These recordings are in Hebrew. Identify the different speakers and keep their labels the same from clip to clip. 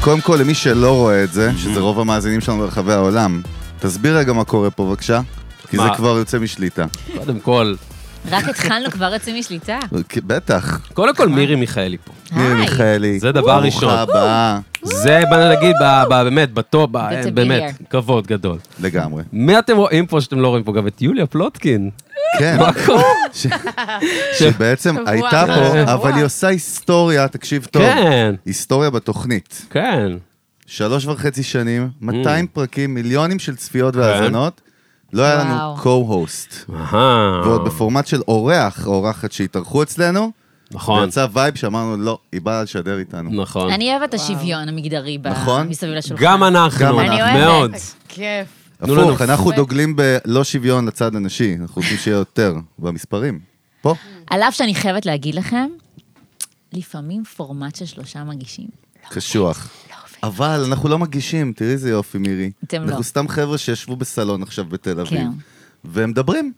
Speaker 1: קודם כל, למי שלא רואה את זה, שזה רוב המאזינים שלנו ברחבי העולם, תסביר רגע מה קורה פה, בבקשה. כי זה
Speaker 2: מה?
Speaker 1: כבר יוצא משליטה.
Speaker 2: קודם כל,
Speaker 3: רק התחלנו כבר יוצאים משליטה.
Speaker 1: כן, בטח.
Speaker 2: קודם כל מירי מיכאלי פה.
Speaker 1: מירי
Speaker 3: היי.
Speaker 1: מיכאלי.
Speaker 2: זה דבר ראשון.
Speaker 1: ברוכה הבאה.
Speaker 2: זה, בא נגיד, ב- ב- באמת, בטופ, ב-
Speaker 3: Good to be
Speaker 2: באמת,
Speaker 3: here.
Speaker 2: כבוד גדול.
Speaker 1: לגמרי.
Speaker 2: מי אתם רואים פה שאתם לא רואים פה? גם את יוליה פלוטקין.
Speaker 1: כן.
Speaker 2: מה קורה? אה,
Speaker 1: ש- שבעצם
Speaker 3: שבוע,
Speaker 1: הייתה פה,
Speaker 3: שבוע.
Speaker 1: אבל היא עושה היסטוריה, תקשיב טוב.
Speaker 2: כן,
Speaker 1: היסטוריה בתוכנית.
Speaker 2: כן.
Speaker 1: שלוש וחצי שנים,
Speaker 2: Mm.
Speaker 1: 200 פרקים, מיליונים של צפיות והאזנות. לא היה לנו
Speaker 3: וואו.
Speaker 1: co-host.
Speaker 2: אהה.
Speaker 1: ועוד בפורמט של אורח, או אורחת שהתארחו אצלנו.
Speaker 2: נכון,
Speaker 1: ויצא וייב שאמרנו, לא, היא באה לשדר איתנו.
Speaker 2: נכון.
Speaker 3: אני אוהבת השוויון המגדרי ב-
Speaker 1: נכון.
Speaker 3: מסביב לשולחן.
Speaker 2: גם אנחנו,
Speaker 1: גם
Speaker 3: אני
Speaker 1: אנחנו.
Speaker 3: אוהבת.
Speaker 2: מאוד.
Speaker 4: כיף.
Speaker 2: תנו לנו
Speaker 1: הפוך, אנחנו
Speaker 4: פידבק.
Speaker 1: דוגלים בלא שוויון לצד הנשי, אנחנו רוצים שיהיה יותר במספרים. פה.
Speaker 3: על אף שאני חייבת להגיד לכם, לפעמים פורמט של שלושה מגישים.
Speaker 1: קשוח.
Speaker 3: לא עובד.
Speaker 1: אבל אנחנו לא מגישים, תראי איזה יופי, מירי.
Speaker 3: אתם לא.
Speaker 1: אנחנו סתם חבר'ה שישבו בסלון עכשיו בתל אביב.
Speaker 3: כן.
Speaker 1: והם מדברים.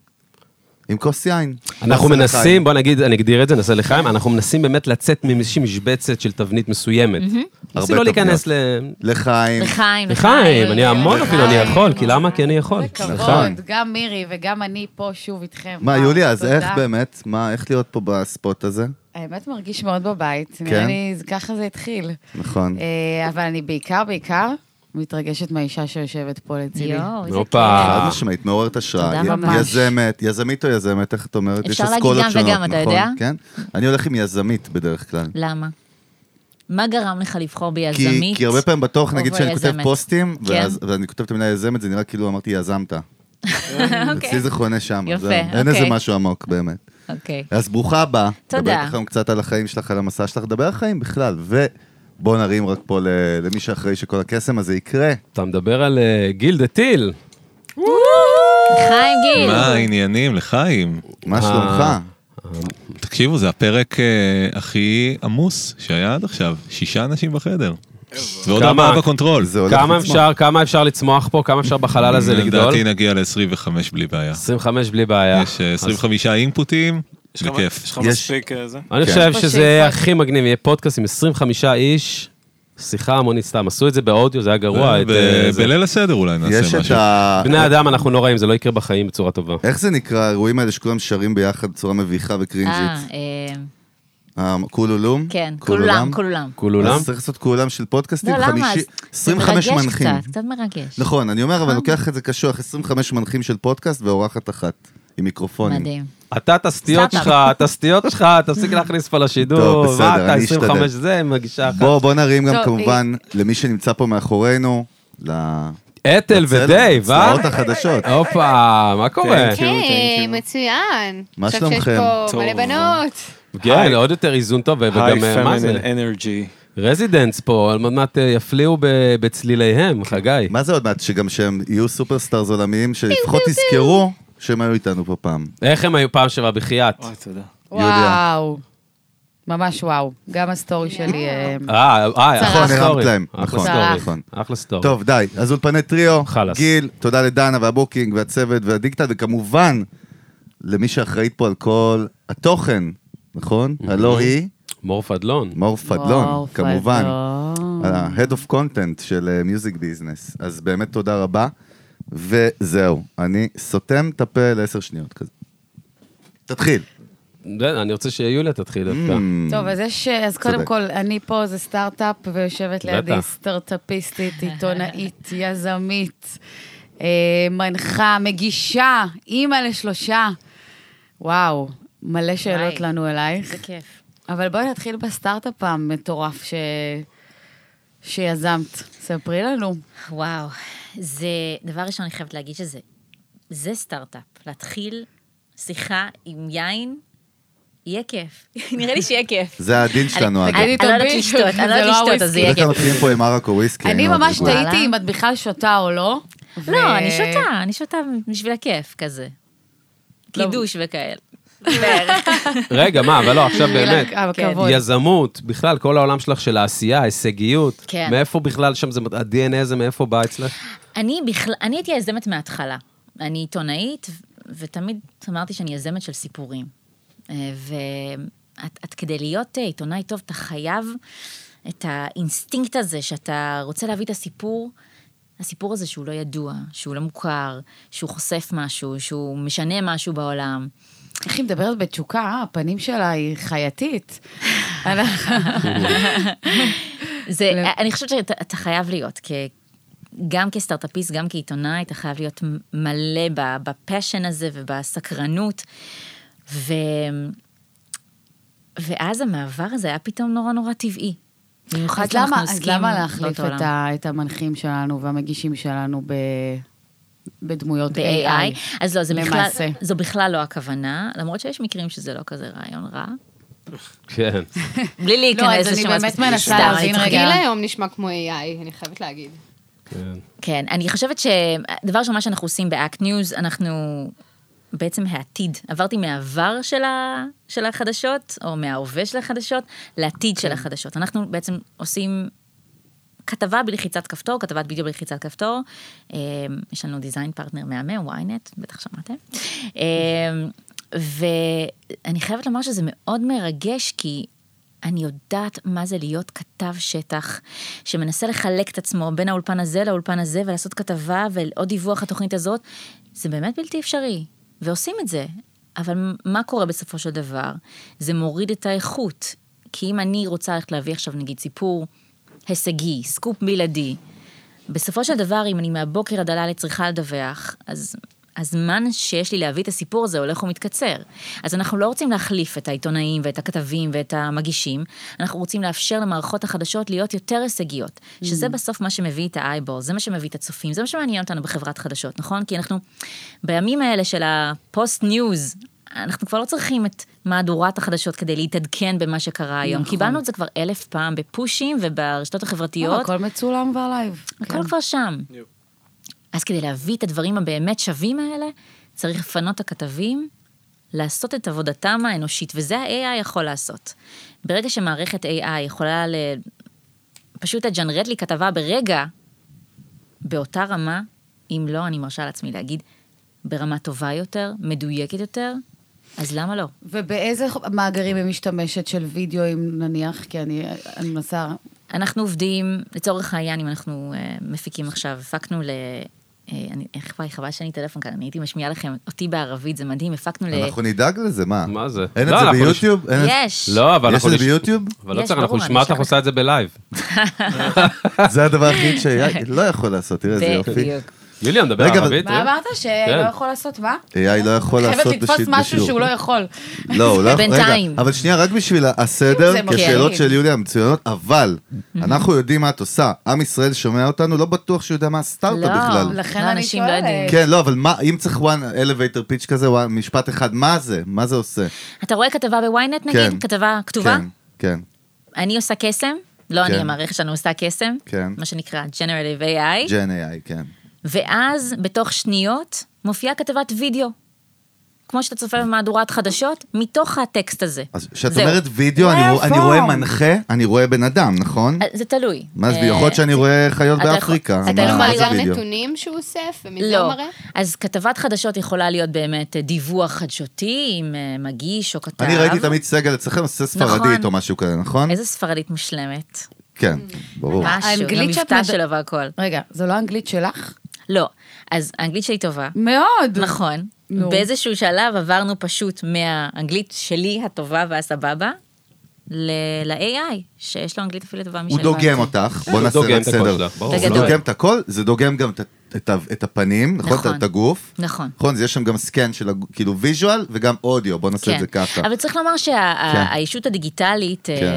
Speaker 1: עם כוס יין.
Speaker 2: אנחנו
Speaker 1: כוס
Speaker 2: מנסים, בוא נגיד, אני אגדיר את זה, נעשה לחיים, אנחנו מנסים באמת לצאת מאיזושהי משבצת של תבנית מסוימת.
Speaker 1: הרבה
Speaker 2: ניסי לא להיכנס ל...
Speaker 1: תבניות. לחיים.
Speaker 3: לחיים,
Speaker 1: לחיים.
Speaker 2: לחיים, אני המון
Speaker 3: לחיים.
Speaker 2: אפילו, אני יכול, כי למה? כי אני יכול.
Speaker 4: כל
Speaker 1: נכון.
Speaker 4: הכבוד, גם מירי וגם אני פה שוב איתכם.
Speaker 1: מה,
Speaker 4: וואו,
Speaker 1: יוליה, אז
Speaker 4: תודה.
Speaker 1: איך באמת? מה, איך להיות פה בספוט הזה?
Speaker 4: האמת מרגיש מאוד בבית,
Speaker 1: כן?
Speaker 4: נראה לי זה- ככה זה התחיל.
Speaker 1: נכון.
Speaker 4: אה, אבל אני בעיקר, בעיקר, מתרגשת מהאישה שיושבת פה לצידי.
Speaker 3: יואו, איזה
Speaker 2: הופה.
Speaker 5: אה.
Speaker 1: חד משמעית, מעוררת השראה.
Speaker 3: תודה
Speaker 1: י-
Speaker 3: ממש.
Speaker 1: יזמת, יזמית או יזמת, איך את אומרת?
Speaker 3: אפשר
Speaker 1: יש
Speaker 3: להגיד
Speaker 1: אסכולות
Speaker 3: גם
Speaker 1: שונות,
Speaker 3: וגם, אתה
Speaker 1: נכון?
Speaker 3: יודע?
Speaker 1: כן. אני הולך עם יזמית בדרך כלל.
Speaker 3: למה? מה גרם לך לבחור
Speaker 1: כי-
Speaker 3: ביזמית?
Speaker 1: כי הרבה פעמים בתוך,
Speaker 3: או
Speaker 1: נגיד שאני כותב
Speaker 3: ביזמת.
Speaker 1: פוסטים,
Speaker 3: כן.
Speaker 1: ואז- ואני כותב את המילה יזמת, זה נראה כאילו אמרתי יזמת. אצלי זה חונה שם.
Speaker 3: אוקיי. יפה,
Speaker 1: זהו. אין
Speaker 3: אוקיי.
Speaker 1: איזה משהו עמוק, באמת.
Speaker 3: אוקיי.
Speaker 1: אז ברוכה הבאה.
Speaker 3: תודה.
Speaker 1: נדבר איתך היום קצת על החיים שלך, על המסע שלך, נדבר על החיים בכלל. ובוא נרים רק פה ל- למי שאחראי שכל הקסם הזה יקרה.
Speaker 2: אתה מדבר על אה, גיל דה טיל.
Speaker 3: חיים גיל.
Speaker 5: מה העניינים לחיים?
Speaker 1: מה שלומך?
Speaker 5: תקשיבו, זה הפרק אה, הכי עמוס שהיה עד עכשיו. שישה אנשים בחדר. ועוד
Speaker 2: כמה?
Speaker 5: ארבעה בקונטרול.
Speaker 1: זה הולך
Speaker 2: כמה
Speaker 1: לצמוח.
Speaker 2: אפשר, כמה אפשר לצמוח פה, כמה אפשר בחלל הזה לגדול?
Speaker 5: לדעתי נגיע ל-25 בלי בעיה.
Speaker 2: 25 בלי בעיה.
Speaker 5: יש אה, 25 אינפוטים,
Speaker 6: יש לך-
Speaker 5: בכיף.
Speaker 6: יש לך
Speaker 1: יש-
Speaker 6: מספיק אה, זה?
Speaker 2: אז אני
Speaker 1: כן.
Speaker 2: חושב
Speaker 4: יש פה
Speaker 2: שזה
Speaker 4: שאיפות.
Speaker 2: הכי מגניב, יהיה פודקאסט עם 25 איש, שיחה המונית סתם. עשו את זה באודיו, זה היה גרוע. את,
Speaker 5: ב-
Speaker 2: אה, זה-
Speaker 5: בליל הסדר אולי
Speaker 1: יש
Speaker 5: נעשה
Speaker 1: את
Speaker 5: משהו.
Speaker 1: ה...
Speaker 2: בני אדם אנחנו לא רעים, זה לא יקרה בחיים בצורה טובה.
Speaker 1: איך זה נקרא, האירועים האלה שכולם שרים ביחד בצורה מביכה
Speaker 3: אה,
Speaker 1: וקרינג'ית?
Speaker 3: אה,
Speaker 1: אה, כולולם?
Speaker 3: כן, כולם, כולם.
Speaker 2: כולולם?
Speaker 1: אז צריך לעשות כולם של פודקאסטים,
Speaker 3: לא, למה?
Speaker 1: חמישי-
Speaker 3: אז זה
Speaker 1: 25
Speaker 3: מרגש
Speaker 1: מנחים.
Speaker 3: קצת, קצת מרגש.
Speaker 1: נכון, אני אומר, אבל אני לוקח את זה קשוח, 25 מנחים של פודקאסט ואורחת אחת, עם מיקרופונים.
Speaker 3: מדהים.
Speaker 2: אתה, תסטיות
Speaker 3: סטארט-אפ.
Speaker 2: שלך, תסטיות שלך, תפסיק להכניס פה לשידור.
Speaker 1: טוב, בסדר,
Speaker 2: מה אתה,
Speaker 1: אני
Speaker 2: 25
Speaker 1: אשתדל.
Speaker 2: זה, מגישה אחת.
Speaker 1: בוא, בוא נרים גם
Speaker 4: טוב,
Speaker 1: כמובן למי שנמצא פה מאחורינו, ל-
Speaker 2: אתל
Speaker 1: לצלם,
Speaker 2: ודייב, אה?
Speaker 1: לצלעות החדשות.
Speaker 2: הופה, מה קורה?
Speaker 6: כן, כן.
Speaker 7: היי,
Speaker 6: thank you.
Speaker 7: מצוין.
Speaker 1: מה
Speaker 7: עכשיו שיש
Speaker 1: שלומכם?
Speaker 7: פה
Speaker 6: טוב.
Speaker 7: מלא בנות.
Speaker 2: כן,
Speaker 6: היי.
Speaker 2: עוד יותר איזון טוב, וגם
Speaker 6: היי
Speaker 2: אה, מה זה?
Speaker 6: פמינין אנרגי.
Speaker 2: רזידנס פה, עוד מעט אה, יפליאו ב- בצליליהם, חגי.
Speaker 1: כן. מה זה עוד מעט, שגם שהם יהיו סופרסטארס עולמיים, שלפחות תזכרו שהם היו איתנו פה פעם.
Speaker 2: איך הם היו פעם שעברה, בחייאת?
Speaker 6: אוי, תודה.
Speaker 1: יוליה.
Speaker 4: וואו. ממש וואו. גם הסטורי שלי... אה,
Speaker 2: אה, אה, אחלה
Speaker 1: נכון, הרמת
Speaker 2: סטורי.
Speaker 1: להם.
Speaker 2: אחלה
Speaker 1: נכון,
Speaker 2: סטורי.
Speaker 1: נכון.
Speaker 2: אחלה סטורי.
Speaker 1: טוב, די. אז אולפני טריו,
Speaker 2: חלאס.
Speaker 1: גיל, תודה לדנה והבוקינג והצוות והדיקטל, וכמובן, למי שאחראית פה על כל התוכן, נכון?
Speaker 2: Mm-hmm.
Speaker 1: הלא היא
Speaker 2: מור פדלון.
Speaker 1: מור פדלון,
Speaker 4: וואו,
Speaker 1: כמובן.
Speaker 4: פדלון.
Speaker 1: ה-Head of Content של מיוזיק ביזנס. אז באמת תודה רבה, וזהו. אני סותם את הפה לעשר שניות כזה. תתחיל.
Speaker 2: זה, אני רוצה שיוליה תתחיל
Speaker 1: Mm.
Speaker 2: דווקא.
Speaker 4: טוב, אז יש, אז קודם
Speaker 1: צודק.
Speaker 4: כל, אני פה, זה סטארט-אפ, ויושבת לידי
Speaker 2: בטח.
Speaker 4: סטארט-אפיסטית, עיתונאית, יזמית, אה, מנחה, מגישה, אימא לשלושה. וואו, מלא שאלות
Speaker 3: וואי.
Speaker 4: לנו אלייך.
Speaker 3: זה כן. כיף.
Speaker 4: אבל בואי נתחיל בסטארט-אפ המטורף ש... שיזמת. ספרי לנו.
Speaker 3: וואו. זה, דבר ראשון, אני חייבת להגיד שזה, זה סטארט-אפ. להתחיל שיחה עם יין, יהיה כיף. נראה לי שיהיה כיף.
Speaker 1: זה הדין שלנו,
Speaker 3: אני
Speaker 1: אגב.
Speaker 3: אני לא יודעת
Speaker 4: תלביש,
Speaker 3: לשתות, אני לא
Speaker 4: זה לא
Speaker 3: יודעת לשתות, אז זה יהיה
Speaker 1: בדרך כלל
Speaker 3: כיף.
Speaker 1: מתחילים פה עם ערק או
Speaker 2: כן,
Speaker 1: וויסקי. לא
Speaker 4: אני
Speaker 1: מאוד
Speaker 4: ממש
Speaker 1: רגועה.
Speaker 3: וואלה.
Speaker 4: תהיתי אם את בכלל שותה או לא. ו-
Speaker 3: לא, אני שותה, אני שותה בשביל הכיף כזה.
Speaker 4: לא.
Speaker 3: קידוש וכאלה.
Speaker 2: רגע, מה, אבל לא, עכשיו באמת.
Speaker 4: כן, הכבוד.
Speaker 2: יזמות, בכלל, כל העולם שלך של העשייה, הישגיות.
Speaker 3: כן.
Speaker 2: מאיפה בכלל שם זה, ה-DNA הזה מאיפה בא אצלך?
Speaker 3: אני בכלל, אני הייתי יזמת מההתחלה. אני עיתונאית, ו- ותמיד אמרתי שאני יזמת של אה, סיפורים. ואת את כדי להיות אה, עיתונאי טוב, אתה חייב את האינסטינקט הזה שאתה רוצה להביא את הסיפור, הסיפור הזה שהוא לא ידוע, שהוא לא מוכר, שהוא חושף משהו, שהוא משנה משהו בעולם.
Speaker 4: איך היא מדברת בתשוקה, אה? הפנים שלה היא חייתית. אנחנו-
Speaker 3: זה,
Speaker 4: ל-
Speaker 3: אני חושבת שאתה אתה חייב להיות, כ, גם כסטארט-אפיסט, גם כעיתונאי, אתה חייב להיות מ- מלא ב- בפשן הזה ובסקרנות. ו, ואז המעבר הזה היה פתאום נורא נורא טבעי. במיוחד
Speaker 4: אז למה,
Speaker 3: שאנחנו
Speaker 4: אז
Speaker 3: עוסקים
Speaker 4: למה
Speaker 3: בעובדות
Speaker 4: להחליף את,
Speaker 3: העולם.
Speaker 4: ה, את המנחים שלנו והמגישים שלנו ב, בדמויות
Speaker 3: ב-AI. אז לא, זה בכלל,
Speaker 4: למעשה.
Speaker 3: זו בכלל לא הכוונה, למרות שיש מקרים שזה לא כזה רעיון רע.
Speaker 2: כן.
Speaker 3: בלי
Speaker 4: לא,
Speaker 3: להיכנס
Speaker 4: אז אני
Speaker 3: לשם
Speaker 4: באמת
Speaker 3: ספציפי.
Speaker 4: מנסה
Speaker 3: סתם, אני
Speaker 4: להבין
Speaker 3: צוחקת.
Speaker 4: רגע.
Speaker 6: גיל היום נשמע כמו AI, אני חייבת להגיד.
Speaker 2: כן.
Speaker 3: כן, אני חושבת שדבר ראשון, מה שאנחנו עושים באקט ניוז, אנחנו בעצם העתיד. עברתי מהעבר של, ה... של החדשות, או מההווה של החדשות, לעתיד של החדשות. אנחנו בעצם עושים כתבה בלחיצת כפתור, כתבת וידאו בלחיצת כפתור. אה, יש לנו דיזיין פרטנר מהמם, ynet, בטח שמעתם. אה, ואני חייבת לומר שזה מאוד מרגש, כי אני יודעת מה זה להיות כתב שטח, שמנסה לחלק את עצמו בין האולפן הזה לאולפן הזה, ולעשות כתבה ועוד דיווח לתוכנית הזאת. זה באמת בלתי אפשרי, ועושים את זה. אבל מה קורה בסופו של דבר? זה מוריד את האיכות. כי אם אני רוצה ללכת להביא עכשיו נגיד סיפור הישגי, סקופ בלעדי. בסופו של דבר, אם אני מהבוקר עד הלילה צריכה לדווח, אז הזמן שיש לי להביא את הסיפור הזה הולך ומתקצר. אז אנחנו לא רוצים להחליף את העיתונאים ואת הכתבים ואת המגישים, אנחנו רוצים לאפשר למערכות החדשות להיות יותר הישגיות, שזה בסוף מה שמביא את האייבול, זה מה שמביא את הצופים, זה מה שמעניין אותנו בחברת חדשות, נכון? כי אנחנו, בימים האלה של הפוסט-ניוז, אנחנו כבר לא צריכים את מהדורת החדשות כדי להתעדכן במה שקרה היום.
Speaker 4: נכון.
Speaker 3: קיבלנו את זה כבר אלף פעם בפושים וברשתות
Speaker 4: אה,
Speaker 3: החברתיות.
Speaker 4: הכל מצולם כן. כבר לייב.
Speaker 3: הכל כבר שם. אז כדי להביא את הדברים הבאמת שווים האלה, צריך לפנות את הכתבים, לעשות את עבודתם האנושית, וזה ה-AI יכול לעשות. ברגע שמערכת AI יכולה ל... פשוט לג'נרט לי כתבה ברגע, באותה רמה, אם לא, אני מרשה לעצמי להגיד, ברמה טובה יותר, מדויקת יותר, אז למה לא?
Speaker 4: ובאיזה ח- מאגרים היא משתמשת של וידאו, אם נניח, כי אני אני מנסה...
Speaker 3: אנחנו עובדים, לצורך העניין, אם אנחנו אה, מפיקים עכשיו, הפקנו ל... אה, אני, איך וואי, חבל שאין לי טלפון כאן, אני הייתי משמיעה לכם אותי בערבית, זה מדהים, הפקנו ל...
Speaker 1: אנחנו נדאג לזה, מה?
Speaker 2: מה זה?
Speaker 1: אין את
Speaker 2: לא,
Speaker 1: זה
Speaker 2: אנחנו
Speaker 1: ביוטיוב? אין את-
Speaker 3: יש!
Speaker 2: לא, אבל
Speaker 1: יש
Speaker 2: אנחנו...
Speaker 1: את זה
Speaker 2: נש-
Speaker 1: ביוטיוב?
Speaker 2: אבל לא
Speaker 3: יש,
Speaker 2: צריך, אנחנו
Speaker 3: ברור, אני
Speaker 2: נשמע אותך
Speaker 3: אשלח
Speaker 2: עושה את זה בלייב.
Speaker 1: זה הדבר היחיד ש-AI לא יכול לעשות, תראה איזה יופי.
Speaker 3: בדיוק.
Speaker 2: יוליה, מדבר
Speaker 1: רגע, אבל-
Speaker 2: ערבית?
Speaker 4: מה
Speaker 2: אה?
Speaker 4: אמרת? שלא
Speaker 2: כן.
Speaker 4: יכול לעשות מה?
Speaker 1: AI לא יכול
Speaker 4: חייבת
Speaker 1: לעשות
Speaker 4: לתפוס
Speaker 1: בשיט-
Speaker 4: משהו
Speaker 1: בשידור.
Speaker 4: שהוא לא יכול.
Speaker 1: לא, הוא לא יכול,
Speaker 3: בינתיים.
Speaker 1: רגע, אבל שנייה, רק בשביל
Speaker 4: זה
Speaker 1: הסדר, כי
Speaker 4: מגעיל.
Speaker 1: השאלות של יוליה מצוינות, אבל אנחנו יודעים מה את עושה. עם ישראל שומע אותנו, לא בטוח שהוא יודע מה הסטארט-אפ
Speaker 3: לא.
Speaker 1: בכלל.
Speaker 4: לכן
Speaker 3: לא,
Speaker 4: אני
Speaker 3: אנשים לא יודעים.
Speaker 4: שואלת.
Speaker 1: כן, לא, אבל מה, אם צריך one elevator pitch כזה, one- משפט אחד, מה זה? מה זה עושה?
Speaker 3: אתה רואה כתבה בוויינט נגיד?
Speaker 1: כן.
Speaker 3: כתבה כתובה?
Speaker 1: כן, כן.
Speaker 3: אני עושה קסם? לא
Speaker 1: כן.
Speaker 3: אני, המערכת שלנו עושה קסם?
Speaker 1: כן.
Speaker 3: מה שנקרא Generative AI.
Speaker 1: Gen AI, כן.
Speaker 3: ואז בתוך שניות מופיעה כתבת וידאו. כמו שאתה צופה במהדורת חדשות, מתוך הטקסט הזה.
Speaker 1: אז כשאת
Speaker 3: זהו.
Speaker 1: אומרת וידאו, אני רוא- אני רואה מנחה, אני רואה בן אדם, נכון?
Speaker 3: אה, זה תלוי.
Speaker 1: מה זה,
Speaker 3: אה,
Speaker 1: יכול להיות שאני רואה חיות
Speaker 3: אתה יכול-
Speaker 1: באפריקה.
Speaker 3: אתה
Speaker 1: מה-
Speaker 3: יכול
Speaker 1: מה זה
Speaker 6: מאגר
Speaker 1: וידאו?
Speaker 6: נתונים שהוא אוסף, ומזה הוא
Speaker 3: לא.
Speaker 6: מראה?
Speaker 3: אז כתבת חדשות יכולה להיות באמת אה, דיווח חדשותי עם אה, מגיש או כתב.
Speaker 1: אני ראיתי תמיד סגל אצלכם עושה ספרדית
Speaker 3: נכון.
Speaker 1: או משהו כזה, נכון?
Speaker 3: איזה ספרדית מושלמת.
Speaker 1: כן, ברור.
Speaker 3: משהו, גם
Speaker 4: האנגלית שאת
Speaker 3: מבטא
Speaker 4: מד-
Speaker 3: שלו והכל.
Speaker 4: רגע, זו לא האנגלית שלך?
Speaker 3: לא, אז האנגלית שלי טובה.
Speaker 4: מאוד.
Speaker 3: נכון.
Speaker 4: נו.
Speaker 3: באיזשהו שלב עברנו פשוט מהאנגלית שלי הטובה והסבבה ל- ל-AI, שיש לו אנגלית אפילו טובה משלי.
Speaker 1: הוא דוגם אותך, בוא
Speaker 2: הוא
Speaker 1: נעשה
Speaker 2: דוגם
Speaker 1: רק
Speaker 2: את הכל
Speaker 1: סדר.
Speaker 2: שלך, ברור.
Speaker 1: הוא
Speaker 3: בגדול.
Speaker 1: דוגם את הכל, זה דוגם גם את ה- את ה- את הפנים, נכון? את ה-
Speaker 3: נכון.
Speaker 1: את הגוף.
Speaker 3: נכון.
Speaker 1: נכון, אז יש שם גם סקן של הג- כאילו ויז'ואל וגם אודיו, בוא נעשה את זה ככה.
Speaker 3: כן. אבל צריך לומר שהאישות הדיגיטלית, אה,
Speaker 1: כן.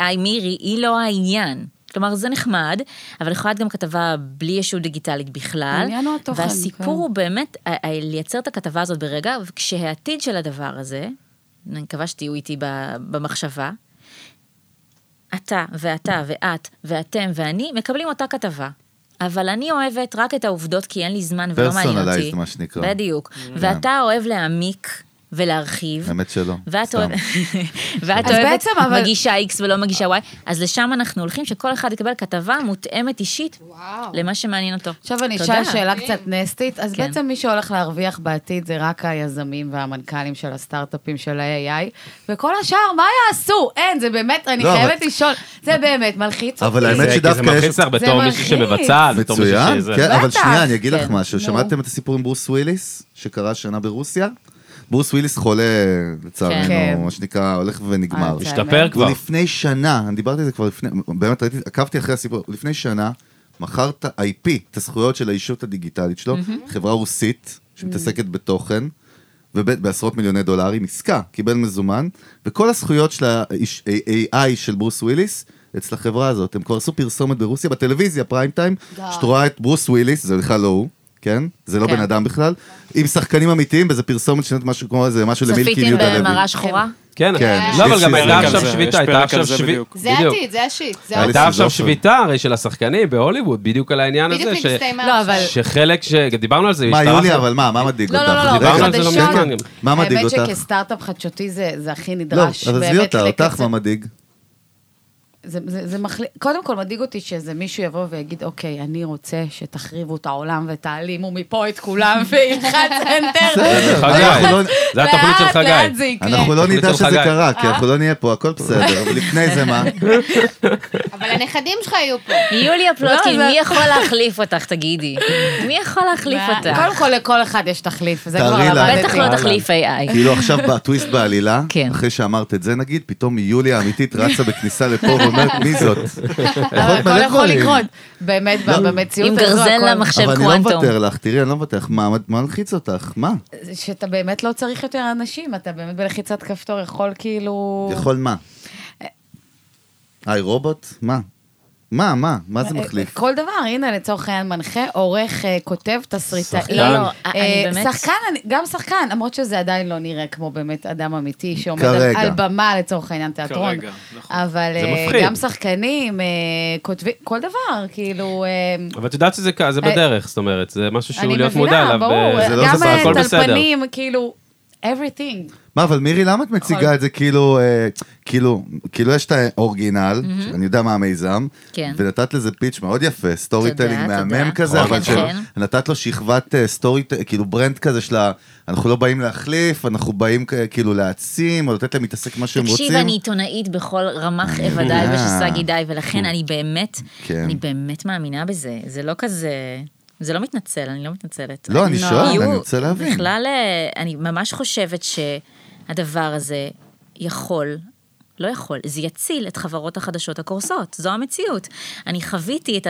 Speaker 3: ה-AI מירי, היא לא העניין. כלומר, זה נחמד, אבל יכולה להיות גם כתבה בלי ישות דיגיטלית בכלל.
Speaker 4: העניין הוא התוכן, כן.
Speaker 3: והסיפור הוא באמת ה- ה- לייצר את הכתבה הזאת ברגע, וכשהעתיד של הדבר הזה, אני מקווה שתהיו איתי ב- במחשבה, אתה ואתה ואת ואתם ואני מקבלים אותה כתבה. אבל אני אוהבת רק את העובדות כי אין לי זמן ולא מעניין אותי.
Speaker 1: Personalized, מה שנקרא.
Speaker 3: בדיוק. ואתה אוהב להעמיק ולהרחיב.
Speaker 1: האמת שלא.
Speaker 3: ואת
Speaker 1: אמ, סתם.
Speaker 3: אוהבת, ואת
Speaker 4: אז
Speaker 3: אוהבת
Speaker 4: בעצם, אבל-
Speaker 3: מגישה X ולא מגישה Y, אז לשם אנחנו הולכים, שכל אחד יקבל כתבה מותאמת אישית
Speaker 6: וואו.
Speaker 3: למה שמעניין אותו.
Speaker 4: עכשיו אני
Speaker 3: תודה.
Speaker 4: אשאל שאלה קצת נסטית, אז
Speaker 3: כן.
Speaker 4: בעצם מי שהולך להרוויח בעתיד זה רק היזמים והמנכ"לים של הסטארט-אפים של ה-AI, וכל השאר, מה יעשו? אין, זה באמת, אני
Speaker 1: לא, אבל-
Speaker 4: חייבת לשאול, זה באמת מלחיץ אותי.
Speaker 1: אבל האמת
Speaker 2: זה- כי
Speaker 1: שדווקא
Speaker 2: זה מלחיץ
Speaker 1: יש-
Speaker 2: לך בתור
Speaker 4: זה
Speaker 2: מישהי
Speaker 4: מלחיץ.
Speaker 2: שמבצעת, בתור מישהי
Speaker 1: מצוין,
Speaker 2: אה, שזה.
Speaker 1: כן, אבל
Speaker 4: בטח,
Speaker 1: שנייה, אני אגיד
Speaker 4: כן.
Speaker 1: לך משהו.
Speaker 4: נו.
Speaker 1: שמעתם את הסיפור עם ברוס וויליס, שקרה השנה ברוסיה? ברוס וויליס חולה,
Speaker 4: כן.
Speaker 1: לצערנו, מה שנקרא, הולך ונגמר.
Speaker 4: אה, זה
Speaker 2: השתפר כבר.
Speaker 1: הוא לפני שנה, אני דיברתי על זה כבר לפני, באמת ראיתי, עקבתי אחרי הסיפור, לפני שנה מכר את ה-IP, את הזכויות של האישות הדיגיטלית שלו, חברה רוסית שמתעסקת בתוכן, ובעשרות מיליוני דולרים, עסקה, קיבל מזומן, וכל הזכויות של ה-AI של ברוס וויליס, אצל החברה הזאת, הם כבר עשו פרסומת ברוסיה, בטלוויזיה, פריים טיים, שאת רואה את ברוס וויליס, זה בכלל לא הוא, כן? זה לא
Speaker 4: כן.
Speaker 1: בן אדם בכלל, עם שחקנים אמיתיים, באיזה פרסומת שנראית משהו כמו איזה, משהו למילקי
Speaker 3: צפיתם
Speaker 1: ויהודה לוי.
Speaker 3: במראה אה, שחורה?
Speaker 2: כן,
Speaker 1: כן,
Speaker 4: אה.
Speaker 2: לא,
Speaker 1: יש
Speaker 2: אבל גם
Speaker 1: פרק
Speaker 2: הייתה
Speaker 1: על
Speaker 2: עכשיו
Speaker 1: זה, יש
Speaker 2: שביתה,
Speaker 7: פרק
Speaker 2: הייתה
Speaker 7: על
Speaker 2: עכשיו
Speaker 7: זה
Speaker 2: שביתה.
Speaker 7: בדיוק.
Speaker 6: זה העתיד, זה השיט. זה
Speaker 1: היה לי
Speaker 6: העתיד.
Speaker 2: הייתה עכשיו
Speaker 1: סיזופרן.
Speaker 2: שביתה הרי של השחקנים בהוליווד, בדיוק על העניין
Speaker 6: בדיוק
Speaker 2: הזה, ש-
Speaker 6: הסתיימה.
Speaker 4: לא,
Speaker 6: עכשיו.
Speaker 4: אבל-
Speaker 2: שחלק, ש- גם דיברנו על זה,
Speaker 1: מה,
Speaker 2: השתלחנו.
Speaker 1: יוליה, אבל מה, מה מדאיג
Speaker 4: לא,
Speaker 1: אותך?
Speaker 4: לא, לא, לא,
Speaker 2: דיברנו על זה לא
Speaker 4: בחדשות.
Speaker 2: מזמן גם.
Speaker 1: מה מדאיג אותך?
Speaker 4: האמת שכסטארט-אפ חדשותי זה זה הכי
Speaker 1: לא,
Speaker 4: נדרש.
Speaker 1: אז עזבי
Speaker 4: באמת
Speaker 1: אותה,
Speaker 4: לקצב-
Speaker 1: אותך מה מדאיג?
Speaker 4: זה, זה, זה מחל... קודם כל מדאיג אותי שזה מישהו יבוא ויגיד, אוקיי, אני רוצה שתחריבו את העולם ותעלימו מפה את כולם וילחץ אנטר.
Speaker 1: בסדר,
Speaker 2: חגי,
Speaker 4: אה,
Speaker 1: אנחנו לא-
Speaker 2: זה התוכנית של
Speaker 4: לאט, לאט
Speaker 2: חגי.
Speaker 4: זה יקרה.
Speaker 1: אנחנו לא
Speaker 2: התוכנית
Speaker 1: נדע
Speaker 2: של
Speaker 1: שזה
Speaker 2: חגי.
Speaker 1: קרה, כי
Speaker 4: אה?
Speaker 1: אנחנו לא נהיה פה, הכל בסדר, אבל לפני זה מה?
Speaker 6: אבל הנכדים שלך יהיו פה.
Speaker 3: יוליה פלוטקין,
Speaker 4: לא, זה-
Speaker 3: מי יכול להחליף אותך, תגידי? מי יכול להחליף אותך?
Speaker 4: קודם כל, לכל אחד יש תחליף, זה כבר
Speaker 1: תארי לה.
Speaker 4: למדתי.
Speaker 3: בטח לא תחליף AI.
Speaker 1: כאילו עכשיו בטוויסט בעלילה,
Speaker 3: כן.
Speaker 1: אחרי שאמרת את זה נגיד, פתאום יוליה האמיתית רצה בכניסה לפה ואומרת, מי זאת? לא.
Speaker 4: אבל הכל
Speaker 1: מלא
Speaker 4: יכול
Speaker 1: דברים.
Speaker 4: לקרות. באמת,
Speaker 1: לא.
Speaker 4: במציאות
Speaker 3: עם
Speaker 4: הזו
Speaker 3: גרזן
Speaker 4: הכל-
Speaker 3: למחשב
Speaker 1: אבל אני לא
Speaker 3: קוואנטום.
Speaker 1: מוותר לך, תראי, אני לא מוותר לך, מה מה מלחיץ אותך? מה?
Speaker 4: שאתה באמת לא צריך יותר אנשים, אתה באמת בלחיצת כפתור יכול כאילו...
Speaker 1: יכול מה?
Speaker 4: אה.
Speaker 1: היי רובוט? מה? מה, מה? מה
Speaker 4: אה,
Speaker 1: זה מחליף?
Speaker 4: כל דבר, הנה לצורך העניין מנחה, עורך, אה, כותב, תסריטאי.
Speaker 2: שחקן.
Speaker 3: לא, לא,
Speaker 4: אה,
Speaker 3: אני באמת...
Speaker 4: שחקן, אני- גם שחקן, למרות שזה עדיין לא נראה כמו באמת אדם אמיתי שעומד על-
Speaker 1: כרגע.
Speaker 4: על במה לצורך העניין תיאטרון.
Speaker 7: כרגע, נכון.
Speaker 4: אבל
Speaker 2: זה
Speaker 4: אה,
Speaker 2: מפחיד.
Speaker 4: גם שחקנים, אה, כותבים, כל דבר, כאילו... אה,
Speaker 2: אבל את יודעת שזה כ- זה
Speaker 4: אה,
Speaker 2: בדרך, זאת אומרת, זה משהו שהוא
Speaker 4: אני
Speaker 2: להיות מודע
Speaker 4: מבינה,
Speaker 2: אליו.
Speaker 4: ברור,
Speaker 2: ב-
Speaker 1: זה לא
Speaker 4: גם
Speaker 1: זז, הכל
Speaker 4: אה,
Speaker 2: בסדר.
Speaker 4: טלפנים, כאילו, everything.
Speaker 3: Mm-hmm.
Speaker 1: מה, אבל מירי, למה את מציגה את זה כאילו, אה, כאילו, כאילו יש את האורגינל, שאני יודע מה המיזם,
Speaker 3: כן.
Speaker 1: ונתת לזה פיץ' מאוד יפה, סטורי
Speaker 3: תודה,
Speaker 1: טלינג
Speaker 3: תודה.
Speaker 1: מהמם כזה,
Speaker 3: נכון,
Speaker 1: אבל של-
Speaker 3: נכון.
Speaker 1: נתת לו שכבת אה, סטורי, ט- כאילו ברנד כזה של ה... אנחנו לא באים להחליף, אנחנו באים כ- כאילו להעצים, או לתת להם להתעסק מה שהם רוצים.
Speaker 3: תקשיב, אני עיתונאית בכל רמ"ח אבדיי
Speaker 1: מבינה.
Speaker 3: ושס"ה גידיי, ולכן אני באמת,
Speaker 1: כן.
Speaker 3: אני באמת מאמינה בזה. זה לא כזה... זה לא מתנצל, אני לא מתנצלת.
Speaker 1: לא, אני שואל,
Speaker 3: יהיו-
Speaker 1: אני רוצה להבין.
Speaker 3: בכלל, אה, אני ממש חושבת שהדבר הזה יכול... לא יכול, זה יציל את חברות החדשות הקורסות, זו המציאות. אני חוויתי את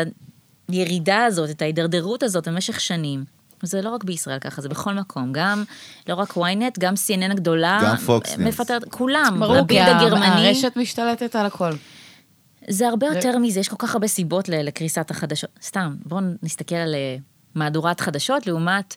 Speaker 3: הירידה הזאת, את ההידרדרות הזאת במשך שנים. זה לא רק בישראל ככה, זה בכל מקום. גם, לא רק ynet, גם CNN הגדולה.
Speaker 1: גם Fox News.
Speaker 3: מפטרת, כולם.
Speaker 4: ברור, כי
Speaker 3: הבילד הגרמני.
Speaker 4: הרשת משתלטת על הכל.
Speaker 3: זה הרבה יותר מזה, יש כל כך הרבה סיבות ל- לקריסת החדשות. סתם, בואו נסתכל על אה, מהדורת חדשות לעומת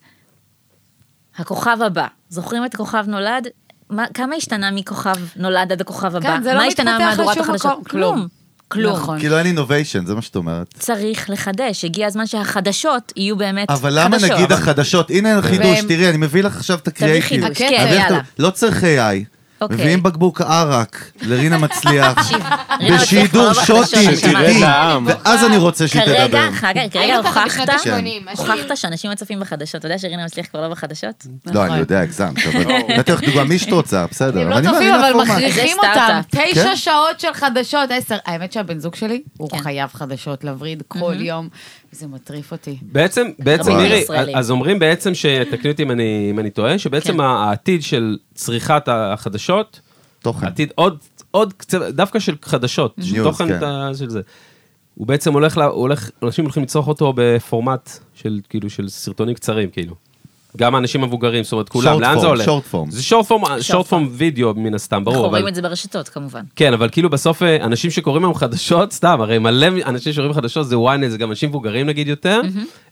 Speaker 3: הכוכב הבא. זוכרים את הכוכב נולד? מה, כמה השתנה מכוכב נולד עד הכוכב הבא?
Speaker 4: זה לא
Speaker 3: מה השתנה
Speaker 4: מתפתח
Speaker 3: מהדורת
Speaker 4: לשום
Speaker 3: החדשות?
Speaker 4: מקום.
Speaker 3: כלום.
Speaker 4: כלום.
Speaker 3: כלום.
Speaker 4: נכון.
Speaker 1: כאילו אין אינוביישן, זה מה שאת אומרת.
Speaker 3: צריך לחדש, הגיע הזמן שהחדשות יהיו באמת חדשות.
Speaker 1: אבל למה נגיד החדשות, הנה חידוש,
Speaker 4: והם-
Speaker 1: תראי, אני מביא לך עכשיו את הקריאייטיב.
Speaker 3: חידוש,
Speaker 4: כן,
Speaker 1: אבל איך
Speaker 3: יאללה.
Speaker 1: אתה- לא צריך AI.
Speaker 3: אוקיי.
Speaker 1: מביאים בקבוק ערק לרינה מצליח,
Speaker 3: מצליח כבר
Speaker 1: בשידור
Speaker 3: לא בחדשות,
Speaker 1: שוטים,
Speaker 3: שמעתי.
Speaker 1: איתי,
Speaker 7: לעם.
Speaker 1: ואז אני רוצה שהיא
Speaker 3: כרגע,
Speaker 1: תדבר.
Speaker 3: חגי, כרגע
Speaker 6: היינו ככה בשנות
Speaker 3: הוכחת,
Speaker 1: כן.
Speaker 6: ה-שמונים, השיר.
Speaker 3: הוכחת שאנשים מצפים בחדשות. אתה יודע שרינה מצליח כבר לא בחדשות?
Speaker 1: לא, אני יודע, הגזמת, אבל נתתי לך דוגמה, מי שאת רוצה, בסדר.
Speaker 4: הם
Speaker 1: אני
Speaker 4: לא צופים,
Speaker 1: מאמין
Speaker 4: אבל
Speaker 1: לפורמט.
Speaker 4: מכריחים
Speaker 3: זה
Speaker 4: אותם.
Speaker 3: סטארט-אפ.
Speaker 1: כן.
Speaker 4: תשע שעות של חדשות, עשר. האמת שהבן זוג שלי, הוא
Speaker 3: כן. Mm-hmm.
Speaker 4: חייב חדשות לווריד כל יום. זה מטריף אותי.
Speaker 2: בעצם, בעצם,
Speaker 1: רבים
Speaker 2: מירי,
Speaker 3: הישראלים.
Speaker 2: אז אומרים בעצם, שתקני אותי אם אני- אם אני טועה,
Speaker 3: כן.
Speaker 2: שבעצם העתיד של צריכת החדשות,
Speaker 1: תוכן.
Speaker 2: עתיד עוד, עוד קצת, דווקא של חדשות, של
Speaker 1: ניוז,
Speaker 2: תוכן
Speaker 1: כן.
Speaker 2: את ה- של זה. הוא בעצם הולך, לה, הוא הולך, אנשים הולכים לצרוך אותו בפורמט של כאילו של סרטונים קצרים כאילו. גם האנשים המבוגרים, זאת אומרת כולם,
Speaker 1: Short
Speaker 2: לאן זה
Speaker 1: form,
Speaker 2: הולך?
Speaker 1: short form.
Speaker 2: זה שורט פורם, שורט פורם וידאו מן הסתם, ברור.
Speaker 3: אנחנו
Speaker 2: אבל-
Speaker 3: רואים את זה ברשתות, כמובן.
Speaker 2: כן, אבל כאילו בסוף אה, אנשים שקוראים היום חדשות, סתם, הרי מלא אנשים שקוראים חדשות זה ynet, זה גם אנשים מבוגרים נגיד יותר.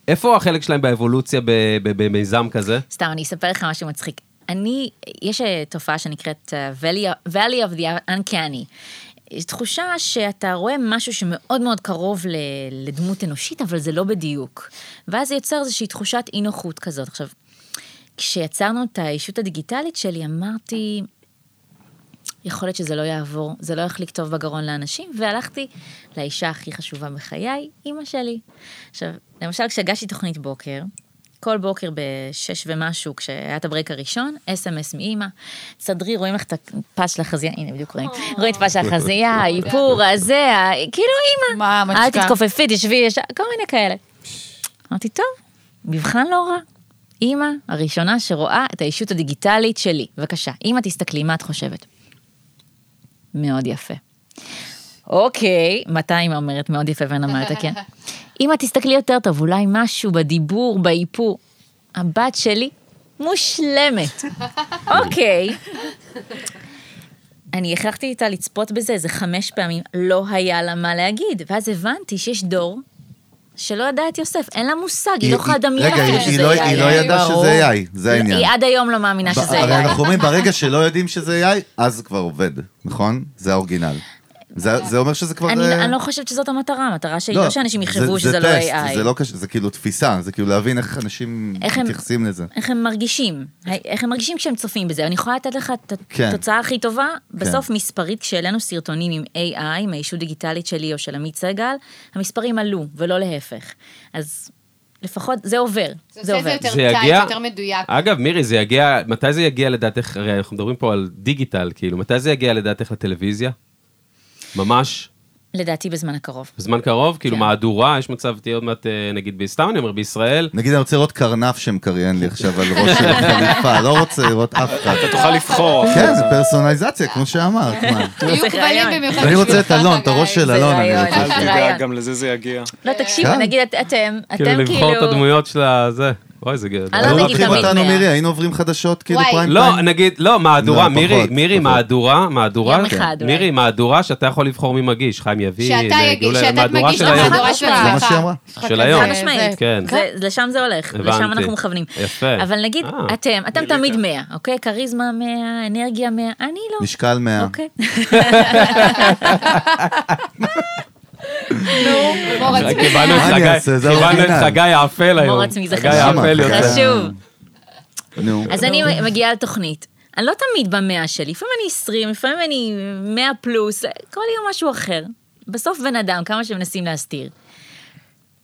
Speaker 2: איפה החלק שלהם באבולוציה ב- ב- במיזם כזה?
Speaker 3: סתם, אני אספר לך משהו מצחיק. אני, יש אה, תופעה שנקראת אה, Valley- Valley of the Uncanny. יש תחושה שאתה רואה משהו שמאוד מאוד קרוב ל- לדמות אנושית, אבל זה לא בדיוק. ואז זה יוצר איזושהי תחושת אי נוחות כזאת. עכשיו, כשיצרנו את האישות הדיגיטלית שלי, אמרתי, יכול להיות שזה לא יעבור, זה לא יחליק טוב בגרון לאנשים, והלכתי לאישה הכי חשובה בחיי, אימא שלי. עכשיו, למשל, כשהגשתי תוכנית בוקר, כל בוקר בשש ומשהו, כשהיה את הברייק הראשון, אס.אם.אס מאימא, תסדרי, רואים לך את הפס של החזייה, הנה בדיוק רואים, רואים את פס של החזייה, האיפור, הזה, ה- כאילו אימא.
Speaker 4: מה,
Speaker 3: אל
Speaker 4: מצ'קה?
Speaker 3: תתכופפי, תשבי, יש... כל מיני כאלה. אמרתי, טוב, מבחן לא רע. אימא הראשונה שרואה את האישות הדיגיטלית שלי. בבקשה, אימא תסתכלי, מה את חושבת? מאוד יפה. אוקיי, מתי אימא אומרת מאוד יפה ואין לה מה לתקן? אימא תסתכלי יותר טוב, אולי משהו בדיבור, באיפור. הבת שלי מושלמת. אוקיי. אני הכרחתי איתה לצפות בזה איזה חמש פעמים, לא היה לה מה להגיד. ואז הבנתי שיש דור שלא ידע את יוסף, אין לה מושג, היא לא יכולה לדמיין
Speaker 1: רגע,
Speaker 3: אפילו
Speaker 1: היא- היא
Speaker 3: שזה
Speaker 1: לא-
Speaker 3: AI.
Speaker 1: היא לא ידעה
Speaker 4: ברור.
Speaker 1: שזה AI, זה העניין.
Speaker 3: היא עד היום לא מאמינה שזה
Speaker 1: הרי
Speaker 3: AI.
Speaker 1: אנחנו אומרים, ברגע שלא יודעים שזה AI, אז זה כבר עובד, נכון? זה האורגינל. זה זה אומר שזה כבר...
Speaker 3: אני
Speaker 1: אה,
Speaker 3: אני לא חושבת שזאת המטרה, המטרה שלי
Speaker 1: לא,
Speaker 3: לא שאנשים
Speaker 1: זה-
Speaker 3: יחשבו
Speaker 1: זה
Speaker 3: שזה לא
Speaker 1: טסט,
Speaker 3: AI.
Speaker 1: זה לא קשה, זה כאילו תפיסה, זה כאילו להבין איך אנשים
Speaker 3: איך הם-
Speaker 1: מתייחסים לזה.
Speaker 3: איך הם מרגישים, איך הם מרגישים כשהם צופים בזה. אני יכולה לתת לך את
Speaker 1: כן.
Speaker 3: התוצאה הכי טובה, בסוף מספרית, כשהעלינו סרטונים עם AI, עם הישות דיגיטלית שלי או של עמית סגל, המספרים עלו, ולא להפך. אז לפחות זה עובר, זה
Speaker 6: זה עושה את זה
Speaker 3: עובר.
Speaker 6: יותר
Speaker 2: זה
Speaker 6: טייט,
Speaker 2: יגיע-
Speaker 6: יותר מדויק.
Speaker 2: אגב, מירי, זה יגיע, מתי זה יגיע לדעתך, הרי אנחנו מדברים פה על דיגיטל, כאילו, מתי זה יגיע לדעתך לטלוויזיה? ממש?
Speaker 3: לדעתי בזמן הקרוב.
Speaker 2: בזמן קרוב? כאילו,
Speaker 3: כן.
Speaker 2: מהדורה, יש מצב, תהיה עוד מעט, אה, נגיד, ב- סתם אני אומר, בישראל,
Speaker 1: נגיד אני רוצה לראות קרנף שמקריין לי עכשיו על ראש של החליפה, לא רוצה לראות אף אחד.
Speaker 7: אתה
Speaker 6: לא,
Speaker 7: תוכל לבחור.
Speaker 1: כן, זה פרסונליזציה, כמו שאמרת, מה.
Speaker 6: יהיו כבלים
Speaker 3: רעיון.
Speaker 6: במיוחד אה,
Speaker 1: אני רוצה
Speaker 6: בשבילך,
Speaker 1: את אלון, את הראש
Speaker 6: חגי.
Speaker 1: של אלון. אני
Speaker 3: רעיון.
Speaker 6: לא,
Speaker 1: רוצה.
Speaker 7: אל תדאג,
Speaker 3: רעיון.
Speaker 7: גם לזה זה יגיע.
Speaker 3: לא,
Speaker 6: אה,
Speaker 3: תקשיבו,
Speaker 1: כן.
Speaker 3: נגיד את- אתם, אתם
Speaker 2: כאילו,
Speaker 3: כאילו...
Speaker 2: לבחור את הדמויות של הזה. אוי, זה גדול.
Speaker 3: אהלן,
Speaker 1: היו
Speaker 3: לא נגיד
Speaker 1: לא לוקחים
Speaker 3: תמיד
Speaker 1: אותנו,
Speaker 3: מאה.
Speaker 1: מירי, היינו עוברים חדשות, כאילו
Speaker 6: וואי.
Speaker 1: פריים
Speaker 2: לא,
Speaker 1: פריים.
Speaker 2: נגיד, לא, מהדורה,
Speaker 1: לא, פחות,
Speaker 2: מירי, מירי,
Speaker 1: פחות.
Speaker 2: מהדורה, מהדורה,
Speaker 3: יום אחד אולי.
Speaker 2: מירי, מהדורה שאתה יכול לבחור מי מגיש, חיים יביא,
Speaker 6: שאתה
Speaker 2: אה,
Speaker 6: יגיש,
Speaker 2: גאולה,
Speaker 6: שאתה
Speaker 2: מהדורה
Speaker 6: מגיש
Speaker 2: של
Speaker 6: את
Speaker 2: היום.
Speaker 3: מהדורה
Speaker 6: המהדורה
Speaker 3: של
Speaker 6: שלך.
Speaker 1: זה מה
Speaker 3: אה,
Speaker 1: שהיא אמרה.
Speaker 2: של היום.
Speaker 3: חד משמעית,
Speaker 2: כן.
Speaker 3: זה- לשם זה הולך, לשם
Speaker 2: הבנתי.
Speaker 3: אנחנו מכוונים.
Speaker 2: יפה.
Speaker 3: אבל נגיד,
Speaker 2: אה.
Speaker 3: אתם, אתם תמיד 100, אוקיי? כריזמה 100, אנרגיה 100, אני לא.
Speaker 1: משקל מאה.
Speaker 3: אוקיי.
Speaker 6: הומור עצמי.
Speaker 2: קיבלנו את
Speaker 1: מה אני
Speaker 2: חגי-
Speaker 1: אעשה? זה לא
Speaker 2: קיבלנו את
Speaker 1: האורגינל.
Speaker 2: חגי האפל היום.
Speaker 3: הומור עצמי זה
Speaker 2: חגי
Speaker 3: חשוב.
Speaker 2: האפל
Speaker 1: למה?
Speaker 2: יוצא.
Speaker 3: חשוב.
Speaker 1: נו.
Speaker 3: אז אני מגיעה לתוכנית. אני לא תמיד במאה שלי, לפעמים אני 20, לפעמים אני 100 פלוס, כל יום משהו אחר. בסוף בן אדם, כמה שמנסים להסתיר.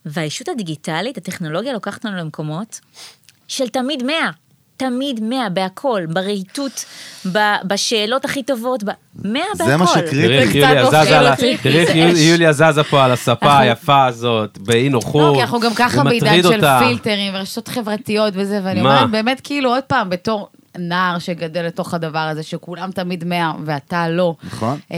Speaker 3: והאישות הדיגיטלית, הטכנולוגיה לוקחת אותנו למקומות של תמיד 100. תמיד 100 בהכל, ברהיטות, ב- בשאלות הכי טובות, ב- 100 בהכל.
Speaker 1: זה מה שקריטי.
Speaker 2: תראי איך
Speaker 4: קצת
Speaker 2: יוליה
Speaker 4: מפחיד
Speaker 2: זזה על ה-
Speaker 4: אותי.
Speaker 2: תראי איך
Speaker 3: זה
Speaker 2: יול-
Speaker 3: אש.
Speaker 2: יוליה זזה פה על הספה היפה הזאת, באי נוחות.
Speaker 4: לא, כי אנחנו גם
Speaker 2: זה
Speaker 4: ככה בעידן
Speaker 2: מטריד
Speaker 4: של
Speaker 2: אותה.
Speaker 4: פילטרים ורשתות חברתיות וזה, ואני
Speaker 2: מה?
Speaker 4: אומרת, באמת, כאילו, עוד פעם, בתור נער שגדל לתוך הדבר הזה, שכולם תמיד מאה ואתה לא.
Speaker 1: נכון.
Speaker 4: אה,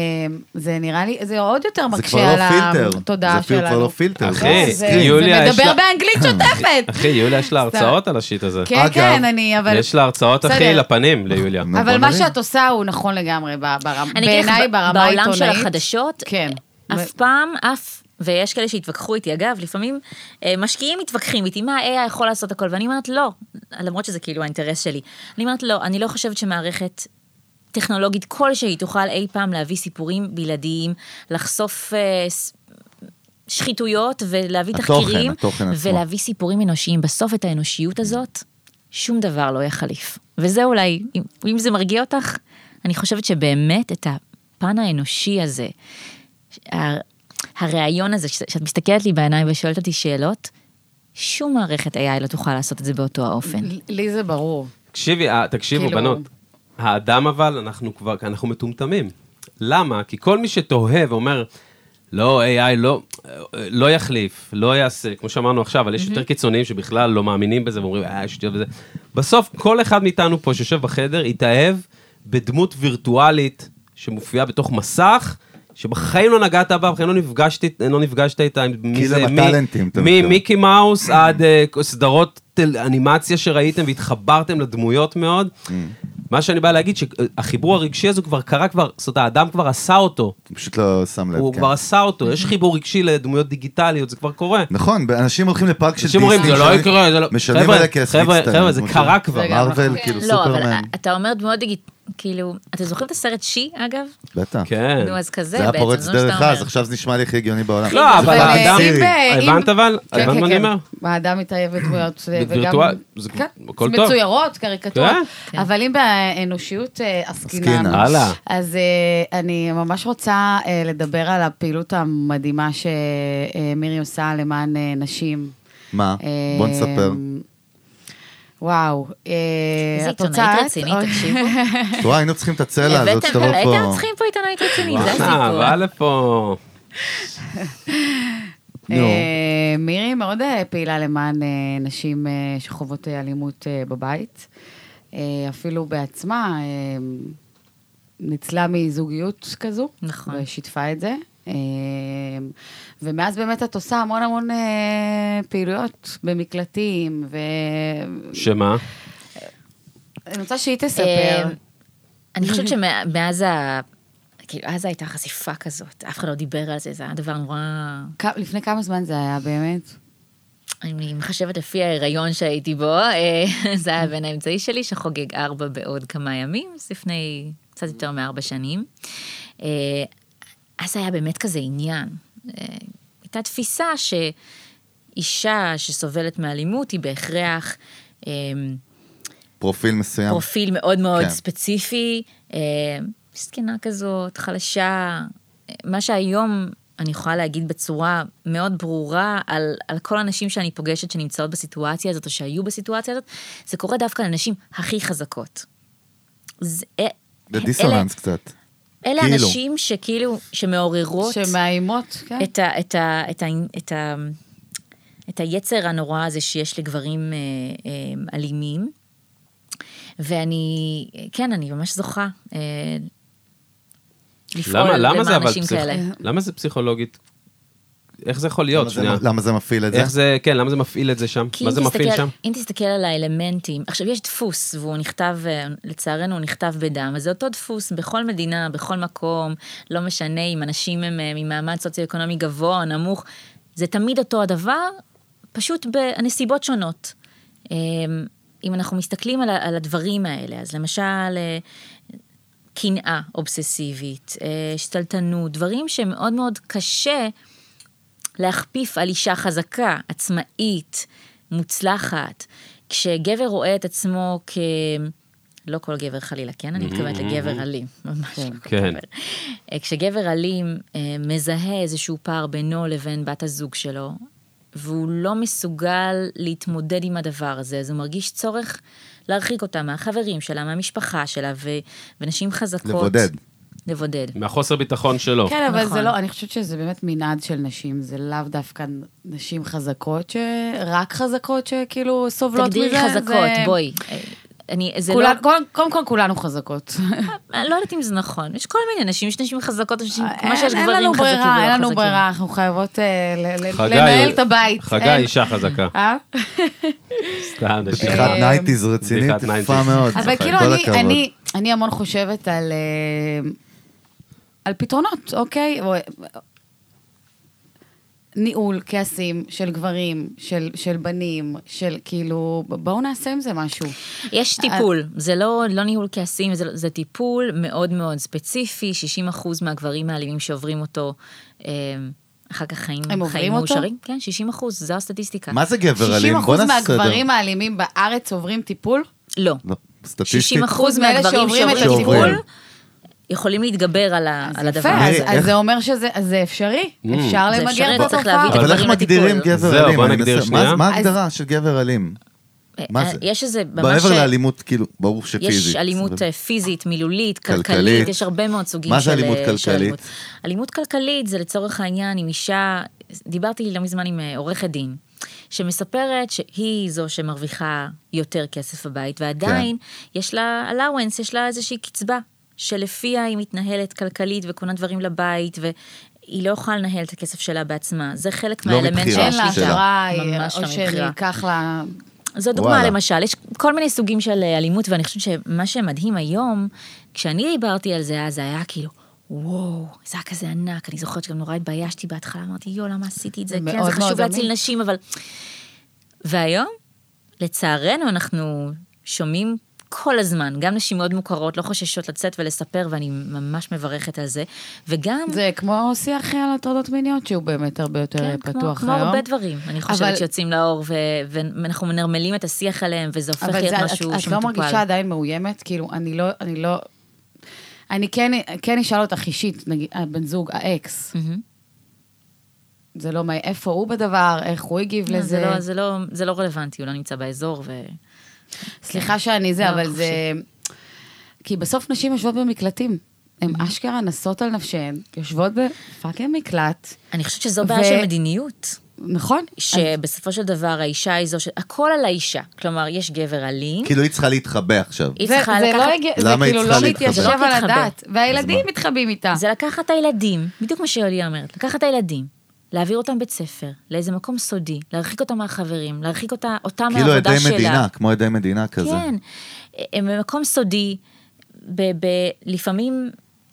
Speaker 4: זה נראה לי, זה עוד יותר
Speaker 1: זה כבר
Speaker 4: מקשה על
Speaker 1: לא פילטר.
Speaker 4: התודעה
Speaker 1: זה
Speaker 4: שלנו.
Speaker 1: אפילו כבר לא פילטר. זה
Speaker 2: אחי,
Speaker 4: זה-
Speaker 1: סקרין.
Speaker 4: זה
Speaker 2: יוליה, יש לה-
Speaker 4: מדבר באנגלית שוטפת.
Speaker 2: אחי, יוליה יש לה
Speaker 4: סתם.
Speaker 2: הרצאות על השיט הזה.
Speaker 4: כן,
Speaker 1: אגב,
Speaker 4: כן, אני, אבל...
Speaker 2: יש לה הרצאות, אחי,
Speaker 4: בסדר.
Speaker 2: לפנים, ליוליה.
Speaker 1: נו,
Speaker 4: אבל
Speaker 1: בוא
Speaker 4: מה
Speaker 1: נראה.
Speaker 4: שאת עושה הוא נכון לגמרי, ב- ברמה-
Speaker 3: אני אגיד לך,
Speaker 4: בעיניי,
Speaker 3: ב-
Speaker 4: ברמה העיתונאית.
Speaker 3: בעולם של החדשות,
Speaker 4: כן.
Speaker 3: אף פעם, אף, ויש כאלה שהתווכחו איתי, אגב, לפעמים אה, משקיעים מתווכחים איתי, מה ה-AI יכול לעשות הכל, ואני אומרת לא, למרות שזה כאילו האינטרס שלי. אני אומרת לא, אני לא חושבת שמערכת טכנולוגית כלשהי תוכל אי פעם להביא סיפורים בלעדיים, לחשוף... אה, ס- שחיתויות ולהביא
Speaker 1: התוכן,
Speaker 3: תחקירים,
Speaker 1: התוכן עצמו.
Speaker 3: ולהביא סיפורים אנושיים. בסוף את האנושיות הזאת, שום דבר לא יחליף. וזה אולי, אם, אם זה מרגיע אותך, אני חושבת שבאמת את הפן האנושי הזה, ה- הרעיון הזה, ש- שאת מסתכלת לי בעיניים ושואלת אותי שאלות, שום מערכת AI לא תוכל לעשות את זה באותו האופן.
Speaker 4: לי זה ברור.
Speaker 2: תקשיבי, אה, תקשיבו,
Speaker 4: כאילו-
Speaker 2: בנות. האדם אבל, אנחנו כבר, אנחנו מטומטמים. למה? כי כל מי שתוהה ואומר, לא, AI לא, אה, לא יחליף, לא יעשה, כמו שאמרנו עכשיו, אבל יש יותר קיצוניים שבכלל לא מאמינים בזה ואומרים, אה, שטויות וזה. בסוף, כל אחד מאיתנו פה שיושב בחדר, התאהב בדמות וירטואלית שמופיעה בתוך מסך. שבחיים לא נגעת בה, בחיים לא נפגשת, לא נפגשת איתה, עם מי
Speaker 1: כאילו
Speaker 2: זה,
Speaker 1: הם
Speaker 2: מי,
Speaker 1: הטאלנטים, אתה
Speaker 2: מי,
Speaker 1: מתכוון.
Speaker 2: מי מיקי מאוס עד אה, סדרות טל- אנימציה שראיתם והתחברתם לדמויות מאוד.
Speaker 1: Mm.
Speaker 2: מה שאני בא להגיד, שהחיבור הרגשי הזה כבר קרה כבר, זאת אומרת, האדם כבר עשה אותו.
Speaker 1: הוא פשוט לא שם לב.
Speaker 2: הוא
Speaker 1: כן.
Speaker 2: כבר עשה אותו, יש חיבור רגשי לדמויות דיגיטליות, זה כבר קורה.
Speaker 1: נכון, אנשים הולכים לפארק של
Speaker 2: אנשים
Speaker 1: דיסני.
Speaker 2: אומרים, זה לא
Speaker 1: משלמים-
Speaker 2: יקרה, זה לא...
Speaker 1: משלמים
Speaker 2: חבר'ה,
Speaker 1: עליה כסף.
Speaker 2: חבר'ה,
Speaker 1: מצטער,
Speaker 2: חבר'ה, זה
Speaker 1: כמו
Speaker 2: קרה
Speaker 1: ש-
Speaker 2: כבר.
Speaker 4: רגע,
Speaker 1: מרוויל, כאילו
Speaker 3: לא, אבל
Speaker 1: סופרמן.
Speaker 3: אתה אומר דמויות דיגיט... כאילו, אתם זוכרים את הסרט שי, אגב?
Speaker 1: בטח.
Speaker 2: כן.
Speaker 3: נו, אז כזה
Speaker 1: זה היה
Speaker 3: בעצם,
Speaker 1: פורץ
Speaker 3: זה מה
Speaker 1: דרך
Speaker 3: שאתה
Speaker 1: אז,
Speaker 3: אומר.
Speaker 1: עכשיו זה נשמע לי הכי הגיוני בעולם.
Speaker 2: לא, אבל
Speaker 4: אבל,
Speaker 3: אה,
Speaker 2: האדם...
Speaker 4: אם ב- אם-
Speaker 2: הבנת אבל?
Speaker 4: כן,
Speaker 2: הבנת
Speaker 4: כן,
Speaker 2: מה אני
Speaker 4: כן.
Speaker 2: אומר?
Speaker 4: האדם מתאהב בדמויות, וגם...
Speaker 2: בווירטואל, זה
Speaker 4: כן,
Speaker 2: הכל טוב.
Speaker 4: מצוירות, קריקטורות.
Speaker 3: כן.
Speaker 4: אבל אם באנושיות אה,
Speaker 1: עסקינן.
Speaker 4: עסקינן,
Speaker 2: הלאה.
Speaker 4: אז אה, אני ממש רוצה אה, לדבר על הפעילות המדהימה שמירי עושה למען אה, נשים.
Speaker 1: מה?
Speaker 4: אה,
Speaker 1: בוא נספר.
Speaker 4: וואו. אה,
Speaker 3: איזה
Speaker 4: את רוצה
Speaker 3: עיתונאית
Speaker 4: את? אוקיי.
Speaker 3: רצינית,
Speaker 4: אוי,
Speaker 3: תקשיבו.
Speaker 1: וואי, היינו צריכים את הצלע הזאת
Speaker 3: הבאתם,
Speaker 1: שתבוא לא פה.
Speaker 3: הייתם צריכים פה עיתונאית רצינית, זה
Speaker 2: אה,
Speaker 3: הסיפור.
Speaker 2: בא לפה.
Speaker 1: נו.
Speaker 4: אה, מירי מאוד אה, פעילה למען אה, נשים אה, שחוות אה, אלימות אה, בבית. אה, אפילו בעצמה אה, ניצלה מזוגיות כזו.
Speaker 3: נכון.
Speaker 4: ושיתפה את זה. אה, ומאז באמת את עושה המון המון אה, פעילויות במקלטים, ו...
Speaker 2: שמה?
Speaker 4: אני רוצה שהיא
Speaker 3: אה,
Speaker 4: תספר.
Speaker 3: אני חושבת שמאז ה... כאילו, אז הייתה חשיפה כזאת, אף אחד לא דיבר על זה, זה היה דבר נורא...
Speaker 4: כ- לפני כמה זמן זה היה באמת?
Speaker 3: אני מחשבת לפי ההיריון שהייתי בו, אה, זה היה הבן האמצעי שלי, שחוגג ארבע בעוד כמה ימים, זה לפני קצת יותר מארבע שנים. אה, אז היה באמת כזה עניין. אה, הייתה תפיסה שאישה שסובלת מאלימות היא בהכרח... אה,
Speaker 1: פרופיל מסוים.
Speaker 3: פרופיל מאוד מאוד
Speaker 1: כן.
Speaker 3: כן. ספציפי, אה, זקנה כזאת, חלשה, אה, מה שהיום אני יכולה להגיד בצורה מאוד ברורה על, על כל הנשים שאני פוגשת שנמצאות בסיטואציה הזאת או שהיו בסיטואציה הזאת, זה קורה דווקא לנשים הכי חזקות. זה, אה,
Speaker 1: זה דיסוננס קצת.
Speaker 3: אלה, אלה
Speaker 1: כאילו.
Speaker 3: הנשים שכאילו, שמעוררות
Speaker 4: שמאיימות, כן.
Speaker 3: את, ה, את, ה, את, ה, את, ה, את היצר הנורא הזה שיש לגברים אה, אה, אלימים. ואני, כן, אני ממש זוכה אה, לפעול
Speaker 2: למה, למה זה
Speaker 3: למען
Speaker 2: אבל
Speaker 3: אנשים
Speaker 2: פסיכ...
Speaker 3: כאלה.
Speaker 2: למה זה פסיכולוגית? איך זה יכול להיות?
Speaker 1: למה זה- לא-
Speaker 2: שנייה.
Speaker 1: למה זה מפעיל את זה?
Speaker 2: איך זה, כן, למה זה מפעיל את זה שם?
Speaker 3: כי
Speaker 2: מה
Speaker 3: אם
Speaker 2: זה מפעיל
Speaker 3: תסתכל-
Speaker 2: שם?
Speaker 3: אם תסתכל על האלמנטים, עכשיו יש דפוס, והוא נכתב, אה, לצערנו הוא נכתב בדם, אז זה אותו דפוס בכל מדינה, בכל מקום, לא משנה אם אנשים הם אה, ממעמד סוציו-אקונומי גבוה או נמוך, זה תמיד אותו הדבר, פשוט בנסיבות שונות. אה, אם אנחנו מסתכלים על, ה- על הדברים האלה, אז למשל, אה, קנאה אובססיבית, אה, שתלטנות, דברים שמאוד מאוד קשה להכפיף על אישה חזקה, עצמאית, מוצלחת. כשגבר רואה את עצמו כ... לא כל גבר חלילה, כן? אני מתכוונת לגבר אלים, ממש לא כל
Speaker 2: כן.
Speaker 3: גבר. אה, כשגבר אלים אה, מזהה איזשהו פער בינו לבין בת הזוג שלו, והוא לא מסוגל להתמודד עם הדבר הזה, אז הוא מרגיש צורך להרחיק אותה מהחברים שלה, מהמשפחה שלה, ו... ונשים חזקות.
Speaker 1: לבודד.
Speaker 3: לבודד.
Speaker 2: מהחוסר ביטחון שלו.
Speaker 4: כן, אבל
Speaker 3: נכון.
Speaker 4: זה לא, אני חושבת שזה באמת מנעד של נשים, זה לאו דווקא נשים חזקות, ש... רק חזקות שכאילו סובלות מזה.
Speaker 3: תגדירי חזקות,
Speaker 4: זה-
Speaker 3: בואי. אה, אני, זה לא...
Speaker 4: כולן- קודם- קודם כל כולנו חזקות.
Speaker 3: אני לא יודעת אם זה נכון, יש כל מיני נשים, יש נשים חזקות, יש נשים, כמו שיש
Speaker 4: אה, אין- אין
Speaker 3: גברים
Speaker 4: לנו
Speaker 3: חזקים
Speaker 4: ברירה, אין
Speaker 3: ולא
Speaker 4: לנו
Speaker 3: חזקים.
Speaker 4: ברירה, אנחנו חייבות אה, ל- ל-
Speaker 2: חגי-
Speaker 4: לנהל את הבית. כן.
Speaker 2: חגי
Speaker 4: אין-
Speaker 2: אישה חזקה.
Speaker 4: אה?
Speaker 2: סתם, נשמה.
Speaker 1: בדיחת
Speaker 4: אה,
Speaker 1: נייטיז רצינית,
Speaker 2: בדיחת
Speaker 1: יפה
Speaker 2: 90s.
Speaker 1: מאוד.
Speaker 4: אבל
Speaker 1: כל
Speaker 4: כאילו, אני-
Speaker 1: הכבוד.
Speaker 4: אני- אני המון חושבת על אה, על פתרונות, אוקיי? או- ניהול כעסים של גברים, של, של בנים, של כאילו, ב- בואו נעשה עם זה משהו. אה,
Speaker 3: יש טיפול, זה לא, לא ניהול כעסים, זה, זה טיפול מאוד מאוד ספציפי, 60% מהגברים האלימים שעוברים אותו, אה, אחר כך חיים,
Speaker 4: הם עוברים
Speaker 3: חיים
Speaker 4: אותו?
Speaker 3: מאושרים. כן, 60%, זו הסטטיסטיקה.
Speaker 1: מה זה גבר אלים?
Speaker 4: 60%
Speaker 1: בוא נעשה סדר.
Speaker 4: מהגברים האלימים בארץ עוברים טיפול?
Speaker 3: לא.
Speaker 1: לא,
Speaker 3: 60%
Speaker 1: סטטיסטית.
Speaker 4: מאלה
Speaker 3: מהגברים שעוברים
Speaker 4: שעוברים את
Speaker 3: את
Speaker 1: הטיפול?
Speaker 3: הטיפול, יכולים להתגבר על, ה, על הדבר
Speaker 4: יפה, אז,
Speaker 3: הזה.
Speaker 4: אז
Speaker 1: מירי, איך- Mm.
Speaker 4: זה אומר שזה אז זה אפשרי, אפשר
Speaker 3: זה
Speaker 4: למגר
Speaker 3: אפשרי,
Speaker 4: את
Speaker 3: אבל צריך
Speaker 4: התופעה.
Speaker 3: להביא
Speaker 1: אבל איך
Speaker 3: גברים
Speaker 1: מגדירים
Speaker 3: לטיפול.
Speaker 1: גבר
Speaker 2: זהו,
Speaker 1: אלים?
Speaker 2: בוא
Speaker 1: אני
Speaker 2: נגדיר
Speaker 1: מנסה-
Speaker 2: שנייה.
Speaker 1: מה- מה
Speaker 4: אז-
Speaker 1: ההגדרה של גבר אלים? מה
Speaker 3: אה,
Speaker 1: זה?
Speaker 3: יש איזה ממש...
Speaker 1: מעבר לאלימות, כאילו, ברור
Speaker 3: יש
Speaker 1: שפיזית.
Speaker 3: אלימות
Speaker 1: אבל-
Speaker 3: אה, פיזית, מילולית,
Speaker 1: כלכלית.
Speaker 3: כלכלית, יש הרבה מאוד סוגים
Speaker 1: מה זה
Speaker 3: של אה,
Speaker 1: אלימות
Speaker 3: של
Speaker 1: כלכלית?
Speaker 3: אלימות. אלימות כלכלית זה לצורך העניין עם אישה, דיברתי לא מזמן עם אה, עורכת דין, שמספרת שהיא זו שמרוויחה יותר כסף בבית, ועדיין
Speaker 1: כן.
Speaker 3: יש לה allowance, יש לה איזושהי קצבה, שלפיה היא מתנהלת כלכלית וקונה דברים לבית, והיא לא יכולה לנהל את הכסף שלה בעצמה. זה חלק
Speaker 1: לא
Speaker 3: מהאלמנט
Speaker 1: מבחירה
Speaker 3: של
Speaker 1: שלה.
Speaker 4: אין לה
Speaker 1: השאלה.
Speaker 4: אשראי,
Speaker 3: ממש
Speaker 4: או
Speaker 3: לא מבחירה.
Speaker 4: שניקח לה...
Speaker 3: זו דוגמה
Speaker 1: וואלה.
Speaker 3: וואלה. למשל, יש כל מיני סוגים של אה, אלימות, ואני חושבת שמה שמדהים היום, כשאני דיברתי על זה, אז זה היה כאילו, וואו, זה היה כזה ענק, אני זוכרת שגם נורא התביישתי בהתחלה, אמרתי, יואו, למה עשיתי את זה?
Speaker 4: מאוד
Speaker 3: כן, זה
Speaker 4: מאוד
Speaker 3: חשוב
Speaker 4: דומה.
Speaker 3: להציל נשים, אבל... והיום, לצערנו, אנחנו שומעים כל הזמן. גם נשים מאוד מוכרות לא חוששות לצאת ולספר, ואני ממש מברכת על זה. וגם,
Speaker 4: זה כמו שיח על הטרדות מיניות, שהוא באמת הרבה יותר
Speaker 3: כן,
Speaker 4: אה, פתוח
Speaker 3: כמו,
Speaker 4: היום.
Speaker 3: כמו הרבה דברים, אני חושבת
Speaker 4: אבל-
Speaker 3: שיוצאים לאור, ו- ואנחנו מנרמלים את השיח עליהם, וזה הופך
Speaker 4: אבל
Speaker 3: להיות
Speaker 4: זה-
Speaker 3: משהו
Speaker 4: את, את
Speaker 3: שמטופל.
Speaker 4: לא מרגישה עדיין מאוימת? כאילו, אני לא, אני לא... אני כן, כן אשאל אותך אישית, נגיד, הבן זוג, האקס,
Speaker 3: מהמם.
Speaker 4: זה לא מה, איפה הוא בדבר, איך הוא הגיב
Speaker 3: לא,
Speaker 4: לזה.
Speaker 3: זה לא- זה לא- זה לא רלוונטי, הוא לא נמצא באזור, ו...
Speaker 4: סליחה שאני זה,
Speaker 3: לא,
Speaker 4: אבל זה... כי בסוף נשים יושבות במקלטים. הן
Speaker 3: Mm-hmm.
Speaker 4: אשכרה נסות על נפשהן, יושבות בפאקינג מקלט,
Speaker 3: אני חושבת שזו
Speaker 4: ו-
Speaker 3: בעיה של מדיניות.
Speaker 4: נכון?
Speaker 3: שבסופו של דבר האישה היא זו ש... הכל על האישה. כלומר, יש גבר אלים,
Speaker 4: כן.
Speaker 1: כאילו היא צריכה להתחבא עכשיו.
Speaker 3: היא
Speaker 4: זה-
Speaker 3: צריכה
Speaker 4: זה
Speaker 3: לקחת...
Speaker 4: לא הגיע- זה
Speaker 1: למה היא
Speaker 4: כאילו
Speaker 1: צריכה
Speaker 4: לא
Speaker 1: להתחבא?
Speaker 4: מתיישב
Speaker 3: לא
Speaker 4: על
Speaker 3: תתחבא.
Speaker 4: הדת, והילדים מתחבאים איתה.
Speaker 3: זה לקחת את הילדים, בדיוק מה שאולי אומרת, לקחת את הילדים, להעביר אותם בית ספר, לאיזה מקום סודי, להרחיק אותם מהחברים, להרחיק אותה, אותה
Speaker 1: כאילו
Speaker 3: מהעבודה
Speaker 1: עדי
Speaker 3: שלה.
Speaker 1: מדינה, כמו עדי מדינה כזה.
Speaker 3: כן, הם במקום סודי, ב- ב- לפעמים,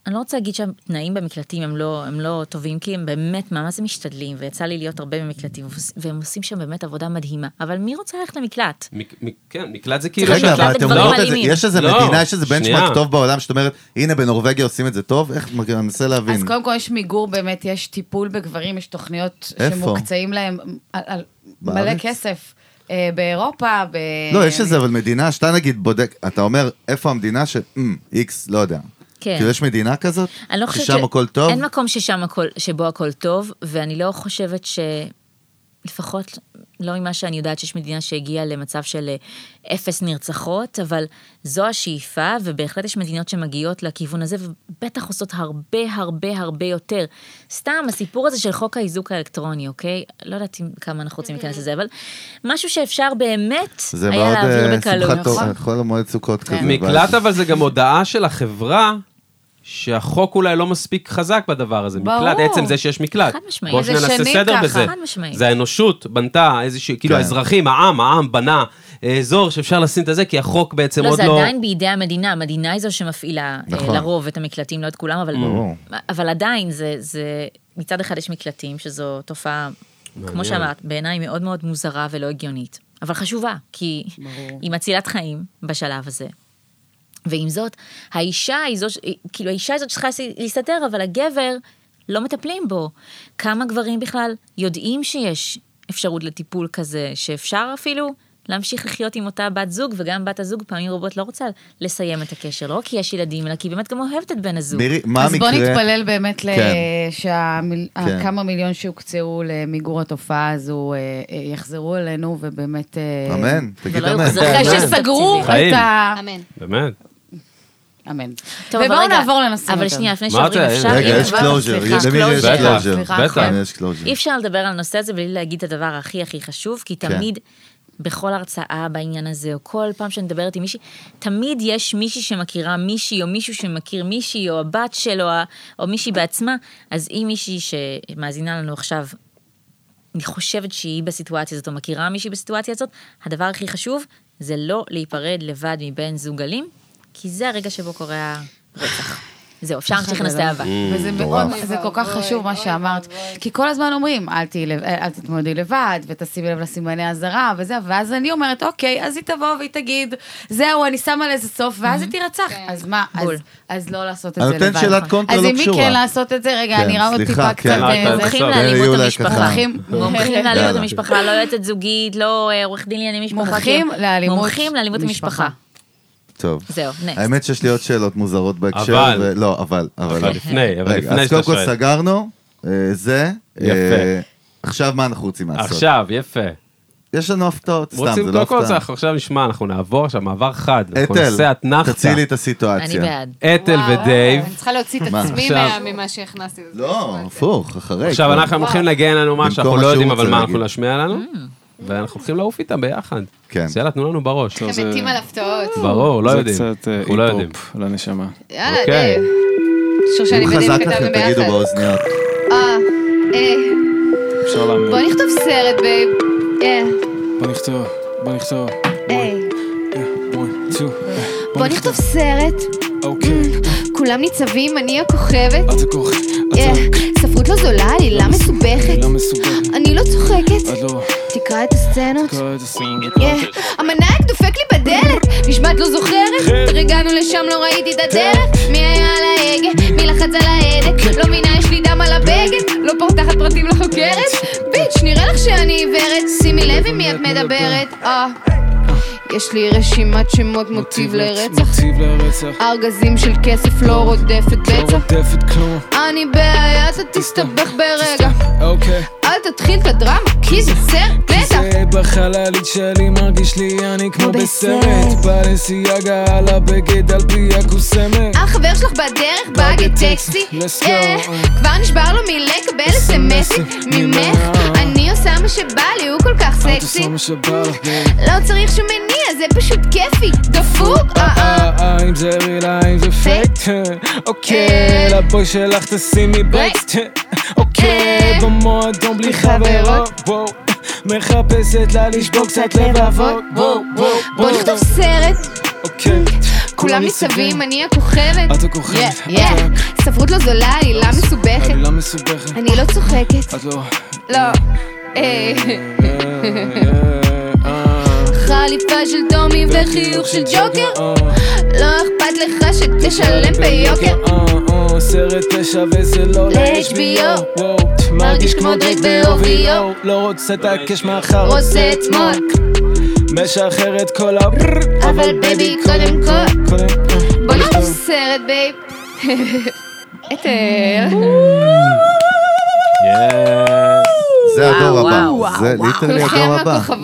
Speaker 3: אני לא רוצה להגיד שהתנאים במקלטים הם לא, הם לא טובים, כי הם באמת ממש משתדלים, ויצא לי להיות הרבה במקלטים, והם עושים שם באמת עבודה מדהימה, אבל מי רוצה ללכת למקלט?
Speaker 2: מק- מק- כן, מקלט זה כאילו...
Speaker 1: רגע,
Speaker 2: שאתה-
Speaker 1: אבל אתם
Speaker 3: לדברים
Speaker 1: רואות את זה,
Speaker 3: לא אלימים.
Speaker 1: יש איזה
Speaker 2: לא,
Speaker 1: מדינה, יש איזה בנצ'מארק
Speaker 2: שנייה.
Speaker 1: טוב בעולם שאת אומרת, הנה בנורבגיה עושים את זה טוב, איך, אני מנסה
Speaker 4: אז
Speaker 1: להבין.
Speaker 4: קודם כל יש מיגור, באמת, יש טיפול בגברים, יש תוכניות
Speaker 1: איפה?
Speaker 4: שמוקצעים להם על, על מלא
Speaker 1: בארץ?
Speaker 4: כסף. אה, באירופה, ב...
Speaker 1: לא, יש איזה אבל מדינה שאתה נגיד בודק, אתה אומר, איפה המדינה ש... אמ, איקס, לא יודע.
Speaker 3: כן.
Speaker 1: כאילו יש מדינה כזאת?
Speaker 3: אני לא חושבת
Speaker 1: ששם הכל טוב?
Speaker 3: אין מקום ששם הכל, שבו הכל טוב, ואני לא חושבת ש... לפחות לא ממה שאני יודעת שיש מדינה שהגיעה למצב של אה, אפס נרצחות, אבל זו השאיפה, ובהחלט יש מדינות שמגיעות לכיוון הזה, ובטח עושות הרבה הרבה הרבה יותר. סתם, הסיפור הזה של חוק האיזוק האלקטרוני, אוקיי? לא יודעת אם- כמה אנחנו רוצים להיכנס לזה, אבל משהו שאפשר באמת
Speaker 1: זה
Speaker 3: היה
Speaker 1: מאוד
Speaker 3: להעביר
Speaker 1: אה,
Speaker 3: בקלות. כן.
Speaker 1: שמחת
Speaker 4: נכון.
Speaker 1: תורה, חול המועד סוכות כזה.
Speaker 2: מקלט אבל זה גם הודעה של החברה. שהחוק אולי לא מספיק חזק בדבר הזה,
Speaker 4: ברור.
Speaker 2: מקלט, עצם זה שיש מקלט.
Speaker 3: חד משמעית.
Speaker 2: בואו
Speaker 4: וזה
Speaker 2: שניה נעשה
Speaker 4: שנים
Speaker 2: סדר
Speaker 4: ככה.
Speaker 2: בזה.
Speaker 3: חד משמעית.
Speaker 2: זה האנושות בנתה איזושהי, כאילו
Speaker 1: כן.
Speaker 2: האזרחים, העם, העם בנה אה, אזור שאפשר לשים את זה, כי החוק בעצם
Speaker 3: לא,
Speaker 2: עוד
Speaker 3: זה
Speaker 2: לא...
Speaker 3: עדיין בידי המדינה, המדינה היא זו שמפעילה אה,
Speaker 1: נכון.
Speaker 3: לרוב את המקלטים, לא את כולם, אבל,
Speaker 1: ברור.
Speaker 3: אבל עדיין זה, זה, מצד אחד יש מקלטים, שזו תופעה, כמו שאמרת, בעיניי מאוד מאוד מוזרה ולא הגיונית, אבל חשובה, כי היא מצילת חיים בשלב הזה. ועם זאת, האישה היא זו, ש- כאילו האישה היא זאת שצריכה להסתתר, אבל הגבר, לא מטפלים בו. כמה גברים בכלל יודעים שיש אפשרות לטיפול כזה, שאפשר אפילו להמשיך לחיות עם אותה בת זוג, וגם בת הזוג פעמים רבות לא רוצה לסיים את הקשר, לא רק כי יש ילדים, אלא כי היא באמת גם אוהבת את בן הזוג.
Speaker 1: מירי, מה
Speaker 4: אז בוא
Speaker 1: המקרה?
Speaker 4: נתפלל באמת ל-
Speaker 1: כן.
Speaker 4: שהמיל-
Speaker 1: כן.
Speaker 4: הכמה מיליון שהוקצעו למיגור התופעה הזו אה, אה, יחזרו אלינו, ובאמת... אה,
Speaker 1: אמן, תגיד
Speaker 3: ולא
Speaker 1: אמן.
Speaker 3: יוחזר.
Speaker 4: אחרי
Speaker 2: אמן.
Speaker 4: שסגרו את
Speaker 2: חיים.
Speaker 4: ה...
Speaker 6: אמן.
Speaker 2: באמת.
Speaker 4: אמן.
Speaker 3: טוב, אבל
Speaker 4: ובואו
Speaker 3: רגע,
Speaker 4: נעבור לנושאים
Speaker 3: אבל
Speaker 4: יותר.
Speaker 3: שנייה, לפני
Speaker 2: מה
Speaker 3: שעוברים
Speaker 2: זה?
Speaker 3: אפשר...
Speaker 1: רגע,
Speaker 3: אם
Speaker 1: יש
Speaker 3: כבר-
Speaker 1: קלוז'ר,
Speaker 4: סליחה,
Speaker 1: למי יש
Speaker 2: closure.
Speaker 1: קלוז'ר?
Speaker 4: בטח,
Speaker 2: בטח.
Speaker 1: כן, יש closure.
Speaker 3: אי אפשר לדבר על הנושא הזה בלי להגיד את הדבר הכי הכי חשוב, כי
Speaker 1: כן.
Speaker 3: תמיד, בכל הרצאה בעניין הזה, או כל פעם שאני מדברת עם מישהי, תמיד יש מישהי שמכירה מישהי, או מישהו שמכיר מישהי, או הבת שלו, או- או מישהי בעצמה. אז אם מישהי שמאזינה לנו עכשיו, אני חושבת שהיא בסיטואציה הזאת, או מכירה מישהי בסיטואציה הזאת, הדבר הכי חשוב זה לא להיפרד לבד מבן זוג אלים, כי זה הרגע שבו קורה הרצח. זהו, אפשר להמשיך לנושא הבא.
Speaker 4: וזה מאוד,
Speaker 1: מטורף.
Speaker 4: זה כל כך
Speaker 6: אוי,
Speaker 4: חשוב מה
Speaker 6: אוי,
Speaker 4: שאמרת,
Speaker 6: אוי.
Speaker 4: כי כל הזמן אומרים, אל תהיי לב- אל תתמודדי לבד, ותשימי לב לסימני אזהרה וזה, ואז אני אומרת, אוקיי, אז היא תבוא והיא תגיד, זהו, אני שמה לזה סוף, ואז היא תירצח. אז מה, אז-
Speaker 3: בול.
Speaker 4: אז לא לעשות את
Speaker 1: Mm-hmm. כן. אני
Speaker 4: זה לבד.
Speaker 1: נותן שאלת קונטרה לא
Speaker 4: אז עם מי
Speaker 1: קשורה. כן.
Speaker 4: כן לעשות את זה? רגע, אני אראה עוד טיפה קצת...
Speaker 2: אה,
Speaker 4: אה, זה.
Speaker 2: בסוף.
Speaker 3: מומחים
Speaker 2: תן לי
Speaker 3: לאלימות
Speaker 1: אולי
Speaker 3: המשפחה.
Speaker 1: ככה.
Speaker 4: מומחים.
Speaker 3: מומחים לאלימות
Speaker 1: יאללה.
Speaker 3: המשפחה, לא יועצת זוגית, לא אה, עורך דין לענייני משפחה.
Speaker 4: מומחים
Speaker 3: כן.
Speaker 4: לאלימות
Speaker 3: מומחים לאלימות
Speaker 4: משפחה.
Speaker 3: משפחה.
Speaker 1: טוב.
Speaker 3: זהו, next.
Speaker 1: האמת שיש לי עוד שאלות מוזרות בהקשר.
Speaker 2: אבל.
Speaker 1: ו- לא, אבל, אבל.
Speaker 2: אבל לפני, אבל
Speaker 1: רגע,
Speaker 2: לפני
Speaker 1: אז
Speaker 2: שאתה
Speaker 1: קודם כל
Speaker 2: שואל.
Speaker 1: סגרנו, אה, זה.
Speaker 2: יפה.
Speaker 1: אה, עכשיו מה אנחנו רוצים לעשות?
Speaker 2: עכשיו, יפה.
Speaker 1: יש לנו הפתעות, סתם,
Speaker 2: רוצים
Speaker 1: זה לא
Speaker 2: קודם כל,
Speaker 1: הפתעה.
Speaker 2: אנחנו עכשיו נשמע, אנחנו נעבור עכשיו מעבר חד. אנחנו נעשה
Speaker 1: אתל,
Speaker 2: אתנחתא.
Speaker 1: תצילי את הסיטואציה.
Speaker 3: אני בעד.
Speaker 2: אתל
Speaker 6: וואו,
Speaker 2: ודייב.
Speaker 6: אני צריכה להוציא את
Speaker 1: מה,
Speaker 6: עצמי
Speaker 2: עכשיו?
Speaker 6: מה- ממה שהכנסתי. לזה.
Speaker 1: לא, הפוך, אחרי.
Speaker 2: עכשיו
Speaker 1: כבר.
Speaker 2: אנחנו הם הולכים לנגן לנו מה
Speaker 1: במקום
Speaker 2: שאנחנו
Speaker 1: מה
Speaker 2: לא
Speaker 1: שהוא
Speaker 2: יודעים,
Speaker 1: רוצה
Speaker 2: אבל מה
Speaker 1: להגיד.
Speaker 2: אנחנו נשמיע לנו, ואנחנו הולכים לעוף איתם ביחד.
Speaker 1: כן.
Speaker 2: אז יאללה, תנו לנו בראש.
Speaker 6: אתם מתים על הפתעות.
Speaker 2: ברור, לא יודעים.
Speaker 7: זה קצת אה,
Speaker 2: אנחנו לא יודעים.
Speaker 7: היפ-הופ לנשמה.
Speaker 6: יאללה,
Speaker 4: אה,
Speaker 2: אוקיי.
Speaker 6: דייב. שושני
Speaker 1: תהיו
Speaker 6: ודייב
Speaker 1: חזק
Speaker 6: כתבנו
Speaker 1: לכם,
Speaker 6: ביחד.
Speaker 1: תגידו באוזניות.
Speaker 6: אה, אה,
Speaker 7: אפשר להמר.
Speaker 6: בוא נכתוב סרט, בייב. אה,
Speaker 7: בוא נכתוב, בוא נכתוב.
Speaker 6: אה.
Speaker 7: One, two, אה,
Speaker 6: בוא נכתוב סרט.
Speaker 7: אוקיי.
Speaker 6: כולם ניצבים, אני הכוכבת.
Speaker 7: את הכוח, את
Speaker 6: אה,
Speaker 7: ה-
Speaker 6: ספרות לא זולה, עלילה מסובכת.
Speaker 7: לא מסובכת,
Speaker 6: אני לא צוחקת.
Speaker 7: את לא...
Speaker 6: תקרא את הסצנות.
Speaker 7: כל הסינגל.
Speaker 6: אה, המנהג דופק לי בדלת, נשמעת לא זוכרת. הגענו לשם, לא ראיתי את הדרך. מי היה על ההגה? מי לחץ על ההדק? לא מינה, יש לי דם על הבגד. לא פורטחת פרטים לחוקרת? ביץ', נראה לך שאני עיוורת. שימי לב עם מי את מדברת. אה, יש לי רשימת שמות מוטיב לרצח.
Speaker 7: מוטיב לרצח.
Speaker 6: ארגזים של כסף לא רודפת
Speaker 7: לא
Speaker 6: בצע.
Speaker 7: רודפת כלום.
Speaker 6: אני בעיה, אתה תסתבך ברגע.
Speaker 7: אוקיי.
Speaker 6: אל תתחיל את הדרמה, כי זה סרט בטח.
Speaker 7: זה בחללית שלי מרגיש לי אני כמו בסרט. בלסיאגה על הבגד על פי הקוסמת.
Speaker 6: החבר שלך בדרך, באגד טקסי.
Speaker 7: Let's go.
Speaker 6: אה, כבר נשבר לו מלקבל אסמסים ממך. אני עושה מה שבא לי, הוא כל כך
Speaker 7: את
Speaker 6: סקסי.
Speaker 7: עושה מה שבא לך. אה,
Speaker 6: לא צריך שום מניע, זה פשוט כיפי. דפוק, אה אה.
Speaker 7: אה, אה, אם זה ריל, אה, אם זה פייק. אה, אוקיי,
Speaker 6: אה.
Speaker 7: לבוי שלך תשימי ברקסט. אה, אוקיי,
Speaker 6: אה.
Speaker 7: במועדון בלי חברות. וואו. מחפשת לה לשבור קצת לבבות. וואו, וואו,
Speaker 6: בוא
Speaker 7: וואו.
Speaker 6: נכתוב סרט,
Speaker 7: אוקיי.
Speaker 6: כולם מסביב, אני הכוכבת.
Speaker 7: את הכוכבת.
Speaker 6: Yeah, yeah. ספרות לא זולה, עלילה מסובכת.
Speaker 7: עלילה לא מסובכת.
Speaker 6: אני לא צוחקת.
Speaker 7: את לא...
Speaker 6: לא. אה.
Speaker 7: אה, אה, אה.
Speaker 6: חליפה של דומי וחיוך של ג'וקר.
Speaker 7: אה.
Speaker 6: לא אכפת לך שתשלם ביוקר.
Speaker 7: אה, אה, סרט תשע וזה לא
Speaker 6: ל-HBO.
Speaker 7: וואו, מרגיש כמו דרייק ב-OVO לא רוצה את הקש מאחר
Speaker 6: רוצה אתמול,
Speaker 7: משחרר את כל ה...
Speaker 6: אבל בייבי קודם כל.
Speaker 7: קודם
Speaker 6: בוא נכתוב סרט בייב. את אל.
Speaker 1: זה הדור
Speaker 3: וואו,
Speaker 1: הבא,
Speaker 3: וואו,
Speaker 1: זה
Speaker 3: וואו.
Speaker 1: ליטרלי
Speaker 6: כולכם
Speaker 1: הדור הבא.
Speaker 6: הכוכבות,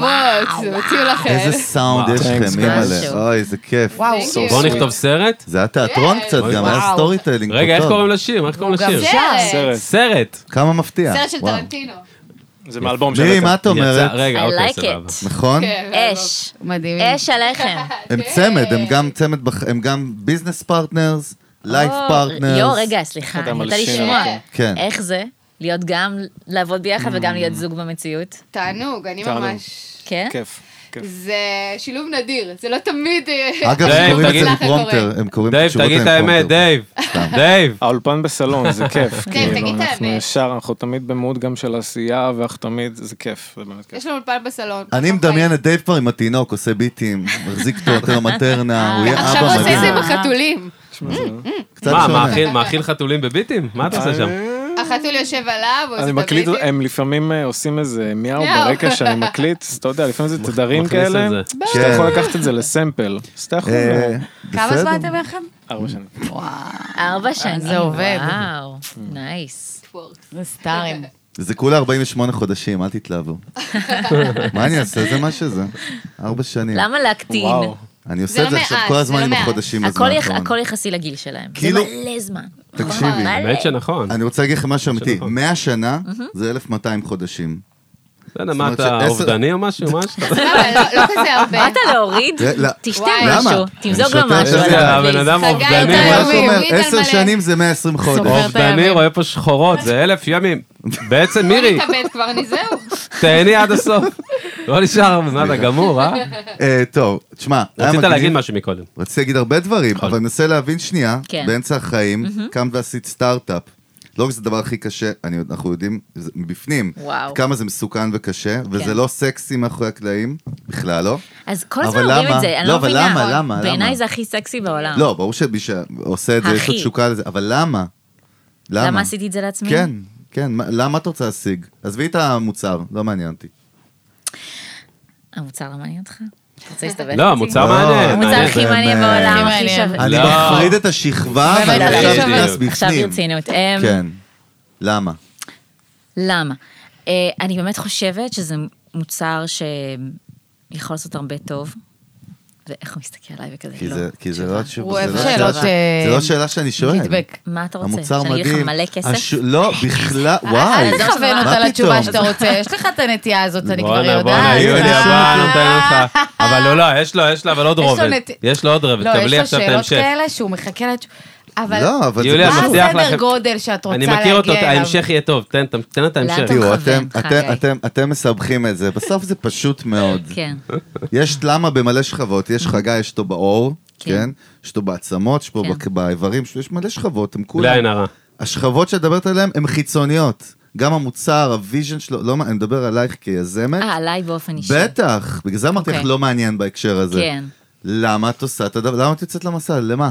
Speaker 6: זה מציאו לכם.
Speaker 1: איזה סאונד יש
Speaker 7: Thanks,
Speaker 1: לכם, אימא'לה.
Speaker 3: משהו.
Speaker 1: אוי, איזה כיף.
Speaker 4: וואו,
Speaker 6: Thank you.
Speaker 2: בואו נכתוב סרט?
Speaker 1: זה היה תיאטרון קצת גם, היה
Speaker 4: וואו.
Speaker 1: סטורי טיילינג.
Speaker 2: רגע, איך
Speaker 1: טוב.
Speaker 2: קוראים לשיר? איך קוראים לשיר?
Speaker 6: סרט.
Speaker 7: סרט
Speaker 2: סרט.
Speaker 1: כמה מפתיע.
Speaker 6: סרט של
Speaker 1: וואו.
Speaker 6: טרנטינו.
Speaker 7: זה מאלבום של...
Speaker 1: מירי, מה את אומרת?
Speaker 2: יצא- רגע,
Speaker 3: I
Speaker 2: אוקיי,
Speaker 3: like
Speaker 2: סבבה.
Speaker 3: it.
Speaker 1: נכון?
Speaker 6: כן,
Speaker 3: אש,
Speaker 4: מדהים.
Speaker 3: אש עליכם.
Speaker 1: הם צמד, הם גם צמד, בח- הם גם ביזנס פרטנרס, לייף
Speaker 3: או,
Speaker 1: פרטנרס.
Speaker 3: יואו, רגע, סליחה,
Speaker 7: אתה
Speaker 3: אני רוצה
Speaker 7: מלשין
Speaker 3: לשמוע.
Speaker 7: אותו.
Speaker 1: כן. Mm.
Speaker 3: איך זה? להיות גם, לעבוד ביחד וגם להיות זוג במציאות?
Speaker 6: תענוג, אני
Speaker 7: תענוג.
Speaker 6: ממש...
Speaker 3: כן?
Speaker 7: כיף. כיף.
Speaker 6: זה שילוב נדיר, זה לא תמיד...
Speaker 1: אגב, הם
Speaker 2: דייב,
Speaker 1: קוראים את
Speaker 2: תגיד-
Speaker 1: זה לפרומטר, הם קוראים את
Speaker 2: דייב,
Speaker 1: התשובות
Speaker 2: תגיד את
Speaker 1: האלה לפרומטר.
Speaker 2: האמת, דייב.
Speaker 1: סתם.
Speaker 2: דייב.
Speaker 7: האולפן בסלון, זה כיף. כאילו,
Speaker 6: כן, תגיד את
Speaker 7: אנחנו
Speaker 6: האמת.
Speaker 7: ישר, אנחנו תמיד במוד גם של עשייה, ואנחנו תמיד, זה כיף, זה באמת כיף.
Speaker 6: יש לנו אולפן בסלון.
Speaker 4: אוקיי.
Speaker 6: אוקיי.
Speaker 1: אני מדמיין את דייב כבר עם התינוק, עושה ביטים, מחזיק טורטר מטרנה, הוא יהיה
Speaker 6: עכשיו הוא
Speaker 1: אבא
Speaker 6: עושה את זה עם
Speaker 1: מדהים.
Speaker 6: החתולים.
Speaker 7: תשמע, זה-
Speaker 1: קצת
Speaker 2: מה,
Speaker 1: שונה.
Speaker 2: מאכיל- מאכיל חתולים בביטים? מה אתה עושה שם?
Speaker 6: החתול יושב עליו, הוא עושה
Speaker 7: אני
Speaker 6: את
Speaker 7: מקליט,
Speaker 6: הביטים.
Speaker 7: הם לפעמים אה, עושים איזה מיהו
Speaker 6: מיהו.
Speaker 7: ברקע שאני מקליט, אז אתה יודע, לפעמים זה תדרים
Speaker 2: מכניס את
Speaker 7: כאלה,
Speaker 2: זה.
Speaker 7: שאתה
Speaker 1: כן.
Speaker 7: יכול לקחת את זה לסמפל, אז אתה יכול,
Speaker 1: אה,
Speaker 4: כמה
Speaker 1: בסדר.
Speaker 4: זמן אתם יחד?
Speaker 7: ארבע שנים.
Speaker 3: ארבע שנים.
Speaker 4: זה עובד.
Speaker 3: וואו,
Speaker 7: Mm.
Speaker 3: נייס.
Speaker 4: אה, זה סטארים.
Speaker 1: זה כולה 48 חודשים, אל תתלהבו. מה אני אעשה? זה מה שזה. ארבע שנים.
Speaker 3: למה להקטין?
Speaker 7: וואו.
Speaker 1: אני
Speaker 6: זה
Speaker 1: עושה את
Speaker 6: לא
Speaker 1: זה עכשיו
Speaker 6: מעט,
Speaker 1: כל
Speaker 6: זה
Speaker 1: הזמן
Speaker 6: לא
Speaker 1: עם
Speaker 6: מעט.
Speaker 1: החודשים
Speaker 3: הכל
Speaker 1: בזמן
Speaker 3: יח-
Speaker 1: האחרון.
Speaker 3: הכל יחסי לגיל שלהם. זה
Speaker 1: כאילו-
Speaker 3: מלא זמן.
Speaker 1: תקשיבי,
Speaker 3: מלא.
Speaker 2: האמת שנכון.
Speaker 1: אני רוצה להגיד לכם משהו אמיתי,
Speaker 2: נכון.
Speaker 1: 100 שנה זה 1,200 חודשים.
Speaker 2: לא יודע, מה
Speaker 1: אומרת
Speaker 2: אתה
Speaker 1: שעשר-
Speaker 2: אובדני או משהו? מה יש לך?
Speaker 6: אבל לא- לא כזה הרבה.
Speaker 3: באת להוריד?
Speaker 1: זה- לא.
Speaker 3: תשתה
Speaker 6: וואי.
Speaker 3: משהו,
Speaker 1: למה?
Speaker 3: תמזוג
Speaker 1: אני
Speaker 3: לו
Speaker 1: שותה
Speaker 3: משהו.
Speaker 1: את
Speaker 2: רגע,
Speaker 1: זה.
Speaker 3: אתה
Speaker 2: הבן
Speaker 3: please.
Speaker 2: אדם
Speaker 6: סגר את
Speaker 2: אובדני.
Speaker 1: אני
Speaker 6: היומי,
Speaker 1: ממש אומר,
Speaker 6: וויד על
Speaker 1: 10
Speaker 6: מלא.
Speaker 1: שנים זה 120 חודש.
Speaker 4: את
Speaker 2: אובדני
Speaker 4: הימים.
Speaker 2: רואה פה שחורות, זה אלף ימים. בעצם
Speaker 6: בוא
Speaker 2: מירי,
Speaker 6: נתאבד כבר, אני זהו.
Speaker 2: תהני עד הסוף. לא נשאר, מה אתה גמור, אה?
Speaker 1: אה, טוב, תשמע, היה
Speaker 2: רצית
Speaker 1: מגניב.
Speaker 2: להגיד נכון. משהו מקודם.
Speaker 1: רציתי להגיד הרבה דברים, אבל מנסה להבין שנייה,
Speaker 3: כן.
Speaker 1: באמצע החיים, קמת ועשית סטארט-אפ. לא רק שזה הדבר הכי קשה, אני, אנחנו יודעים זה מבפנים,
Speaker 3: וואו.
Speaker 1: כמה זה מסוכן וקשה, וזה
Speaker 3: כן.
Speaker 1: לא סקסי מאחורי הקלעים, בכלל לא.
Speaker 3: אז כל הזמן
Speaker 1: אבל
Speaker 3: אומרים
Speaker 1: למה?
Speaker 3: את זה, אני
Speaker 1: לא,
Speaker 3: לא
Speaker 1: אבל
Speaker 3: מבינה.
Speaker 1: למה, למה, למה?
Speaker 3: בעיניי זה הכי סקסי בעולם.
Speaker 1: לא, ברור שמי שעושה את זה, יש לו
Speaker 3: אה. הכי.
Speaker 1: תשוקה לזה, אבל למה? למה?
Speaker 3: למה עשיתי את זה לעצמי?
Speaker 1: כן, כן, מה- למה את רוצה להשיג? עזבי את המוצר, לא מעניין אותי.
Speaker 3: המוצר לא מעניין אותך? אתה רוצה להסתבך?
Speaker 2: לא, המוצר
Speaker 1: לא,
Speaker 2: מעניין.
Speaker 3: המוצר
Speaker 2: מעניין.
Speaker 1: זה
Speaker 3: הכי מעניין
Speaker 1: באמת.
Speaker 3: בעולם, הכי
Speaker 4: מעניין.
Speaker 3: שווה.
Speaker 1: אה, אני
Speaker 2: לא.
Speaker 1: מפריד את השכבה, ואני
Speaker 2: אבל
Speaker 1: עכשיו
Speaker 2: עכשיו-
Speaker 1: נכנס בפנים.
Speaker 3: עכשיו ברצינות. אמ,
Speaker 1: כן. למה?
Speaker 3: למה? אה, אני באמת חושבת שזה מוצר שיכול לעשות הרבה טוב. ואיך הוא מסתכל עליי וכזה,
Speaker 1: כי
Speaker 3: לא.
Speaker 1: זה- כי זה לא
Speaker 4: הוא
Speaker 1: תשובה,
Speaker 4: אוהב
Speaker 1: זה לא
Speaker 4: שאלות,
Speaker 1: שאלה ש- זה
Speaker 4: אה,
Speaker 1: לא שאלה שאני שואל.
Speaker 4: פידבק.
Speaker 3: מה אתה רוצה?
Speaker 1: המוצר
Speaker 3: שאני אגיד לך
Speaker 1: מדהים.
Speaker 3: מלא כסף? אה,
Speaker 1: הש- לא, בכלל, וואי.
Speaker 4: אל תכוון
Speaker 3: מה
Speaker 4: לא אותה
Speaker 1: פתאום?
Speaker 4: לתשובה שאתה רוצה, יש לך את הנטייה הזאת, אני כבר
Speaker 2: בואנה,
Speaker 4: יודעת.
Speaker 2: בואנה, לא יוליה,
Speaker 4: אה,
Speaker 2: בא, נותן לך. אבל לא, לא, יש לו, יש לו, אבל עוד
Speaker 4: יש לו
Speaker 2: רובד.
Speaker 4: נת-
Speaker 2: יש לו עוד רובד,
Speaker 4: לא, יש
Speaker 2: קבלי
Speaker 4: לו
Speaker 2: עכשיו את
Speaker 4: שאלות
Speaker 2: ההמשך.
Speaker 4: כאלה שהוא מחכה לתשובה. אבל
Speaker 1: לא, אבל זה
Speaker 2: יוליה,
Speaker 4: מה
Speaker 1: פשוט.
Speaker 2: מבטיח
Speaker 4: הסדר
Speaker 2: לכם-
Speaker 4: גודל שאת רוצה
Speaker 2: אני
Speaker 4: להגיע אליו?
Speaker 2: מכיר אותו, ההמשך יהיה טוב, תן תן- תן את ההמשך.
Speaker 3: לאן אתה-
Speaker 4: לא
Speaker 1: תראו,
Speaker 3: מכוון,
Speaker 1: אתם-
Speaker 3: חגי.
Speaker 1: אתם- אתם- אתם מסבכים את זה, בסוף זה פשוט מאוד.
Speaker 3: כן.
Speaker 1: יש למה במלא שכבות, יש חגי, יש אותו באור, כן? יש אותו בעצמות, יש פה
Speaker 3: כן.
Speaker 1: בק- באיברים, יש מלא שכבות, הם
Speaker 2: בלי
Speaker 1: כולם...
Speaker 2: עין הרע.
Speaker 1: השכבות שאת מדברת עליהן הן חיצוניות. גם המוצר, הוויז'ן שלו, לא, מע- אני מדבר עלייך כיזמת.
Speaker 3: אה, עליי באופן אישי.
Speaker 1: בטח, בגלל זה אמרתי לך
Speaker 3: אוקיי.
Speaker 1: לא מעניין בהקשר הזה.
Speaker 3: כן.
Speaker 1: למה את עושה את הדבר, למה את יוצאת למסע, למה?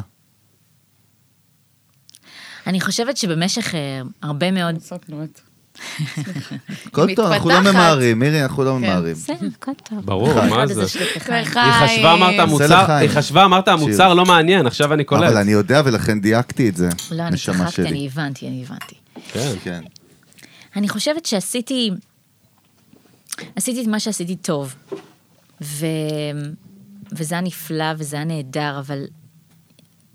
Speaker 3: אני חושבת שבמשך אה, הרבה מאוד...
Speaker 4: עסקנו את.
Speaker 1: כל טוב, אנחנו לא
Speaker 4: מתפתחת.
Speaker 1: ממהרים, מירי, אנחנו
Speaker 3: כן.
Speaker 1: לא ממהרים.
Speaker 3: בסדר, הכל טוב.
Speaker 2: ברור, מה זה?
Speaker 4: כן.
Speaker 3: זה?
Speaker 2: היא חשבה אמרת המוצר,
Speaker 1: לחיים.
Speaker 2: היא חשבה אמרת המוצר לא מעניין, עכשיו אני קולט.
Speaker 1: אבל אני יודע ולכן דייקתי את זה,
Speaker 3: לא, אני
Speaker 1: נשמה
Speaker 3: צחקתי,
Speaker 1: שלי.
Speaker 3: אני הבנתי, אני הבנתי.
Speaker 2: כן.
Speaker 1: כן.
Speaker 3: אני חושבת שעשיתי, עשיתי את מה שעשיתי טוב, ו... וזה היה נפלא וזה היה נהדר, אבל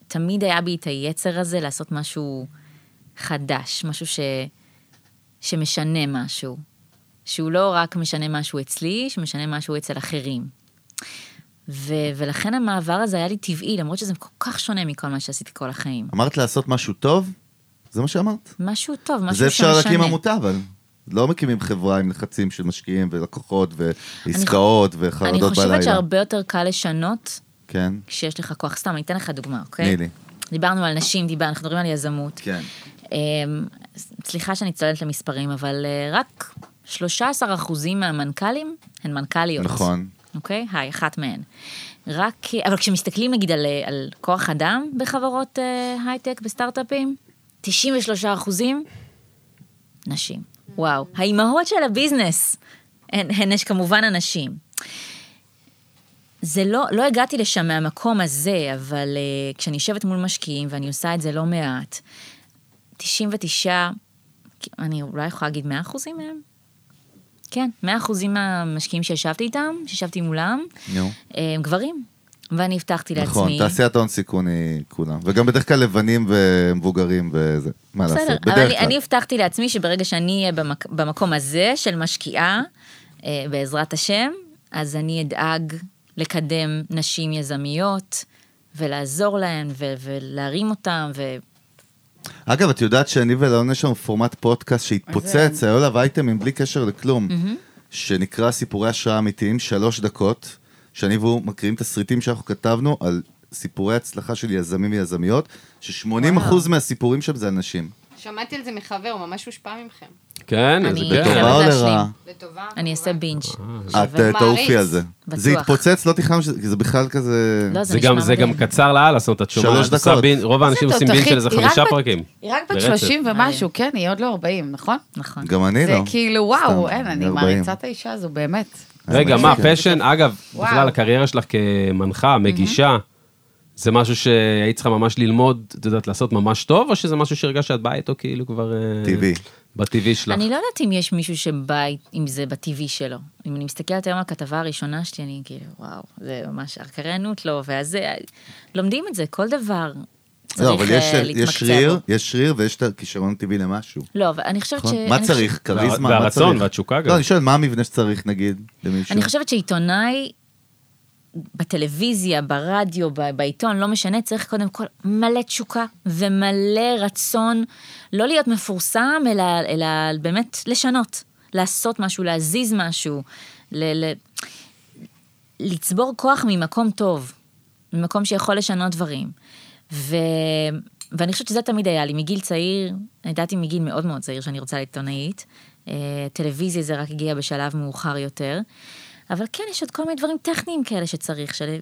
Speaker 3: תמיד היה בי את היצר הזה לעשות משהו חדש, משהו ש... שמשנה משהו. שהוא לא רק משנה משהו אצלי, שמשנה משהו אצל אחרים. ו... ולכן המעבר הזה היה לי טבעי, למרות שזה כל כך שונה מכל מה שעשיתי כל החיים.
Speaker 1: אמרת לעשות משהו טוב? זה מה שאמרת.
Speaker 3: משהו טוב, משהו
Speaker 1: זה
Speaker 3: שמשנה.
Speaker 1: אפשר להקים עמותה, אבל. לא מקימים חברה עם לחצים של משקיעים ולקוחות ועסקאות
Speaker 3: אני
Speaker 1: וחרדות
Speaker 3: חושבת
Speaker 1: בלילה.
Speaker 3: שהרבה יותר קל לשנות
Speaker 1: כן,
Speaker 3: כשיש לך כוח. סתם, אני אתן לך דוגמה, אוקיי?
Speaker 1: תני לי.
Speaker 3: דיברנו על נשים, דיבר, אנחנו מדברים על יזמות.
Speaker 1: כן.
Speaker 3: אמ, סליחה שאני צוללת למספרים, אבל אה, רק 13 אחוזים מהמנכ"לים הן מנכ"ליות.
Speaker 1: נכון.
Speaker 3: אוקיי? היי, אחת מהן. רק, אבל כשמסתכלים נגיד על, אה, על כוח אדם בחברות אה, הייטק, בסטארט-אפים, 93 אחוזים נשים. וואו. האימהות של הביזנס הן, הן יש כמובן הנשים. זה לא, לא הגעתי לשם מהמקום הזה, אבל uh, כשאני יושבת מול משקיעים, ואני עושה את זה לא מעט, 99, אני אולי יכולה להגיד 100 אחוזים מהם? כן, 100 אחוזים מהמשקיעים שישבתי איתם, שישבתי מולם,
Speaker 1: נו.
Speaker 3: הם גברים. ואני הבטחתי
Speaker 1: נכון,
Speaker 3: לעצמי.
Speaker 1: תעשיית ההון סיכון היא כולם. וגם בדרך כלל לבנים ומבוגרים וזה. מה
Speaker 3: בסדר,
Speaker 1: לעשות?
Speaker 3: אבל
Speaker 1: בדרך
Speaker 3: אני,
Speaker 1: כלל.
Speaker 3: אני הבטחתי לעצמי שברגע שאני אהיה במק, במקום הזה של משקיעה, אה, בעזרת השם, אז אני אדאג לקדם נשים יזמיות, ולעזור להן, ו- ולהרים אותן, ו...
Speaker 1: אגב, את יודעת שאני ולאון יש לנו פורמט פודקאסט שהתפוצץ, היו עליו אייטמים בלי קשר לכלום, שנקרא סיפורי השראה אמיתיים, שלוש דקות, שאני והוא מקריאים תסריטים שאנחנו כתבנו על סיפורי הצלחה של יזמים ויזמיות, ש-80% מהסיפורים שם זה אנשים.
Speaker 6: שמעתי על זה מחבר, הוא ממש הושפע מכם.
Speaker 2: כן, אז
Speaker 3: אני
Speaker 2: כן.
Speaker 3: חייבת
Speaker 1: לטובה או
Speaker 3: להשלים.
Speaker 1: לרעה?
Speaker 6: לטובה.
Speaker 3: אני אעשה בינג'.
Speaker 1: את אה, תעופי על זה.
Speaker 3: בטוח.
Speaker 1: זה התפוצץ, לא תכננו שזה, כי זה בכלל כזה...
Speaker 3: לא,
Speaker 2: זה
Speaker 3: נשמע
Speaker 2: גם, זה גם
Speaker 3: מדהים.
Speaker 2: קצר לאללה, זאת אומרת, את שומעת,
Speaker 1: שלוש
Speaker 2: את עושה
Speaker 1: דקות.
Speaker 2: בין- רוב האנשים
Speaker 4: זה
Speaker 2: עושים
Speaker 4: טוב,
Speaker 2: בין של
Speaker 4: תחי-
Speaker 2: איזה
Speaker 4: היא רק
Speaker 2: חמישה
Speaker 4: בת-
Speaker 2: פרקים.
Speaker 4: היא רק בת
Speaker 2: ברצף.
Speaker 4: 30
Speaker 6: אה,
Speaker 4: ומשהו, כן, היא עוד לא 40, נכון?
Speaker 3: נכון.
Speaker 1: גם אני
Speaker 4: זה
Speaker 1: לא.
Speaker 4: כאילו, וואו,
Speaker 1: סתם, אה,
Speaker 4: אין,
Speaker 1: אני
Speaker 4: אני
Speaker 1: 40.
Speaker 4: מעריצה את האישה הזו, באמת.
Speaker 2: רגע,
Speaker 1: אני
Speaker 2: מה,
Speaker 1: מסכים.
Speaker 2: פשן? אגב,
Speaker 4: וואו.
Speaker 2: בכלל הקריירה שלך כמנחה, מגישה, זה משהו שהיית צריכה ממש ללמוד, את יודעת, לעשות ממש טוב, או שזה משהו שהרגשת שאת באה איתו כאילו כבר... אה,
Speaker 1: טבעי.
Speaker 2: בטבעי שלך.
Speaker 3: אני לא יודעת אם יש מישהו שבא עם זה בטבעי שלו. אם אני מסתכלת היום על הכתבה הראשונה שלי, אני כאילו, וואו, זה ממש הקריינות לו, והזה, לומדים את זה, כל דבר
Speaker 1: לא, אבל
Speaker 3: צריך
Speaker 1: יש-
Speaker 3: אה,
Speaker 1: יש
Speaker 3: להתמקצע בו.
Speaker 1: שריר, יש שריר ויש את הכישרון טבעי למשהו.
Speaker 3: לא, אבל אני חושבת ש...
Speaker 1: נכון?
Speaker 3: אני
Speaker 1: מה
Speaker 3: חושבת-
Speaker 1: צריך? כריזמה? מה
Speaker 2: והרצון
Speaker 1: צריך?
Speaker 2: והתשוקה גם.
Speaker 1: לא, אני שואל, מה המבנה שצריך, נגיד, למישהו?
Speaker 3: אני חושבת שעיתונאי, בטלוויזיה, ברדיו, ב- בעיתון, לא משנה, צריך קודם כל מלא תשוקה ומלא רצון, לא להיות מפורסם, אלא, אלא באמת לשנות, לעשות משהו, להזיז משהו, ל- ל- לצבור כוח ממקום טוב, ממקום שיכול לשנות דברים. ו... ואני חושבת שזה תמיד היה לי, מגיל צעיר, אני ידעתי מגיל מאוד מאוד צעיר שאני רוצה להיות עיתונאית, אה, טלוויזיה זה רק הגיע בשלב מאוחר יותר, אבל כן, יש עוד כל מיני דברים טכניים כאלה שצריך, של...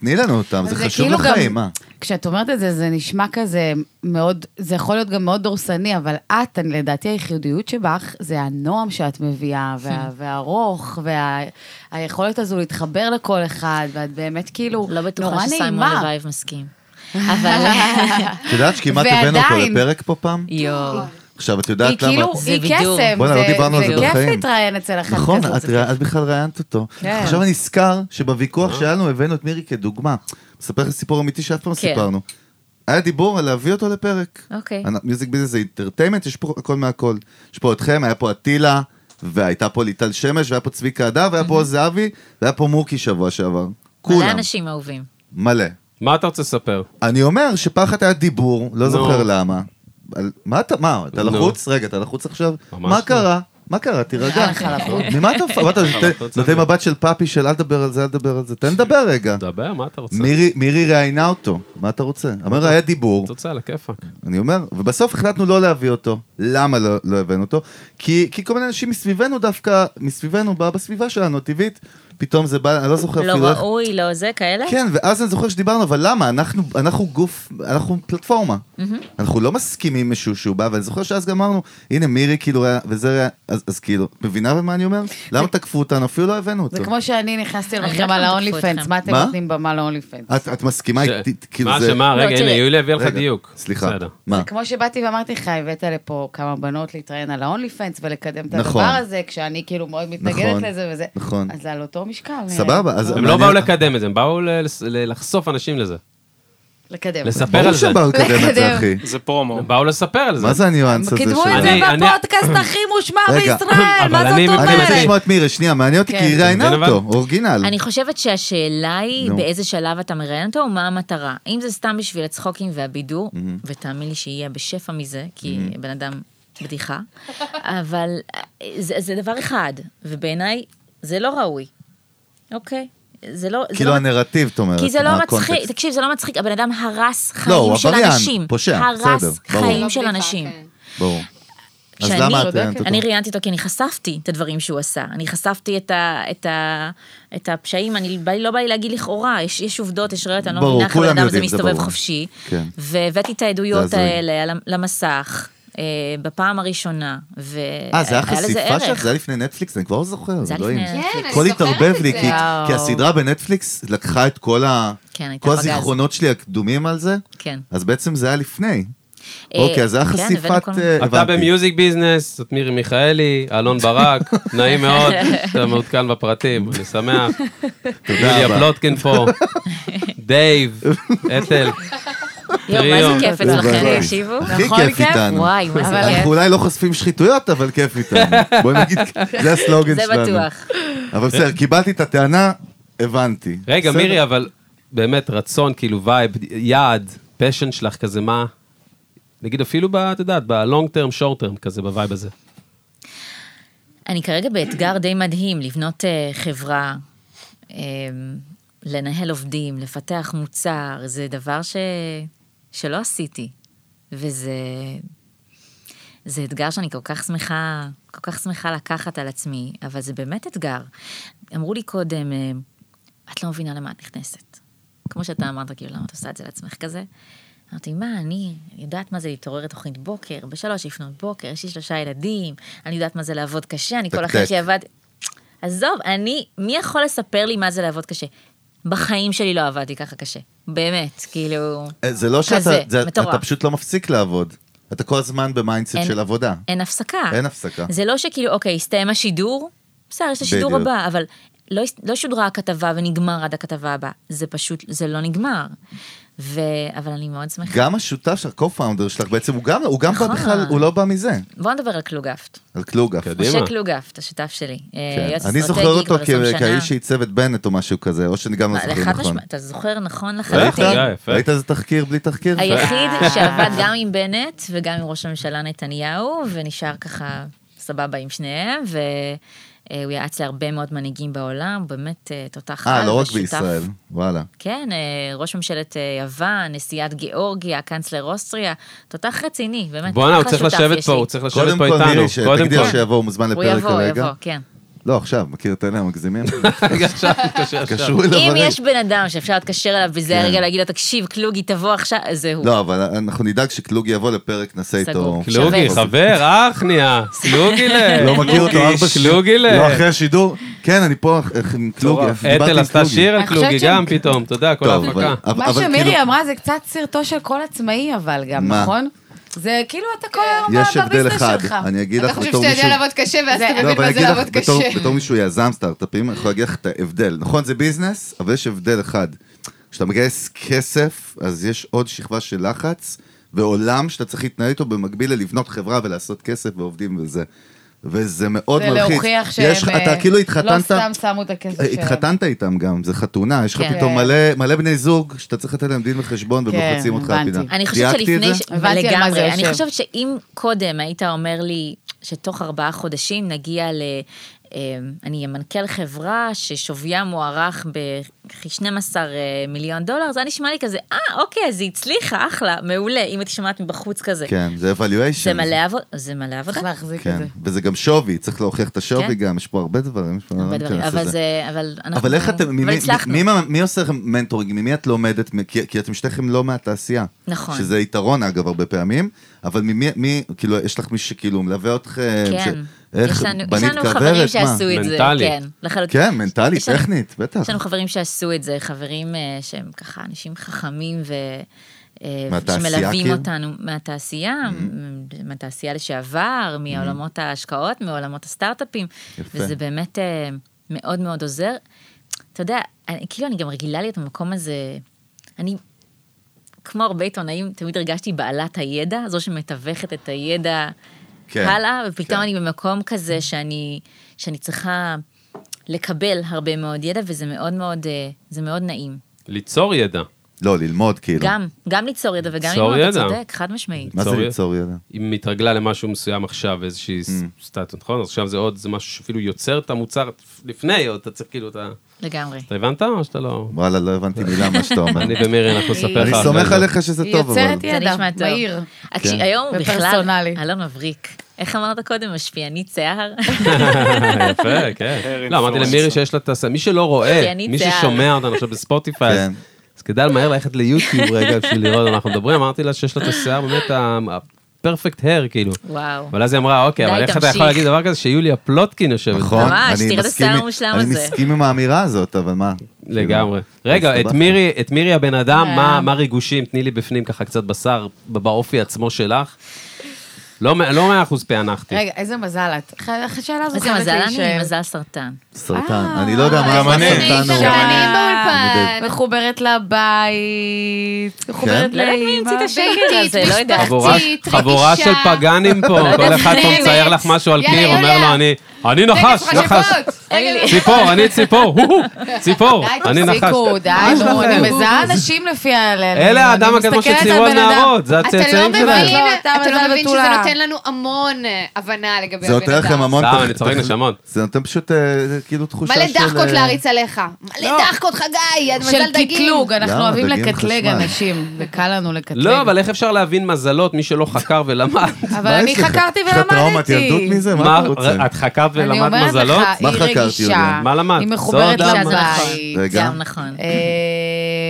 Speaker 1: תני לנו אותם, זה
Speaker 4: אבל
Speaker 1: חשוב
Speaker 4: כאילו
Speaker 1: לחיים,
Speaker 4: גם-
Speaker 1: מה?
Speaker 4: כשאת אומרת את זה, זה נשמע כזה מאוד, זה יכול להיות גם מאוד דורסני, אבל את, אני- לדעתי הייחודיות שבך, זה הנועם שאת מביאה,
Speaker 3: כן.
Speaker 4: וה- והרוך, והיכולת הזו להתחבר לכל אחד, ואת באמת כאילו,
Speaker 3: לא
Speaker 4: נורא
Speaker 3: בטוחה שסיימון
Speaker 4: נעימה.
Speaker 3: לוייב מסכים. אבל...
Speaker 1: את יודעת שכמעט הבאנו אותו
Speaker 4: ועדיין-
Speaker 1: לפרק פה פעם?
Speaker 3: יואו.
Speaker 1: עכשיו, את
Speaker 4: היא
Speaker 1: יודעת למה...
Speaker 4: כאילו,
Speaker 3: זה
Speaker 4: היא
Speaker 3: בידור.
Speaker 4: קסם,
Speaker 1: בוא'נה, לא
Speaker 4: זה-
Speaker 1: דיברנו על זה
Speaker 4: זה
Speaker 1: בחיים.
Speaker 4: כיף להתראיין אצל אחת
Speaker 1: נכון,
Speaker 4: כזאת.
Speaker 1: את רא- את בכלל ראיינת אותו.
Speaker 4: כן.
Speaker 1: עכשיו אני נזכר שבוויכוח שלנו הבאנו את מירי כדוגמה. מספר לך סיפור אמיתי שאף פעם לא
Speaker 3: כן.
Speaker 1: סיפרנו. היה דיבור על להביא אותו לפרק.
Speaker 3: אוקיי.
Speaker 1: אנ- מיוזיק ביזנס זה אינטרטיימנט, יש פה הכל מהכל. יש פה אתכם, היה פה אטילה, והייתה פה ליטל שמש, והיה פה צביקה הדר, והיה פה זהבי, והיה פה מוקי שבוע שעבר.
Speaker 3: מלא
Speaker 1: כולם.
Speaker 3: אנשים אהובים.
Speaker 1: מלא.
Speaker 2: מה אתה רוצה לספר?
Speaker 1: אני אומר שפחד היה דיבור, לא
Speaker 2: נו.
Speaker 1: זוכר למה. על- מה אתה, מה, אתה
Speaker 2: נו.
Speaker 1: לחוץ? רגע, אתה לחוץ עכשיו?
Speaker 2: ממש
Speaker 1: מה
Speaker 2: לא.
Speaker 1: קרה? מה קרה?
Speaker 4: נראה
Speaker 1: תירגע.
Speaker 4: לך לחוץ.
Speaker 1: ממה אתה מפ- מה אתה
Speaker 2: אבל אתה רוצה-
Speaker 1: נותן מבט של פאפי של אל תדבר על זה, אל תדבר על זה. תן לדבר רגע.
Speaker 2: דבר, מה אתה רוצה?
Speaker 1: מירי- מירי ראיינה אותו, מה אתה רוצה? אומר, היה דיבור,
Speaker 2: תוצאה לכיפאק.
Speaker 1: אני אומר, ובסוף החלטנו לא להביא אותו. למה לא, לא הבאנו אותו? כי, כי כל מיני אנשים מסביבנו דווקא, מסביבנו, ב- בסביבה שלנו, הטבעית, פתאום זה בא, אני לא זוכר
Speaker 3: לא
Speaker 1: אפילו איך...
Speaker 3: ראוי, לא זה, כאלה?
Speaker 1: כן, ואז אני זוכר שדיברנו, אבל למה? אנחנו, אנחנו גוף, אנחנו פלטפורמה. אנחנו לא מסכימים עם מישהו שהוא בא, ואני זוכר שאז גם אמרנו, הנה מירי כאילו, היה- וזה, היה- אז, אז כאילו, מבינה במה אני אומר? למה תקפו אותנו? אפילו לא הבאנו אותו.
Speaker 4: זה כמו שאני נכנסתי
Speaker 3: אני
Speaker 4: לכם
Speaker 3: גם
Speaker 4: על
Speaker 3: תקפו
Speaker 4: ה-only
Speaker 3: אתכם.
Speaker 4: fans, מה אתם
Speaker 1: מה?
Speaker 4: נותנים במה ל-only fans?
Speaker 1: את, את מסכימה איתי? כאילו
Speaker 2: מה,
Speaker 1: זה...
Speaker 2: שמה,
Speaker 3: לא,
Speaker 2: רגע,
Speaker 3: תראה.
Speaker 2: הנה, יולי הביא לך
Speaker 1: רגע,
Speaker 2: דיוק.
Speaker 1: סליחה.
Speaker 2: בסדר.
Speaker 1: מה?
Speaker 4: כמו שבאתי ואמרתי לך, הבאת לפה כמה בנות להתראיין על ה-only fans ולקדם את
Speaker 1: נכון.
Speaker 4: הדבר הזה, כשאני כאילו מאוד מתנגדת
Speaker 1: נכון,
Speaker 4: לזה וזה.
Speaker 1: נכון.
Speaker 4: אז זה על אותו משקל. אה,
Speaker 1: סבבה, אז...
Speaker 2: הם לא באו לקדם את זה, הם באו ל- לס- ל- לחשוף אנשים לזה.
Speaker 4: לקדם.
Speaker 2: לספר
Speaker 1: ברור
Speaker 2: על זה.
Speaker 1: שהם באו לקדם את זה,
Speaker 4: לקדם.
Speaker 1: אחי.
Speaker 8: זה פרומו.
Speaker 2: הם באו לספר על זה.
Speaker 1: מה זה הניואנס הזה
Speaker 4: קידמו את
Speaker 1: שלהם?
Speaker 4: זה
Speaker 2: אני- אני-
Speaker 4: בפודקאסט הכי מושמע
Speaker 1: רגע,
Speaker 4: בישראל,
Speaker 2: אבל
Speaker 4: מה
Speaker 2: אני
Speaker 4: זאת
Speaker 1: אני רוצה
Speaker 4: אומרת?
Speaker 1: לשמוע את מירי, שנייה, מעניין אותי, כי
Speaker 4: כן.
Speaker 1: היא ראיינה
Speaker 2: כן, אבל-
Speaker 1: אותו, אורגינל.
Speaker 3: אני חושבת שהשאלה היא
Speaker 1: נו.
Speaker 3: באיזה שלב אתה מראיין אותו ומה המטרה. אם זה סתם בשביל הצחוקים והבידור,
Speaker 1: Mm-hmm.
Speaker 3: ותאמין לי שיהיה בשפע מזה, כי בן אדם בדיחה, אבל אה, זה זה דבר אחד, ובעיניי זה לא ראוי, אוקיי? זה לא... זה
Speaker 1: כאילו
Speaker 3: לא-
Speaker 1: הנרטיב, את אומרת.
Speaker 3: כי זה לא
Speaker 1: הקונטקסט. לא,
Speaker 3: מצחיק, תקשיב, זה לא מצחיק, הבן אדם הרס
Speaker 1: הוא
Speaker 3: חיים של
Speaker 1: עבריין,
Speaker 3: אנשים.
Speaker 1: פושע, בסדר,
Speaker 3: הרס
Speaker 1: ברור.
Speaker 6: לא
Speaker 3: חיים של
Speaker 6: בדיחה,
Speaker 3: אנשים.
Speaker 6: כן.
Speaker 1: ברור. אז
Speaker 3: שאני-
Speaker 1: למה את ראיינת אותו?
Speaker 3: אני ראיינתי אותו כי אני חשפתי את הדברים שהוא עשה. אני חשפתי את, ה, את, ה, את הפשעים, אני, בא לי- לא בא לי להגיד לכאורה, יש, יש עובדות, יש ראיות, אני לא
Speaker 1: ברור,
Speaker 3: מבינה איך
Speaker 1: כולם
Speaker 3: הבן אדם הזה
Speaker 1: יודעים, זה
Speaker 3: מסתובב
Speaker 1: ברור.
Speaker 3: חופשי.
Speaker 1: כן.
Speaker 3: והבאתי את
Speaker 1: זה
Speaker 3: העדויות
Speaker 1: הזוי.
Speaker 3: האלה על ה- למסך. אה, בפעם הראשונה, והיה
Speaker 1: אה, זה היה
Speaker 3: לזה
Speaker 1: חשיפה
Speaker 3: ערך.
Speaker 1: שלך? זה היה לפני נטפליקס? אני כבר לא זוכר.
Speaker 3: זה היה
Speaker 1: אלוהים.
Speaker 3: לפני-
Speaker 6: כן, אני
Speaker 1: הכל
Speaker 6: זוכרת
Speaker 1: התערבב
Speaker 6: את
Speaker 1: לי,
Speaker 6: זה.
Speaker 1: כי-
Speaker 4: וואו.
Speaker 1: כי הסדרה בנטפליקס לקחה את כל ה-
Speaker 3: כן, הייתה
Speaker 1: כל
Speaker 3: בגז.
Speaker 1: הזיכרונות שלי הקדומים על זה,
Speaker 3: כן.
Speaker 1: אז בעצם זה היה לפני.
Speaker 3: אה,
Speaker 1: אוקיי, אז זה היה
Speaker 3: כן, הבאנו
Speaker 1: חשיפת...
Speaker 3: כל מיני-
Speaker 1: אה,
Speaker 2: אתה
Speaker 1: הבנתי.
Speaker 2: במיוזיק ביזנס, זאת מירי מיכאלי, אלון ברק, נעים מאוד, אתה מעודכן בפרטים, אני שמח. יוליה
Speaker 1: רבה.
Speaker 2: פלוטקין פה, דייב, אתל.
Speaker 3: יואו, מה זה
Speaker 2: תראי,
Speaker 3: כיף
Speaker 1: יואו.
Speaker 3: אצלכם, לא
Speaker 1: הבנתי.
Speaker 3: תקשיבו.
Speaker 1: הכי
Speaker 4: נכון,
Speaker 1: כיף
Speaker 4: כיף?
Speaker 1: איתנו.
Speaker 3: וואי, מה זה
Speaker 4: אבל-
Speaker 3: כיף.
Speaker 1: אנחנו אולי לא חושפים שחיתויות, אבל כיף איתנו. בוא נגיד, זה הסלוגן
Speaker 3: זה
Speaker 1: שלנו.
Speaker 3: בטוח.
Speaker 1: אבל בסדר, קיבלתי את הטענה, הבנתי.
Speaker 2: רגע,
Speaker 1: בסדר.
Speaker 2: מירי, אבל באמת רצון, כאילו וייב, יעד, פשן שלך כזה, מה? נגיד אפילו, ב- את יודעת, בלונג טרם, שורט טרם, כזה, בווייב הזה.
Speaker 3: אני כרגע באתגר די מדהים, לבנות uh, חברה, um, לנהל עובדים, לפתח מוצר, זה דבר ש... שלא עשיתי. וזה זה אתגר שאני כל כך שמחה, כל כך שמחה לקחת על עצמי, אבל זה באמת אתגר. אמרו לי קודם, אה, את לא מבינה למה את נכנסת. כמו שאתה אמרת, כאילו, למה את עושה את זה לעצמך כזה? אמרתי, מה, אני יודעת מה זה להתעורר לתוכנית בוקר, בשלוש לפנות בוקר, יש לי שלושה ילדים, אני יודעת מה זה לעבוד קשה, אני כל
Speaker 1: תקתק.
Speaker 3: החיים שעבד... עזוב, אני, מי יכול לספר לי מה זה לעבוד קשה? בחיים שלי לא עבדתי ככה קשה. באמת, כאילו...
Speaker 1: אה, זה לא שאתה,
Speaker 3: כזה,
Speaker 1: זה-
Speaker 3: מטורף.
Speaker 1: אתה פשוט לא מפסיק לעבוד. אתה כל הזמן במיינדסט
Speaker 3: אין-
Speaker 1: של עבודה.
Speaker 3: אין הפסקה.
Speaker 1: אין הפסקה.
Speaker 3: זה לא שכאילו, אוקיי, הסתיים השידור, בסדר, יש את השידור
Speaker 1: בדיוק.
Speaker 3: הבא, אבל לא, הס- לא שודרה הכתבה ונגמר עד הכתבה הבאה. זה פשוט, זה לא נגמר. ו... אבל אני מאוד שמחה.
Speaker 1: גם השותף שלך, co-founder שלך, בעצם הוא גם, הוא גם בא
Speaker 3: נכון.
Speaker 1: בכלל, הוא לא בא מזה,
Speaker 3: בואו נדבר על קלוגהפט.
Speaker 1: על קלוגה.
Speaker 2: קדימה. כן.
Speaker 3: משה קלוגהפט, השותף שלי. אה, יועץ
Speaker 1: כן. אני זוכר
Speaker 3: אסטרטגי
Speaker 1: אותו
Speaker 3: כבר 20
Speaker 1: כ-
Speaker 3: שנה.
Speaker 1: כאיש שעיצב את בנט או משהו כזה, או שאני גם לא
Speaker 3: מה,
Speaker 1: זוכר
Speaker 3: לך
Speaker 1: נכון.
Speaker 3: משמע- אתה אה, זוכר נכון
Speaker 1: ראית?
Speaker 3: לחלוטין.
Speaker 2: יפה, יפה.
Speaker 1: ראית איזה תחקיר בלי תחקיר?
Speaker 3: היחיד שעבד גם עם בנט וגם עם ראש הממשלה נתניהו, ונשאר ככה סבבה עם שניהם, והוא יעץ להרבה מאוד מנהיגים בעולם, באמת אה, תותח על
Speaker 1: אה, לא רק
Speaker 3: ושותף.
Speaker 1: בישראל, וואלה.
Speaker 3: כן, אה, ראש ממשלת אה, יוון, נשיאת גיאורגיה, קאנצלר אוסטריה, תותח רציני, באמת.
Speaker 2: בואנה, הוא
Speaker 3: אחלה
Speaker 2: צריך
Speaker 3: שותף
Speaker 2: לשבת
Speaker 3: יש
Speaker 2: פה,
Speaker 3: לי.
Speaker 2: הוא צריך לשבת
Speaker 1: קודם
Speaker 2: פה
Speaker 1: כל,
Speaker 2: איתנו.
Speaker 1: מירי,
Speaker 2: קודם
Speaker 1: שתגידי לו
Speaker 2: כל.
Speaker 1: שיבוא, הוא מוזמן
Speaker 3: הוא
Speaker 1: לפרק
Speaker 3: יבוא, הוא יבוא,
Speaker 1: כרגע.
Speaker 3: כן.
Speaker 1: לא, עכשיו, מכיר את אלה המגזימים?
Speaker 2: רגע, עכשיו, קשה, עכשיו.
Speaker 1: קשור אליו
Speaker 3: אם
Speaker 1: הרגע.
Speaker 3: יש בן אדם שאפשר להתקשר אליו בזה
Speaker 1: כן.
Speaker 3: הרגע, להגיד לו, תקשיב, קלוגי, תבוא עכשיו, זה הוא.
Speaker 1: לא, אבל אנחנו נדאג שקלוגי יבוא לפרק, נעשה איתו...
Speaker 3: סגור.
Speaker 2: קלוגי,
Speaker 3: שווה.
Speaker 2: חבר, אח נהיה, סלוגילה.
Speaker 1: לא מכיר אותו
Speaker 2: אה,
Speaker 1: ארבע
Speaker 2: שלוגילה.
Speaker 1: לא, אחרי השידור. כן, אני פה אח- אח- עם קלוגי.
Speaker 8: מטורף.
Speaker 1: דיברתי עם
Speaker 2: אתל עשתה
Speaker 1: קלוגי.
Speaker 2: שיר על
Speaker 4: אני חושבת
Speaker 2: קלוגי
Speaker 4: ש-
Speaker 2: גם פתאום, אתה יודע, כל
Speaker 1: טוב,
Speaker 2: ההפקה.
Speaker 1: אבל-
Speaker 4: מה
Speaker 1: אבל
Speaker 4: שמירי
Speaker 1: כאילו-
Speaker 4: אמרה זה קצת סרטו של כל עצמאי, אבל גם,
Speaker 1: מה?
Speaker 4: נכון? זה כאילו אתה כל היום
Speaker 1: יש הבדל
Speaker 4: בביזנס
Speaker 1: אחד,
Speaker 4: שלך.
Speaker 1: אני אגיד לך
Speaker 6: אתה
Speaker 1: בתור
Speaker 6: חושב
Speaker 1: מישהו...
Speaker 6: שאתה יודע לעבוד קשה ואז
Speaker 4: זה-
Speaker 6: אתה
Speaker 1: לא,
Speaker 6: מבין
Speaker 1: אבל
Speaker 6: מה
Speaker 1: אני
Speaker 6: זה
Speaker 1: אגיד לך,
Speaker 6: לעבוד קשה.
Speaker 1: בתור, בתור מישהו יזם סטארט-אפים, אני יכול להגיד לך את ההבדל. נכון, זה ביזנס, אבל יש הבדל אחד. כשאתה מגייס כסף, אז יש עוד שכבה של לחץ, ועולם שאתה צריך להתנהל איתו במקביל ללבנות חברה ולעשות כסף ועובדים וזה. וזה מאוד
Speaker 4: זה
Speaker 1: מלחיץ.
Speaker 4: להוכיח שהם
Speaker 1: יש,
Speaker 4: אה,
Speaker 1: אתה כאילו התחתנת... אה,
Speaker 4: לא סתם שמו את הכסף שלהם.
Speaker 1: התחתנת איתם גם, זה חתונה, יש לך
Speaker 3: כן.
Speaker 1: פתאום מלא, מלא בני זוג שאתה צריך לתת להם דין וחשבון ומלחצים אותך על
Speaker 4: הבנתי.
Speaker 1: פינה.
Speaker 3: אני חושבת
Speaker 1: דייקתי את
Speaker 3: שלפני,
Speaker 1: זה?
Speaker 3: ש-
Speaker 4: הבנתי על מה זה
Speaker 3: לגמרי, אני
Speaker 4: יושב.
Speaker 3: חושבת שאם קודם היית אומר לי, שתוך ארבעה חודשים נגיע ל... אה, אני אהיה מנכ"ל חברה ששוויה מוערך בכ-12 מיליון דולר, זה היה נשמע לי כזה, אה, אוקיי, אז היא הצליחה, אחלה, מעולה, אם הייתי שומעת מבחוץ כזה.
Speaker 1: כן, זה evaluation.
Speaker 3: זה מלא עבודה, זה מלא עבודה.
Speaker 4: צריך להחזיק את
Speaker 1: כן,
Speaker 4: זה.
Speaker 1: וזה גם שווי, צריך להוכיח את השווי
Speaker 3: כן.
Speaker 1: גם, יש פה הרבה דברים. יש פה
Speaker 3: הרבה
Speaker 1: אני לא
Speaker 3: דברים,
Speaker 1: אכנס
Speaker 3: אבל
Speaker 1: לזה.
Speaker 3: זה, אבל אנחנו,
Speaker 1: אבל איך אתם, ממי-
Speaker 3: אבל הצלחנו.
Speaker 1: מי- מי- מי עושה לכם מנטורינג, ממי את לומדת, מ- כי כי אתם שתיכם לא מהתעשייה.
Speaker 3: נכון.
Speaker 1: שזה יתרון אגב הרבה פעמים, אבל ממי, מי- כאילו, יש לך מישהו שכאילו מלווה אתכם,
Speaker 3: כן.
Speaker 1: ש- איך
Speaker 3: יש לנו- יש
Speaker 1: בנית
Speaker 3: לנו
Speaker 1: כוורת,
Speaker 3: חברים
Speaker 1: מה?
Speaker 3: שעשו את זה.
Speaker 2: מנטלית.
Speaker 3: כן, לחלוטין.
Speaker 1: כן, מנטלית,
Speaker 3: יש לנו-
Speaker 1: טכנית, בטח.
Speaker 3: יש לנו חברים שעשו את זה, חברים אה, שהם ככה אנשים חכמים ו... אה,
Speaker 1: מהתעשייה, Mm-hmm.
Speaker 3: שמלווים
Speaker 1: כאילו?
Speaker 3: אותנו מהתעשייה, מהתעשייה לשעבר, מעולמות ההשקעות, מעולמות הסטארט-אפים,
Speaker 1: Mm-hmm. יפה.
Speaker 3: וזה באמת אה, מאוד מאוד עוזר. אתה יודע, אני, כאילו אני גם רגילה להיות במקום הזה, אני כמו הרבה עיתונאים, תמיד הרגשתי בעלת הידע, זו שמתווכת את הידע
Speaker 1: כן,
Speaker 3: כן, הלאה, ופתאום
Speaker 1: כן.
Speaker 3: כן. אני במקום כזה שאני, שאני צריכה לקבל הרבה מאוד ידע, וזה מאוד מאוד, אה, זה מאוד נעים.
Speaker 2: ליצור ידע.
Speaker 1: לא, ללמוד, כאילו.
Speaker 3: גם, גם ליצור ידע וגם
Speaker 2: ליצור
Speaker 3: ללמוד, אתה
Speaker 2: ידע.
Speaker 3: צודק, חד משמעית.
Speaker 1: מה זה
Speaker 2: ליצור-
Speaker 1: ליצור ידע?
Speaker 2: אם התרגלה למשהו מסוים עכשיו, איזושהי
Speaker 1: Mm.
Speaker 2: סטטוס, נכון? אז עכשיו זה עוד, זה משהו שאפילו יוצר את המוצר לפני, או אתה צריך כאילו, אתה...
Speaker 3: לגמרי.
Speaker 2: אתה הבנת או שאתה לא...
Speaker 1: וואלה, לא הבנתי מילה מה שאתה אומר.
Speaker 2: אני ומירי, אנחנו נספר לך.
Speaker 1: אני
Speaker 2: אחרי
Speaker 1: סומך
Speaker 2: זה.
Speaker 1: עליך שזה
Speaker 4: היא
Speaker 1: טוב, אבל.
Speaker 4: יוצרת
Speaker 3: זה
Speaker 4: ידע,
Speaker 3: נשמע טוב.
Speaker 4: מהיר.
Speaker 3: הכי-
Speaker 2: כן.
Speaker 3: היום הוא בכלל,
Speaker 4: ופרסונלי.
Speaker 3: אלון מבריק. איך אמרת קודם, משפיענית שיער?
Speaker 2: יפה, כן.
Speaker 7: Hair
Speaker 2: לא, אמרתי
Speaker 7: influencer.
Speaker 2: למירי שיש לה את הס... מי שלא
Speaker 3: כי
Speaker 2: רואה,
Speaker 3: אוקיי, אני
Speaker 2: מי
Speaker 3: צער.
Speaker 2: ששומע אותנו עכשיו בספוטיפיי, אז-
Speaker 1: כן.
Speaker 2: אז כדאי מהר ללכת ליוטיוב רגע בשביל לראות על מה אנחנו מדברים. אמרתי לה שיש לה את השיער באמת ה- הפרפקט הר, כאילו.
Speaker 3: וואו.
Speaker 2: אבל אז היא אמרה, אוקיי,
Speaker 3: די,
Speaker 2: אבל איך אתה
Speaker 3: תמשיך."
Speaker 2: יכול להגיד דבר כזה שיוליה פלוטקין יושבת? פה?"
Speaker 1: נכון,
Speaker 3: ממש,
Speaker 1: אני
Speaker 3: תראה את
Speaker 1: מסכים
Speaker 3: השיער
Speaker 1: עם-
Speaker 3: המושלם
Speaker 1: אני
Speaker 3: הזה.
Speaker 1: מסכים עם האמירה הזאת, אבל מה?
Speaker 2: לגמרי.
Speaker 1: כאילו,
Speaker 2: רגע, את
Speaker 1: הסתבכת.
Speaker 2: מירי, את מירי הבן אדם, מה- מה ריגושים? תני לי בפנים ככה קצת בשר ב- באופי עצמו שלך. לא מ- לא מאה אחוז פענחתי.
Speaker 4: רגע, איזה מזל את. ח- השאלה הזאת
Speaker 3: איזה
Speaker 4: חייבת
Speaker 3: מזל אני,
Speaker 4: להישאר.
Speaker 3: מזל סרטן.
Speaker 1: סרטן,
Speaker 4: אה,
Speaker 1: אני לא יודע
Speaker 6: גם
Speaker 1: מה
Speaker 6: אני.
Speaker 1: סרטן
Speaker 6: גם
Speaker 1: הוא.
Speaker 6: אני באולפן.
Speaker 4: מחוברת לבית,
Speaker 2: כן?
Speaker 4: מחוברת
Speaker 3: לא יודעת מי המציא את
Speaker 4: לאימא.
Speaker 3: השקר הזה, לא יודעת.
Speaker 2: חבורה-
Speaker 6: משפחתית,
Speaker 2: חבורה
Speaker 6: רגישה.
Speaker 2: של פגאנים פה, כל אחד פה מצייר לך משהו על
Speaker 6: יאללה,
Speaker 2: קיר, אומר
Speaker 6: יאללה.
Speaker 2: לו אני, אני נחש,
Speaker 6: תכף
Speaker 2: נחש,
Speaker 6: חשבות.
Speaker 3: אין לי-
Speaker 2: ציפור, אני ציפור, הו, הו, ציפור, אני
Speaker 4: די,
Speaker 2: נחש.
Speaker 4: תפסיקו, די,
Speaker 2: יש
Speaker 4: נו,
Speaker 2: לכם?
Speaker 4: אני מזהה אנשים לפי ה...
Speaker 2: אלה האדם הקדמון של צעירות נערות, זה
Speaker 6: אתה לא
Speaker 2: הצאצאים
Speaker 6: מבין,
Speaker 2: שלהם.
Speaker 4: לא, אתה
Speaker 6: אתה לא
Speaker 4: מזל
Speaker 6: מבין שזה
Speaker 4: בתולה.
Speaker 6: נותן לנו המון אה, הבנה לגבי הבן אדם.
Speaker 1: זה נותן לכם המון...
Speaker 2: סתם,
Speaker 1: תח-
Speaker 2: אני צוחק
Speaker 1: תח-
Speaker 2: נשמות.
Speaker 1: זה נותן פשוט אה, כאילו תחושה של...
Speaker 6: מלא דחקות
Speaker 1: אה,
Speaker 6: להריץ עליך. מלא דחקות, חגי, עד מזל
Speaker 4: של
Speaker 6: דגים.
Speaker 4: קטלוג, אנחנו
Speaker 1: למה?
Speaker 4: אוהבים
Speaker 1: דגים
Speaker 4: לקטלג
Speaker 1: חשמל.
Speaker 4: אנשים, וקל לנו לקטלג.
Speaker 2: לא, אבל איך אפשר להבין מזלות מי שלא חקר ולמד?
Speaker 4: אבל
Speaker 1: מה
Speaker 4: אני
Speaker 1: יש לך?
Speaker 4: חקרתי
Speaker 1: יש לך טראומת ילדות
Speaker 4: ולמדתי.
Speaker 1: מזה? מה
Speaker 2: מה,
Speaker 1: אתה רוצה?
Speaker 2: את חקרת
Speaker 4: אני
Speaker 2: ולמדת
Speaker 4: אומרת
Speaker 2: מזלות?
Speaker 4: לך,
Speaker 1: מה
Speaker 4: היא
Speaker 1: חקרתי,
Speaker 4: רגישה,
Speaker 1: יוליה?
Speaker 2: מה למדת?
Speaker 4: היא מחוברת
Speaker 2: זו אדם.
Speaker 3: זה נכון.
Speaker 4: לבית.
Speaker 1: רגע.
Speaker 3: גם נכון.
Speaker 4: אה,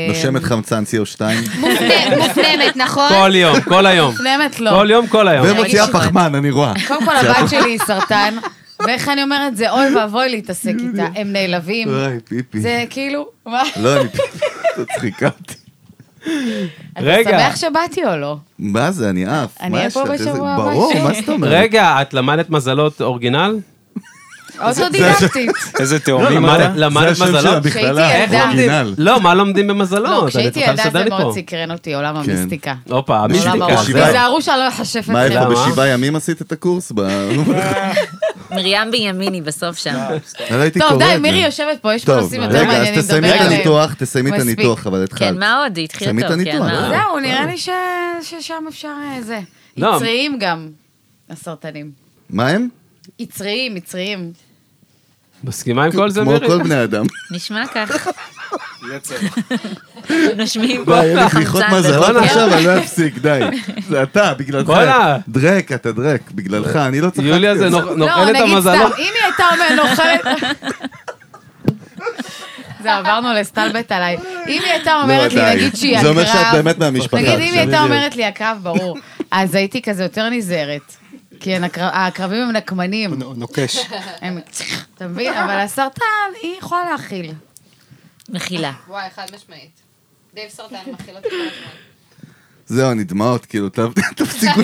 Speaker 1: נושמת חמצן CO2
Speaker 6: מופנמת, מופנמת, נכון?
Speaker 2: כל יום, כל היום.
Speaker 4: מופנמת לא.
Speaker 2: כל יום, כל היום.
Speaker 1: ומוציאה
Speaker 3: אבל-
Speaker 1: פחמן, אני רואה.
Speaker 4: קודם כל, הבת שלי היא סרטן, ואיך אני אומרת זה, אוי ואבוי להתעסק איתה, הם נעלבים.
Speaker 1: אוי, פיפי.
Speaker 4: זה כאילו, מה?
Speaker 1: לא, אני פשוט צחיקה אותי.
Speaker 4: אתה
Speaker 2: רגע,
Speaker 4: שמח שבאתי או לא?
Speaker 1: מה זה, אני עף.
Speaker 4: אני
Speaker 1: מה
Speaker 4: אהיה
Speaker 1: יש
Speaker 4: פה
Speaker 1: לך? איזה-
Speaker 4: בשבוע הבא,
Speaker 1: ברור,
Speaker 4: שוב.
Speaker 1: מה זאת אומרת?
Speaker 2: רגע, את למדת מזלות אורגינל?
Speaker 4: אוטודידקטית.
Speaker 7: איזה
Speaker 1: לא,
Speaker 7: תאומים
Speaker 1: למדת-
Speaker 7: אתה?
Speaker 2: למדת- למדת
Speaker 1: זה השם של
Speaker 2: מזלות?
Speaker 1: המכללה,
Speaker 4: כשהייתי ילדה.
Speaker 1: אורגינל.
Speaker 2: לא, מה לומדים במזלות?
Speaker 4: כן, לא,
Speaker 2: אני
Speaker 4: כשהייתי
Speaker 2: צריכה
Speaker 4: ילדה
Speaker 2: לסדר
Speaker 4: זה
Speaker 2: לי פה.
Speaker 4: מאוד סקרן אותי, עולם
Speaker 1: כן.
Speaker 4: המיסטיקה.
Speaker 2: הופה,
Speaker 1: בשביל-
Speaker 4: עולם
Speaker 2: המיסטיקה.
Speaker 4: הרוח.
Speaker 1: בשבעה-
Speaker 4: תיזהרו שאני לא אחשף
Speaker 1: מה, איפה
Speaker 4: אתכם.
Speaker 2: למה?
Speaker 1: בשבעה ימים עשית את הקורס? ב-
Speaker 3: מרים בנימיני בסוף שם.
Speaker 1: אני לא הייתי קורא את
Speaker 4: טוב,
Speaker 1: זה.
Speaker 4: די, מירי יושבת פה, יש פה
Speaker 1: טוב,
Speaker 4: נושאים יותר
Speaker 1: רגע, אז
Speaker 4: מעניינים לדבר
Speaker 1: תסיימי את
Speaker 4: עליהם.
Speaker 1: הניתוח, תסיימי את
Speaker 4: מספיק.
Speaker 1: הניתוח, אבל התחלת.
Speaker 3: כן, מה עוד? התחיל
Speaker 1: שמית
Speaker 3: טוב, כן,
Speaker 1: הניתוח,
Speaker 3: מה
Speaker 1: לא?
Speaker 3: עוד?
Speaker 4: זהו, נראה לי ש- ששם אפשר אה, זה.
Speaker 2: לא.
Speaker 4: יצריים גם, הסרטנים.
Speaker 1: מה הם?
Speaker 4: יצריים, יצריים.
Speaker 2: מסכימה עם כל זה,
Speaker 1: כמו
Speaker 2: מירי?
Speaker 1: כל בני אדם.
Speaker 3: נשמע כך. נושמים פה
Speaker 1: וואי, אין לי בדיחות
Speaker 3: חמצן.
Speaker 1: מזלות
Speaker 3: ופוגע.
Speaker 1: עכשיו, אני לא אפסיק, די. זה אתה, בגללך.
Speaker 2: בואנה.
Speaker 1: דרק, אתה דרק, בגללך, אני לא צחקתי.
Speaker 2: יוליה
Speaker 1: על
Speaker 2: זה נוכ- נוכלת
Speaker 4: לא, נגיד
Speaker 2: המזלות.
Speaker 4: סתם, אם היא הייתה אומרת נוכלת... זה עברנו לסטלבט עליי. אם היא הייתה אומרת
Speaker 1: די.
Speaker 4: לי, נגיד שהיא הקרב...
Speaker 1: זה אומר שאת באמת מהמשפחה.
Speaker 4: נגיד, אם
Speaker 1: עכשיו,
Speaker 4: היא הייתה
Speaker 1: בדיוק.
Speaker 4: אומרת לי הקרב, ברור. אז הייתי כזה יותר נזהרת. כי הן הקרב- הקרבים הם נקמנים.
Speaker 7: נוקש.
Speaker 4: הם- אתה מבין? אבל הסרטן, היא יכולה להכיל.
Speaker 3: מחילה.
Speaker 6: וואי, חד משמעית. דייב סרטן מכיל אותי כל הזמן.
Speaker 1: זהו, אני דמעות, כאילו, ת- תפסיקו.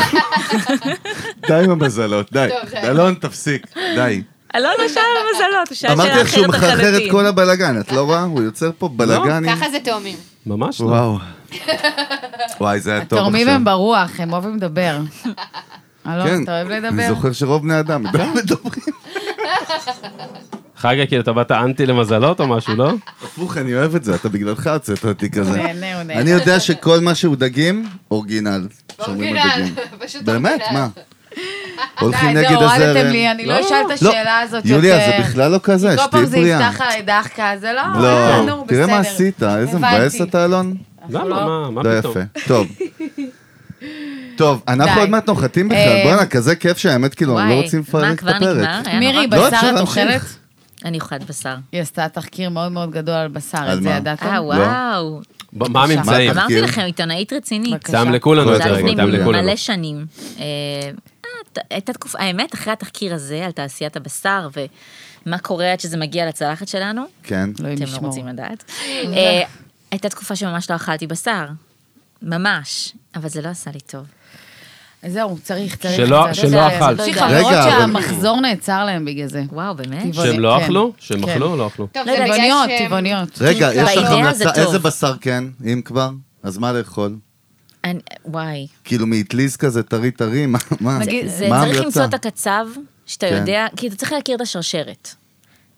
Speaker 1: די עם המזלות, די.
Speaker 6: טוב, די.
Speaker 1: אלון, תפסיק, די.
Speaker 3: אלון הוא שאל מזלות, הוא שאל
Speaker 1: אמרתי
Speaker 3: שאלה
Speaker 1: לך שהוא
Speaker 3: אחרת
Speaker 1: מחרחר את
Speaker 3: לחלוטין.
Speaker 1: כל הבלגן, את לא רואה? הוא יוצר פה בלגנים.
Speaker 6: ככה זה תאומים.
Speaker 2: ממש לא.
Speaker 1: וואו. וואי, זה היה טוב עכשיו.
Speaker 4: התורמים הם ברוח, הם אוהבים לדבר.
Speaker 1: כן,
Speaker 4: אלון, אתה אוהב
Speaker 1: אני
Speaker 4: לדבר?
Speaker 1: זוכר שרוב בני אדם מדברים.
Speaker 2: חגה, כאילו, אתה באת אנטי למזלות או משהו, לא?
Speaker 1: הפוך, אני אוהב את זה, אתה בגללך הוצאת אותי כזה.
Speaker 4: הוא נהנה, הוא נהנה.
Speaker 1: אני יודע שכל מה שהוא דגים, אורגינל. שאומרים על
Speaker 6: אורגינל,
Speaker 1: דגים.
Speaker 6: פשוט
Speaker 1: באמת,
Speaker 6: אורגינל.
Speaker 1: מה? הולכים
Speaker 4: די,
Speaker 1: נגד
Speaker 4: זהו,
Speaker 1: הזרם.
Speaker 4: הורדתם לי, אני לא אשאל את השאלה הזאת יותר.
Speaker 1: יוליה, זה בכלל לא כזה,
Speaker 4: כי כל
Speaker 1: שתהיי
Speaker 4: פעם זה
Speaker 1: בריאה.
Speaker 4: יפתח עליי דחקה, זה לא... אה,
Speaker 1: לא,
Speaker 4: נו,
Speaker 1: תראה מה
Speaker 4: בסדר.
Speaker 1: עשית, איזה
Speaker 4: הבנתי.
Speaker 1: מבאס אתה, אלון.
Speaker 2: למה? מה- מה
Speaker 1: לא
Speaker 2: פתאום?
Speaker 1: יפה, טוב. טוב, אנחנו
Speaker 4: די.
Speaker 1: עוד מעט נוחתים בכלל,
Speaker 4: אה,
Speaker 1: בואנה, כזה כיף שהאמת, כאילו, אני לא
Speaker 3: וואי,
Speaker 1: רוצים
Speaker 3: מה,
Speaker 1: לפרק את
Speaker 3: כבר נגמר?
Speaker 1: הפרק.
Speaker 3: היה
Speaker 4: מירי,
Speaker 3: נורא.
Speaker 1: לא, אפשר
Speaker 4: בשר את
Speaker 1: להמשיך.
Speaker 4: אוכלת?
Speaker 3: אני אוכלת בשר.
Speaker 4: היא עשתה תחקיר מאוד מאוד גדול על בשר,
Speaker 1: על
Speaker 4: את זה
Speaker 1: מה? לא.
Speaker 4: ידעתם?
Speaker 3: אה, וואו.
Speaker 2: ב- מה הממצאים?
Speaker 1: מה אתה-
Speaker 3: אמרתי
Speaker 1: תחקיר.
Speaker 3: לכם, עיתונאית רצינית.
Speaker 4: בבקשה.
Speaker 2: תאמלקו
Speaker 1: לא,
Speaker 2: לנו את זה
Speaker 3: זה
Speaker 2: רגע,
Speaker 3: לפני
Speaker 2: תאמלקו לנו.
Speaker 3: מלא שנים. אה, אה, ת- הייתה תקופה, האמת, אחרי התחקיר הזה על תעשיית הבשר ומה קורה עד שזה מגיע לצלחת שלנו,
Speaker 1: כן.
Speaker 4: אלוהים
Speaker 3: אתם לא
Speaker 4: ישמור.
Speaker 3: רוצים לדעת. אה, הייתה תקופה שממש לא אכלתי בשר, ממש, אבל זה לא עשה לי טוב.
Speaker 4: אז זהו, צריך, צריך.
Speaker 2: שלא-
Speaker 4: קצת.
Speaker 2: שלא
Speaker 4: זה- זה-
Speaker 2: לא אכלת.
Speaker 4: יש לי
Speaker 3: רגע,
Speaker 4: חברות
Speaker 1: אבל-
Speaker 4: שהמחזור נעצר להם בגלל זה.
Speaker 3: וואו, באמת?
Speaker 4: טבעוני,
Speaker 2: שהם לא
Speaker 4: כן.
Speaker 2: אכלו? שהם
Speaker 4: כן.
Speaker 2: אכלו או לא אכלו?
Speaker 6: טוב, זה בגלל
Speaker 4: טבעוניות,
Speaker 3: אה,
Speaker 6: שהם-
Speaker 4: טבעוניות.
Speaker 1: רגע, יש לך
Speaker 3: באידאה זה
Speaker 1: המלצה,
Speaker 3: טוב.
Speaker 1: איזה בשר כן, אם כבר? אז מה לאכול?
Speaker 3: אני- וואי.
Speaker 1: כאילו מאטליז כזה טרי טרי, מה מה?
Speaker 3: זה-
Speaker 4: נגיד,
Speaker 3: זה
Speaker 1: מה
Speaker 3: צריך
Speaker 1: ההמלצה?
Speaker 3: למצוא את הקצב, שאתה
Speaker 1: כן.
Speaker 3: יודע, כי אתה צריך להכיר את השרשרת.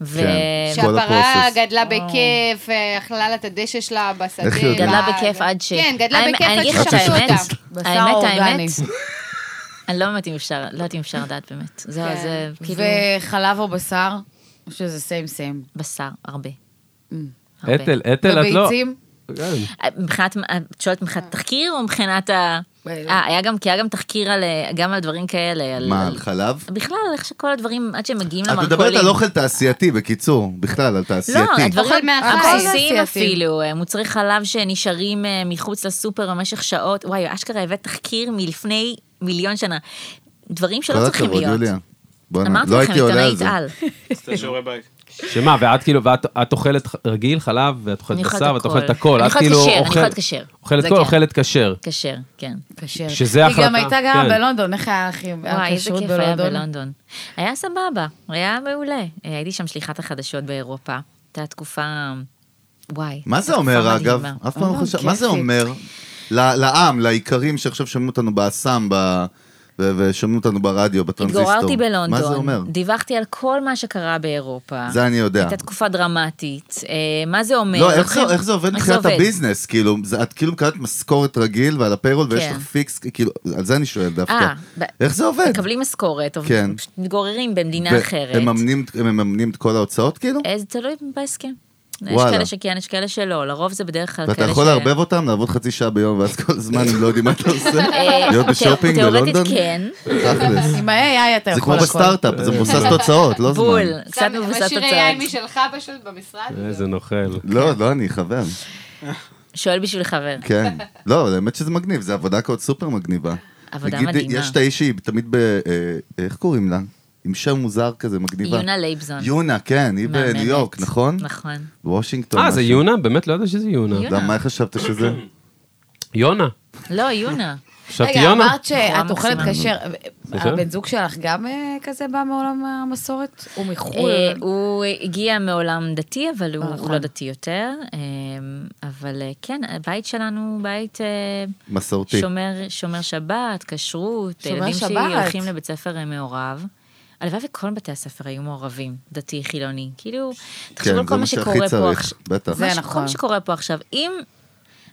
Speaker 3: ו...
Speaker 1: כן. כל
Speaker 6: שהפרה
Speaker 1: הפרוסס.
Speaker 6: גדלה בכיף, אה, אכלה לה את הדשא שלה בשדה.
Speaker 1: איך היא יודעת?
Speaker 3: גדלה
Speaker 6: ב-
Speaker 3: בכיף עד ש...
Speaker 6: כן, גדלה
Speaker 3: האמת-
Speaker 6: בכיף
Speaker 3: אני
Speaker 6: עד
Speaker 3: אגיד לך את
Speaker 6: ששחטו
Speaker 3: האמת,
Speaker 6: אותה.
Speaker 4: בשר
Speaker 3: האמת,
Speaker 4: אורגני.
Speaker 3: האמת, אני לא יודעת אם אפשר, לא יודעת אם אפשר לדעת באמת. זהו,
Speaker 6: כן.
Speaker 3: זה כאילו
Speaker 4: וחלב או בשר, או שזה סיים סיים.
Speaker 3: בשר, הרבה.
Speaker 6: Mm.
Speaker 3: הרבה. אה,
Speaker 2: אתל, אתל, את לא...
Speaker 4: וביצים?
Speaker 2: כן.
Speaker 3: מבחינת, את שואלת
Speaker 6: אה.
Speaker 3: מבחינת תחקיר או מבחינת ה... אה, היה גם, כי היה גם תחקיר על, אה, גם על דברים כאלה. על-
Speaker 1: מה,
Speaker 3: על-
Speaker 1: על חלב?
Speaker 3: בכלל, איך שכל הדברים, עד שהם מגיעים
Speaker 1: את
Speaker 3: למרכולים.
Speaker 1: מדברת על אוכל תעשייתי, בקיצור, בכלל, על
Speaker 3: לא,
Speaker 1: תעשייתי.
Speaker 6: אוכל
Speaker 3: הדברים
Speaker 6: מהחי.
Speaker 3: הבסיסיים
Speaker 4: הכל
Speaker 3: אפילו, אה, מוצרי חלב שנשארים אה, מחוץ לסופר במשך שעות. וואי, אשכרה הבאת תחקיר מלפני מיליון שנה. דברים שלא צריכים להיות.
Speaker 1: בוא'נה,
Speaker 3: אמרתי
Speaker 1: לא
Speaker 3: לכם, אה,
Speaker 1: הייתי עולה על
Speaker 3: עיתונאית
Speaker 1: זה.
Speaker 3: על.
Speaker 2: שמה, ואת כאילו, ואת את אוכלת ח- רגיל, חלב, ואת
Speaker 3: אני
Speaker 2: אוכלת
Speaker 3: אוכלת
Speaker 2: בשר, ואת
Speaker 3: הכל.
Speaker 2: אוכלת הכל.
Speaker 3: אני
Speaker 2: את
Speaker 3: אוכלת
Speaker 2: כאילו
Speaker 3: כשר, אני
Speaker 2: אוכל-
Speaker 3: אוכלת כשר.
Speaker 2: אוכלת
Speaker 3: זה
Speaker 2: כל,
Speaker 3: כן.
Speaker 2: אוכלת כשר.
Speaker 3: כשר, כן.
Speaker 4: כשר.
Speaker 2: שזה
Speaker 4: היא
Speaker 2: החלטה,
Speaker 4: גם הייתה גרה
Speaker 2: כן.
Speaker 4: בלונדון, איך היה הכי...
Speaker 3: וואי, איזה
Speaker 4: הכשרות
Speaker 3: כיף היה בלונדון. היה סבבה, היה מעולה. אה, הייתי שם שליחת החדשות באירופה. הייתה תקופה... וואי.
Speaker 1: מה זה
Speaker 3: הייתה
Speaker 1: אומר,
Speaker 3: תקופה
Speaker 1: אגב?
Speaker 3: מדהימה.
Speaker 1: אף פעם לא
Speaker 4: מאוד
Speaker 1: חשב... מה זה
Speaker 4: כיפית.
Speaker 1: אומר? ל- לעם, לאיכרים שעכשיו שומעים אותנו באסם, ב- ו- ושומעים אותנו ברדיו, בטרנזיסטור.
Speaker 3: התגוררתי בלונדון.
Speaker 1: מה זה אומר?
Speaker 3: דיווחתי על כל מה שקרה באירופה.
Speaker 1: זה אני יודע.
Speaker 3: הייתה תקופה דרמטית. אה, מה זה אומר?
Speaker 1: לא, איך
Speaker 3: לוקחים-
Speaker 1: זה- איך זה עובד מבחינת הביזנס? כאילו, זה- את כאילו מקבלת משכורת רגיל ועל הפיירול, ויש
Speaker 3: כן.
Speaker 1: לך פיקס, כאילו, על זה אני שואל דווקא.
Speaker 3: אה, ב-
Speaker 1: איך זה עובד?
Speaker 3: מקבלים משכורת, עובד-
Speaker 1: כן.
Speaker 3: פשוט מתגוררים במדינה
Speaker 1: ו-
Speaker 3: אחרת.
Speaker 1: הם מממנים- הם מממנים את כל ההוצאות, כאילו?
Speaker 3: אה, זה תלוי בהסכם. יש
Speaker 1: וואלה.
Speaker 3: כאלה שכן, יש כאלה שלא, לרוב זה בדרך כלל כאלה ש...
Speaker 1: ואתה יכול לערבב אותם, לעבוד חצי שעה ביום, ואז כל הזמן הם לא יודעים מה אתה עושה?
Speaker 3: אה,
Speaker 1: להיות בשופינג
Speaker 3: תאורטית
Speaker 1: בלונדון?
Speaker 3: כן.
Speaker 1: תכלס.
Speaker 4: עם ה-AI אתה
Speaker 1: זה
Speaker 4: יכול
Speaker 1: כמו
Speaker 4: הכל.
Speaker 1: בסטארט-אפ, זה מבוסס תוצאות, לא זמן.
Speaker 3: בול, קצת
Speaker 6: שם
Speaker 3: מבוסס
Speaker 6: משאיר יין
Speaker 3: תוצאות.
Speaker 6: משלך פשוט במשרד.
Speaker 2: איזה נוכל.
Speaker 1: לא, לא אני, חבר.
Speaker 3: שואל בשביל חבר.
Speaker 1: כן. לא, אבל האמת שזה מגניב, זה עבודה כעוד סופר מגניבה.
Speaker 3: עבודה
Speaker 1: נגיד,
Speaker 3: מדהימה.
Speaker 1: יש את האיש שהיא תמיד ב... אה, איך קוראים לה? עם שם מוזר כזה, מגניבה.
Speaker 3: יונה לייבזון.
Speaker 1: יונה, כן, היא
Speaker 3: מהממת.
Speaker 1: בניו יורק, נכון?
Speaker 3: נכון.
Speaker 1: וושינגטון.
Speaker 2: אה, זה
Speaker 1: משהו.
Speaker 2: יונה? באמת לא ידעתי שזה יונה.
Speaker 3: יונה.
Speaker 1: למה, מה חשבת שזה?
Speaker 2: יונה.
Speaker 3: לא, יונה.
Speaker 2: חשבתי
Speaker 4: רגע,
Speaker 2: יונה.
Speaker 4: אמרת שאת אוכלת
Speaker 3: מקסימה.
Speaker 4: כשר. הבן זוג שלך גם אה, כזה בא מעולם המסורת? הוא מחו"ל.
Speaker 3: אה, הוא הגיע מעולם דתי, אבל הוא- הוא
Speaker 4: אוקיי. נכון.
Speaker 3: לא דתי יותר. אה, אבל אה, כן, הבית שלנו הוא בית אה,
Speaker 1: מסורתי.
Speaker 3: שומר- שומר שבת, כשרות.
Speaker 4: שומר
Speaker 3: הילדים שלי
Speaker 4: שבת.
Speaker 3: הולכים לבית ספר אה, מעורב. הלוואי וכל בתי הספר היו מעורבים, דתי, חילוני. כאילו, תחשוב
Speaker 1: כן,
Speaker 3: על
Speaker 1: זה
Speaker 3: כל
Speaker 1: מה
Speaker 3: מה
Speaker 1: שהכי
Speaker 3: שקורה פה
Speaker 1: צריך,
Speaker 3: עכשיו.
Speaker 1: בטח.
Speaker 4: זה
Speaker 3: מה ש- כל
Speaker 4: נכון.
Speaker 3: מה שקורה פה עכשיו, אם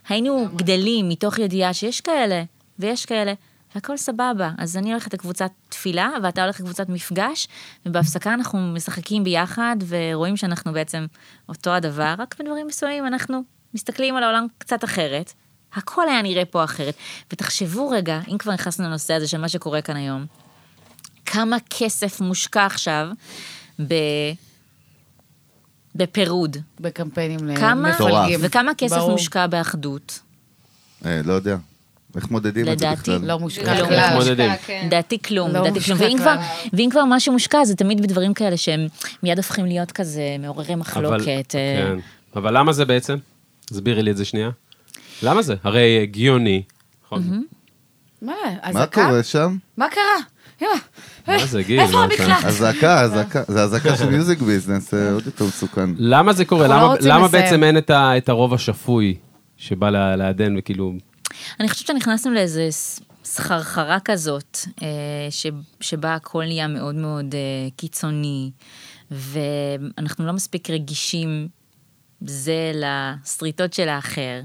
Speaker 3: היינו גדלים מתוך ידיעה שיש כאלה ויש כאלה, והכל סבבה, אז אני הולכת לקבוצת תפילה ואתה הולך לקבוצת מפגש, ובהפסקה אנחנו משחקים ביחד ורואים שאנחנו בעצם אותו הדבר, רק בדברים מסוימים אנחנו מסתכלים על העולם קצת אחרת. הכל היה נראה פה אחרת. ותחשבו רגע, אם כבר נכנסנו לנושא הזה של מה שקורה כאן היום, כמה כסף מושקע עכשיו ב... בפירוד,
Speaker 4: בקמפיינים
Speaker 3: כמה,
Speaker 4: מפלגים.
Speaker 3: וכמה כסף
Speaker 4: ברור.
Speaker 3: מושקע באחדות?
Speaker 1: אה, לא יודע. איך מודדים את זה
Speaker 3: לדעתי,
Speaker 1: בכלל?
Speaker 4: לא מושקע
Speaker 3: לא
Speaker 4: כלל.
Speaker 2: מושקע. מתמודדים.
Speaker 6: כן.
Speaker 3: לדעתי כלום,
Speaker 4: לא
Speaker 3: לדעתי כלום.
Speaker 4: מושקע
Speaker 3: ואם
Speaker 4: כבר.
Speaker 3: כבר, ואם כבר משהו מושקע, זה תמיד בדברים כאלה שהם מיד הופכים להיות כזה מעוררי
Speaker 2: אבל-
Speaker 3: מחלוקת. אה,
Speaker 2: כן. אבל למה זה בעצם? תסבירי לי את זה שנייה. למה זה? הרי הגיוני. נכון.
Speaker 4: מה?
Speaker 1: מה
Speaker 4: אזעקה?
Speaker 1: קורה שם?
Speaker 4: מה קרה? יואו,
Speaker 2: מה זה, גיל? לא
Speaker 4: איפה
Speaker 2: מה
Speaker 4: המקלט?
Speaker 2: אתה-
Speaker 1: אזעקה, אזעקה, זה אזעקה של מיוזיק ביזנס, זה עוד יותר מסוכן.
Speaker 2: למה זה קורה?
Speaker 4: אנחנו לא
Speaker 2: למה-
Speaker 4: רוצים
Speaker 2: למה
Speaker 4: לסיים.
Speaker 2: בעצם אין את ה- את הרוב השפוי שבא לה- לעדן וכאילו...
Speaker 3: אני חושבת שנכנסנו לאיזה ס- סחרחרה כזאת, אה, ש- שבה הכל נהיה מאוד מאוד אה, קיצוני, ואנחנו לא מספיק רגישים זה לסריטות של האחר.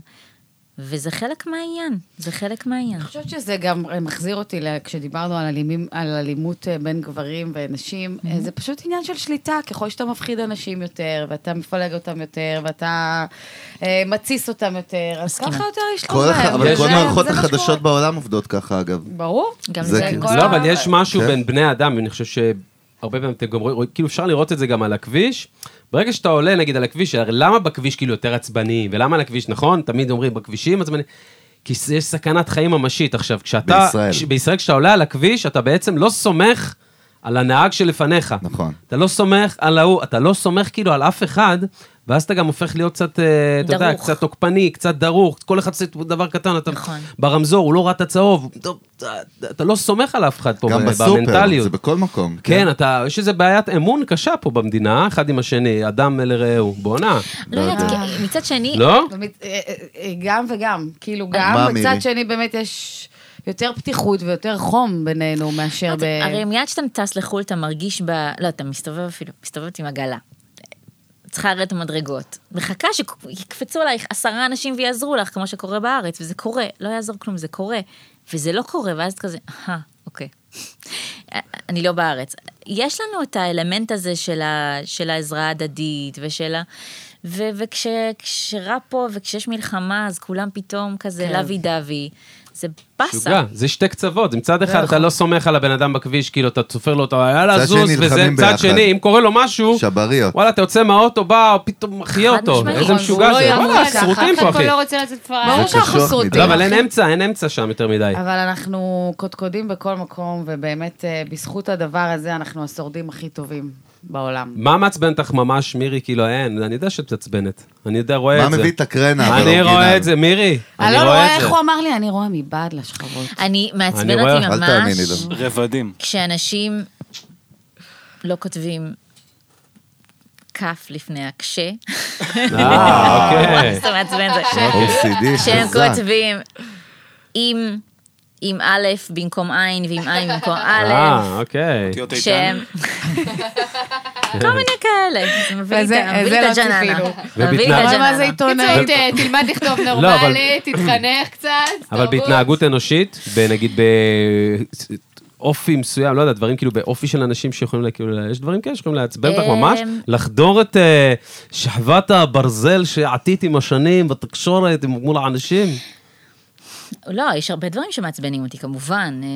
Speaker 3: וזה חלק מהעניין, זה חלק מהעניין. לא
Speaker 4: אני חושבת שזה גם אה, מחזיר אותי, ל- כשדיברנו על, אלימים, על אלימות אה, בין גברים ונשים,
Speaker 3: Mm-hmm.
Speaker 4: אה, זה פשוט עניין של שליטה. ככל שאתה מפחיד אנשים יותר, ואתה מפלג אותם יותר, ואתה אה, מתסיס אותם יותר, אז
Speaker 3: מסכימה.
Speaker 4: ככה יותר יש
Speaker 1: כל הח- אבל
Speaker 2: יש-
Speaker 1: כל
Speaker 2: זה-
Speaker 1: מערכות החדשות בעולם עובדות ככה, אגב.
Speaker 4: ברור.
Speaker 3: גם
Speaker 1: זה
Speaker 3: זה,
Speaker 1: כאילו-
Speaker 4: כל
Speaker 2: לא,
Speaker 4: ה-
Speaker 2: אבל יש משהו
Speaker 1: כן.
Speaker 2: בין בני האדם, ואני חושב שהרבה פעמים אתם גם רואים, כאילו אפשר לראות את זה גם על הכביש. ברגע שאתה עולה, נגיד, על הכביש, הרי למה בכביש כאילו יותר עצבני, ולמה על הכביש, נכון? תמיד אומרים, בכבישים עצבני. כי זה- יש סכנת חיים ממשית. עכשיו, כשאתה...
Speaker 1: בישראל.
Speaker 2: כש- בישראל, כשאתה עולה על הכביש, אתה בעצם לא סומך על הנהג שלפניך.
Speaker 1: נכון.
Speaker 2: אתה לא סומך על ההוא, אתה לא סומך כאילו על אף אחד, ואז אתה גם הופך להיות קצת, אה, אתה יודע,
Speaker 3: דרוך.
Speaker 2: קצת תוקפני, קצת דרוך, כל אחד עושה דבר קטן, אתה
Speaker 3: נכון.
Speaker 2: ברמזור, הוא לא ראה את הצהוב, הוא- טוב, אתה- אתה לא סומך על אף אחד פה,
Speaker 1: גם
Speaker 2: ב-
Speaker 1: בסופר,
Speaker 2: במנטליות.
Speaker 1: זה בכל מקום.
Speaker 2: כן, אתה, יש איזה בעיית אמון קשה פה במדינה, אחד עם השני, אדם לרעהו, בואנה.
Speaker 3: לא יודעת,
Speaker 1: יודע.
Speaker 3: כי- מצד שני,
Speaker 2: לא?
Speaker 4: ומת- אה, אה, אה, גם וגם,
Speaker 2: אה,
Speaker 4: כאילו
Speaker 1: מה,
Speaker 4: גם, מצד
Speaker 1: מירי?
Speaker 4: שני באמת יש יותר פתיחות ויותר חום בינינו מאשר ב...
Speaker 3: אתה- אוקיי, הרי מיד כשאתה טס לחו"ל, אתה מרגיש ב... לא, אתה מסתובב אפילו, מסתובבת עם עגלה. צריכה לרדת מדרגות. מחכה שיקפצו עלייך עשרה אנשים ויעזרו לך, כמו שקורה בארץ, וזה קורה, לא יעזור כלום, זה קורה. וזה לא קורה, ואז את כזה, אהה, אוקיי. אני לא בארץ. יש לנו את האלמנט הזה של, ה, של העזרה ההדדית ושל ה... ו- וכשרע פה וכשיש מלחמה, אז כולם פתאום כזה
Speaker 4: כן.
Speaker 3: לוי דווי. זה באסה.
Speaker 2: שוגע, זה שתי קצוות, זה מצד אחד
Speaker 3: נכון.
Speaker 2: אתה לא סומך על הבן אדם בכביש, כאילו אתה צופר לו, אתה יאללה
Speaker 1: מצד
Speaker 2: זוז,
Speaker 1: שני,
Speaker 2: וזה
Speaker 1: נלחמים
Speaker 2: צד
Speaker 1: ביחד.
Speaker 2: שני, אם קורה לו משהו,
Speaker 1: שבריות.
Speaker 2: וואלה, אתה יוצא מהאוטו, בא, או פתאום מחיה
Speaker 3: חד
Speaker 2: אותו,
Speaker 3: משמעית.
Speaker 2: איזה
Speaker 4: נכון,
Speaker 2: משוגע
Speaker 4: והוא
Speaker 2: זה,
Speaker 4: לא
Speaker 2: וואלה,
Speaker 4: יעמוד ככה,
Speaker 2: שרוטים פה,
Speaker 6: אף אחד
Speaker 2: אחי.
Speaker 6: פה לא רוצה לצאת פראייר.
Speaker 4: ברור
Speaker 1: זה קשוח
Speaker 4: שאנחנו
Speaker 1: מדי.
Speaker 4: סרוטים.
Speaker 2: לא, אבל אין אמצע, אין אמצע שם יותר מדי.
Speaker 4: אבל אנחנו קודקודים בכל מקום, ובאמת, אה, בזכות הדבר הזה, אנחנו השורדים הכי טובים בעולם.
Speaker 2: מה מעצבן אותך ממש, מירי? כאילו, אין, אני יודע שאת מתעצבנת. אני יודע, רואה
Speaker 1: מה
Speaker 2: את זה.
Speaker 1: מביא את הקרנה? אבל לא
Speaker 2: אני רואה
Speaker 1: אורגינל?
Speaker 2: את זה, מירי.
Speaker 4: אני
Speaker 2: אני
Speaker 4: לא
Speaker 2: רואה
Speaker 4: רואה
Speaker 2: את זה.
Speaker 4: איך הוא אמר לי, אני רואה מבעד לשכבות.
Speaker 3: אני
Speaker 2: אני
Speaker 3: מעצבן
Speaker 2: רואה,
Speaker 3: אותי
Speaker 2: אל
Speaker 3: ממש.
Speaker 1: אל תאמיני לו.
Speaker 7: רבדים.
Speaker 3: כשאנשים לא כותבים כף לפני הקשה,
Speaker 2: אה, אוקיי.
Speaker 3: זה מעצבן את זה.
Speaker 1: OCD,
Speaker 3: כשהם
Speaker 1: חזק.
Speaker 3: כותבים עם, עם א' במקום עין ועם עין במקום א',
Speaker 2: אה, אוקיי.
Speaker 7: אותיות איתן.
Speaker 3: כשהם... כל מיני כאלה. זה מביא לי את
Speaker 4: וזה-
Speaker 3: ה- מביא
Speaker 4: זה
Speaker 3: לי את
Speaker 4: לא
Speaker 3: הג'ננה.
Speaker 4: ציפינו.
Speaker 3: מביא לי את
Speaker 2: ובתנאי-
Speaker 4: אבל מה
Speaker 3: הג'ננה.
Speaker 4: זה עיתונאית?
Speaker 6: בקיצור, ת- תלמד לכתוב
Speaker 2: לא, אבל-
Speaker 6: נורמלי, תתחנך קצת.
Speaker 2: אבל
Speaker 6: תרבות.
Speaker 2: בהתנהגות אנושית, נגיד באופי מסוים, לא יודע, דברים כאילו באופי של אנשים שיכולים, לה- כאילו, יש דברים כאלה שיכולים לעצבן אותך ממש,
Speaker 3: אמ,
Speaker 2: לחדור את אה, שכבת הברזל שעטית עם השנים בתקשורת, עם- מול האנשים.
Speaker 3: לא, יש הרבה דברים שמעצבנים אותי, כמובן. אה,
Speaker 4: היא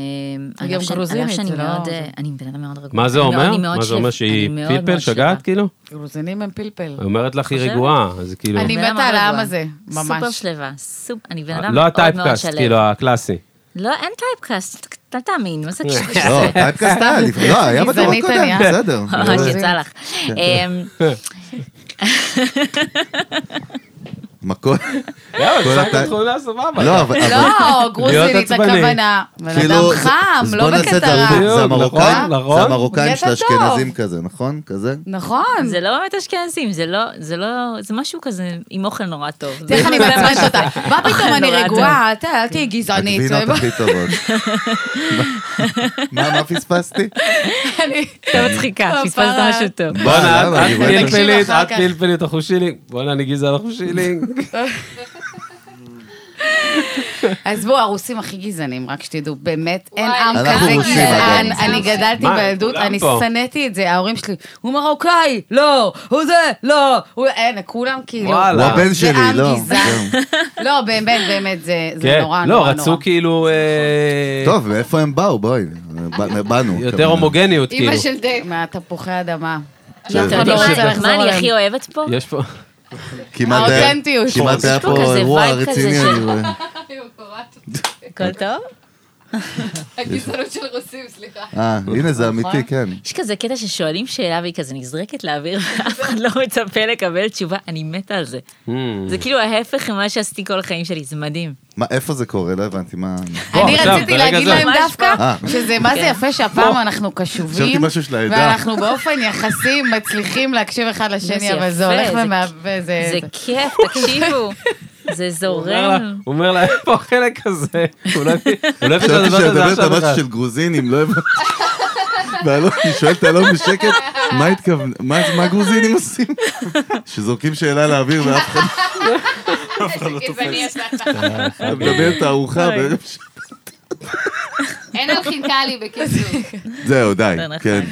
Speaker 3: על אף
Speaker 4: גם
Speaker 3: שאני-
Speaker 4: גרוזינית,
Speaker 3: על אף שאני
Speaker 4: זה לא-
Speaker 3: מאוד, אה, אני בן אדם מאוד רגוע.
Speaker 2: מה זה
Speaker 3: אני מאוד-
Speaker 2: אומר?
Speaker 3: אני מאוד
Speaker 2: מה זה אומר
Speaker 3: שלו-
Speaker 2: שהיא
Speaker 3: אני מאוד
Speaker 2: פלפל,
Speaker 3: מאוד
Speaker 2: שגעת
Speaker 3: שלווה.
Speaker 2: כאילו?
Speaker 4: גרוזינים הם פלפל.
Speaker 2: היא אומרת לך, היא
Speaker 3: חושבת?
Speaker 2: רגועה, אז כאילו...
Speaker 4: אני
Speaker 3: בן אדם
Speaker 4: מתה על
Speaker 3: מאוד
Speaker 4: העם
Speaker 3: רגוע.
Speaker 4: הזה, ממש.
Speaker 3: לא. סופר שלווה, סופ... אני בן אדם
Speaker 2: לא
Speaker 3: מאוד מאוד
Speaker 2: הטייפקאסט,
Speaker 3: שלו.
Speaker 2: כאילו, הקלאסי.
Speaker 3: לא, אין טייפקאסט, אל תאמין, מה זה קשקוש?
Speaker 1: לא, טייפקאסט היה, לפני- לא, היה בדור
Speaker 4: גזענית אה?
Speaker 1: הקודם,
Speaker 4: ענייה.
Speaker 1: בסדר.
Speaker 3: ממש אה, יצא לך. אמ,
Speaker 1: מכות.
Speaker 2: יאללה,
Speaker 1: כל
Speaker 2: בסך
Speaker 1: הטי-
Speaker 2: הכל תכונה סבבה.
Speaker 1: לא, אבל... אבל-
Speaker 4: לא, גרוזינית
Speaker 2: עצבני.
Speaker 4: הכוונה. בן אדם
Speaker 1: כאילו,
Speaker 4: חם,
Speaker 1: אז
Speaker 4: לא
Speaker 1: בוא נעשה את
Speaker 4: בקטרה.
Speaker 1: ההפך, זה
Speaker 2: בדיוק,
Speaker 1: המרוקאים,
Speaker 2: נכון,
Speaker 1: זה
Speaker 2: נכון.
Speaker 1: המרוקאים של
Speaker 4: ידע טוב.
Speaker 1: האשכנזים כזה, נכון? כזה?
Speaker 4: נכון.
Speaker 3: זה לא באמת אשכנזים, זה לא, זה לא, זה משהו כזה עם אוכל נורא טוב.
Speaker 4: איך אני מעצבנת אותה? מה פתאום אני
Speaker 3: נורא
Speaker 4: רגועה? אל ת- אל תהיי גזענית.
Speaker 1: הגבינות הכי טובות. מה, מה פספסתי?
Speaker 4: אני-
Speaker 3: אתה מצחיקה, פספסת
Speaker 4: כפרה.
Speaker 3: משהו טוב.
Speaker 2: בואנה, את-
Speaker 1: למה?
Speaker 2: את
Speaker 1: לא, אני רואה-
Speaker 2: פלפלית,
Speaker 4: תקשיב אחר
Speaker 2: את
Speaker 4: כך.
Speaker 2: פלפלית, אנחנו שילינג. בואנה, אני גזען, אנחנו שילינג.
Speaker 4: עזבו, הרוסים הכי גזענים, רק שתדעו, באמת, אין עם
Speaker 1: אנחנו
Speaker 4: כזה
Speaker 1: רוסים,
Speaker 4: גזען.
Speaker 1: אגב.
Speaker 4: אני גדלתי
Speaker 2: מה,
Speaker 4: בילדות,
Speaker 2: כולם
Speaker 4: אני
Speaker 2: פה.
Speaker 4: שנאתי את זה, ההורים שלי, הוא מרוקאי, לא, הוא זה, לא, הוא אין, כולם כאילו.
Speaker 2: וואלה.
Speaker 1: הוא הבן
Speaker 4: זה
Speaker 1: שלי,
Speaker 4: עם
Speaker 1: לא.
Speaker 4: גזען.
Speaker 1: זהו.
Speaker 4: לא, באמת, באמת, זה זה
Speaker 2: כן,
Speaker 4: נורא,
Speaker 2: לא,
Speaker 4: נורא, נורא.
Speaker 2: רצו כאילו... אה,
Speaker 1: טוב, מאיפה הם באו? בואי, ב- באנו.
Speaker 2: יותר
Speaker 1: כמובן.
Speaker 2: הומוגניות, כאילו.
Speaker 6: אימא של דייב.
Speaker 4: מהתפוחי אדמה.
Speaker 1: עכשיו,
Speaker 3: אתם יודעים
Speaker 4: לא רוצה
Speaker 3: מה-
Speaker 4: לחזור
Speaker 3: מה אני
Speaker 4: עליהם.
Speaker 3: הכי אוהבת פה?
Speaker 2: יש פה...
Speaker 1: כמעט היה-
Speaker 4: האותנטיות.
Speaker 1: כמעט היה
Speaker 3: יש פה
Speaker 1: פה
Speaker 3: כזה
Speaker 1: אירוע
Speaker 3: וייב כזה
Speaker 1: רציני,
Speaker 3: של-
Speaker 1: אני רואה.
Speaker 3: הכל טוב?
Speaker 6: הגזענות של רוסים, סליחה.
Speaker 1: אה, הנה זה
Speaker 4: נכון.
Speaker 1: אמיתי, כן.
Speaker 3: יש כזה קטע ששואלים שאלה והיא כזה נזרקת לאוויר ואף אחד לא מצפה לקבל תשובה, אני מתה על זה. זה כאילו ההפך ממה שעשיתי כל החיים שלי, זה מדהים.
Speaker 1: מה, איפה זה קורה? לא הבנתי, מה... אה,
Speaker 2: פה,
Speaker 4: אני
Speaker 2: עכשיו,
Speaker 4: רציתי
Speaker 2: ברגע
Speaker 4: להגיד
Speaker 2: זה.
Speaker 4: להם
Speaker 3: ממש כן.
Speaker 4: דווקא,
Speaker 1: פה.
Speaker 4: שזה מה זה יפה שהפעם אנחנו
Speaker 1: חשבתי
Speaker 4: קשובים,
Speaker 1: משהו של העדה.
Speaker 4: ואנחנו באופן יחסי מצליחים להקשיב אחד לשני, אבל זה הולך
Speaker 3: יפה, זה- זה
Speaker 4: ומעבה, זה...
Speaker 3: כיף, תקשיבו. זה
Speaker 2: הוא אומר לה-
Speaker 3: זורם.
Speaker 2: הוא אומר לה, איפה החלק הזה? הוא לא הבין- הוא לא הבין שאת
Speaker 1: חשבתי שאת
Speaker 2: מדברת על זה
Speaker 1: מדברת על
Speaker 2: עכשיו
Speaker 1: משהו
Speaker 2: בכלל.
Speaker 1: של גרוזינים, לא הבנתי. ואלון, אני שואל את אלון בשקט, מה לא התכוון, מה מה גרוזינים עושים? שזורקים שאלה לאוויר ואף אחד...
Speaker 6: גזעני אתה.
Speaker 1: אתה מדמיין את הארוחה.
Speaker 3: אוי.
Speaker 1: ב-
Speaker 6: אין על חינקלי בקיצור.
Speaker 1: זהו, די,
Speaker 3: זה נכון.
Speaker 1: כן.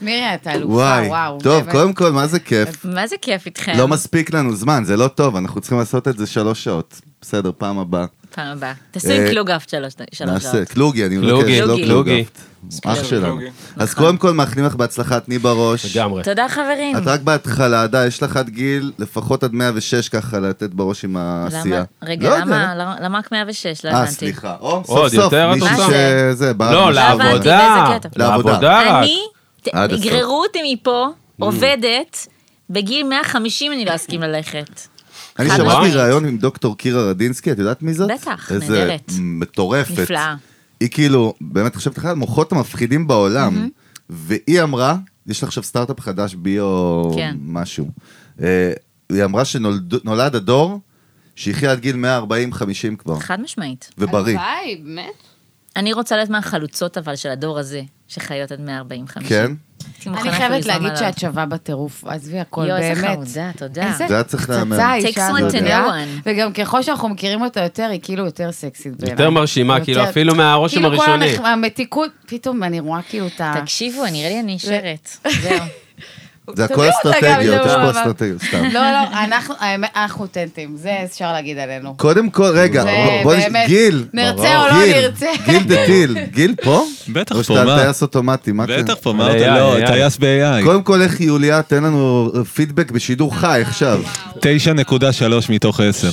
Speaker 4: מירי, את אלופה,
Speaker 1: וואי.
Speaker 4: וואו.
Speaker 1: טוב,
Speaker 4: באמת. כן.
Speaker 1: קודם כל, מה זה כיף?
Speaker 3: מה זה כיף איתכם?
Speaker 1: לא מספיק לנו זמן, זה לא טוב, אנחנו צריכים לעשות את זה שלוש שעות. בסדר, פעם הבאה.
Speaker 3: פעם הבאה. תעשו עם
Speaker 1: אה,
Speaker 3: קלוגהפט שלוש שלוש
Speaker 1: נעשה,
Speaker 3: שעות.
Speaker 1: קלוגי, אני מבקש,
Speaker 2: קלוגי,
Speaker 1: לא
Speaker 3: קלוגי.
Speaker 1: קלוגפט. אח
Speaker 3: לא קלוגי.
Speaker 1: שלנו.
Speaker 7: קלוגי.
Speaker 1: אז קודם כל, מאחלים לך בהצלחה, תני בראש.
Speaker 2: לגמרי.
Speaker 3: תודה חברים.
Speaker 1: את רק בהתחלה, די, יש לך עד גיל לפחות עד 106 ככה לתת בראש עם העשייה.
Speaker 3: למה? רגע,
Speaker 1: לא יודע,
Speaker 3: למה? למה- למה רק 106? לא
Speaker 1: אה,
Speaker 3: הבנתי.
Speaker 1: סליחה. או,
Speaker 2: עוד
Speaker 1: סוף סוף,
Speaker 2: יותר את
Speaker 1: מישהי
Speaker 3: רוצה?
Speaker 1: שזה, בא
Speaker 2: לא,
Speaker 1: משהו עבודה.
Speaker 3: הבנתי. באיזה
Speaker 2: לעבודה.
Speaker 3: קטע.
Speaker 2: לעבודה רק.
Speaker 3: אני, ת-
Speaker 1: אה, עד הסוף. Mm.
Speaker 3: יגררו אותי מפה, עובדת, בגיל 150 אני לא אסכים ללכת.
Speaker 1: אני
Speaker 3: חד
Speaker 1: שמעתי
Speaker 3: משמעית.
Speaker 1: ראיון עם דוקטור קירה רדינסקי, את יודעת מי זאת?
Speaker 3: בטח,
Speaker 1: איזה
Speaker 3: נהדרת.
Speaker 1: מטורפת.
Speaker 3: נפלאה.
Speaker 1: היא כאילו, באמת חושבת אחד המוחות המפחידים בעולם, והיא אמרה, יש לה עכשיו סטארט-אפ חדש ביו
Speaker 3: כן.
Speaker 1: משהו. אה, היא אמרה שנולד הדור שיחיה עד גיל 140-50 כבר,
Speaker 3: חד משמעית.
Speaker 1: ובריא.
Speaker 6: הלוואי, באמת.
Speaker 3: אני רוצה להיות מהחלוצות אבל של הדור הזה, שחיות עד 140-50.
Speaker 1: כן?
Speaker 4: אני חייבת להגיד שאת שווה בטירוף, עזבי הכל,
Speaker 3: יואו,
Speaker 4: באמת.
Speaker 3: איזה חמודה, תודה.
Speaker 4: איזה
Speaker 1: זה היה צריך להיאמר.
Speaker 4: פצצה
Speaker 3: Takes
Speaker 4: האישה
Speaker 3: one
Speaker 4: הזאת,
Speaker 3: to know
Speaker 4: אה?
Speaker 3: one.
Speaker 4: וגם ככל שאנחנו מכירים אותה יותר, היא כאילו יותר סקסית בעיניי.
Speaker 2: יותר מרשימה,
Speaker 4: יותר-
Speaker 2: כאילו, אפילו מהרושם
Speaker 4: כאילו כל
Speaker 2: הראשוני.
Speaker 4: המח- המתיקות, פתאום אני רואה כאילו את ה...
Speaker 3: תקשיבו, נראה לי אני נשארת. זהו.
Speaker 1: זה
Speaker 4: תביאו אותה
Speaker 1: הכל
Speaker 4: גם
Speaker 1: אסטרטגיות,
Speaker 4: לזה,
Speaker 1: יש פה
Speaker 4: אבל-
Speaker 1: אסטרטגיות, סתם.
Speaker 4: לא, לא, אנחנו- האמת, אנחנו אותנטיים, זה אפשר להגיד עלינו.
Speaker 1: קודם כל, רגע,
Speaker 4: זה
Speaker 1: בוא- בוא נש...
Speaker 4: באמת.
Speaker 1: גיל.
Speaker 4: נרצה או לא
Speaker 1: גיל,
Speaker 4: נרצה.
Speaker 1: גיל דה דיל. גיל פה?
Speaker 5: בטח
Speaker 1: או
Speaker 5: פה,
Speaker 1: שאתה
Speaker 5: מה?
Speaker 1: על טייס אוטומטי, מה אתה...
Speaker 5: בטח פה, מה אתה
Speaker 2: AI,
Speaker 5: לא,
Speaker 2: AI.
Speaker 5: טייס ב-AI.
Speaker 1: קודם כל, איך יוליה, תן לנו פידבק בשידור חי עכשיו.
Speaker 5: 9.3 מתוך 10.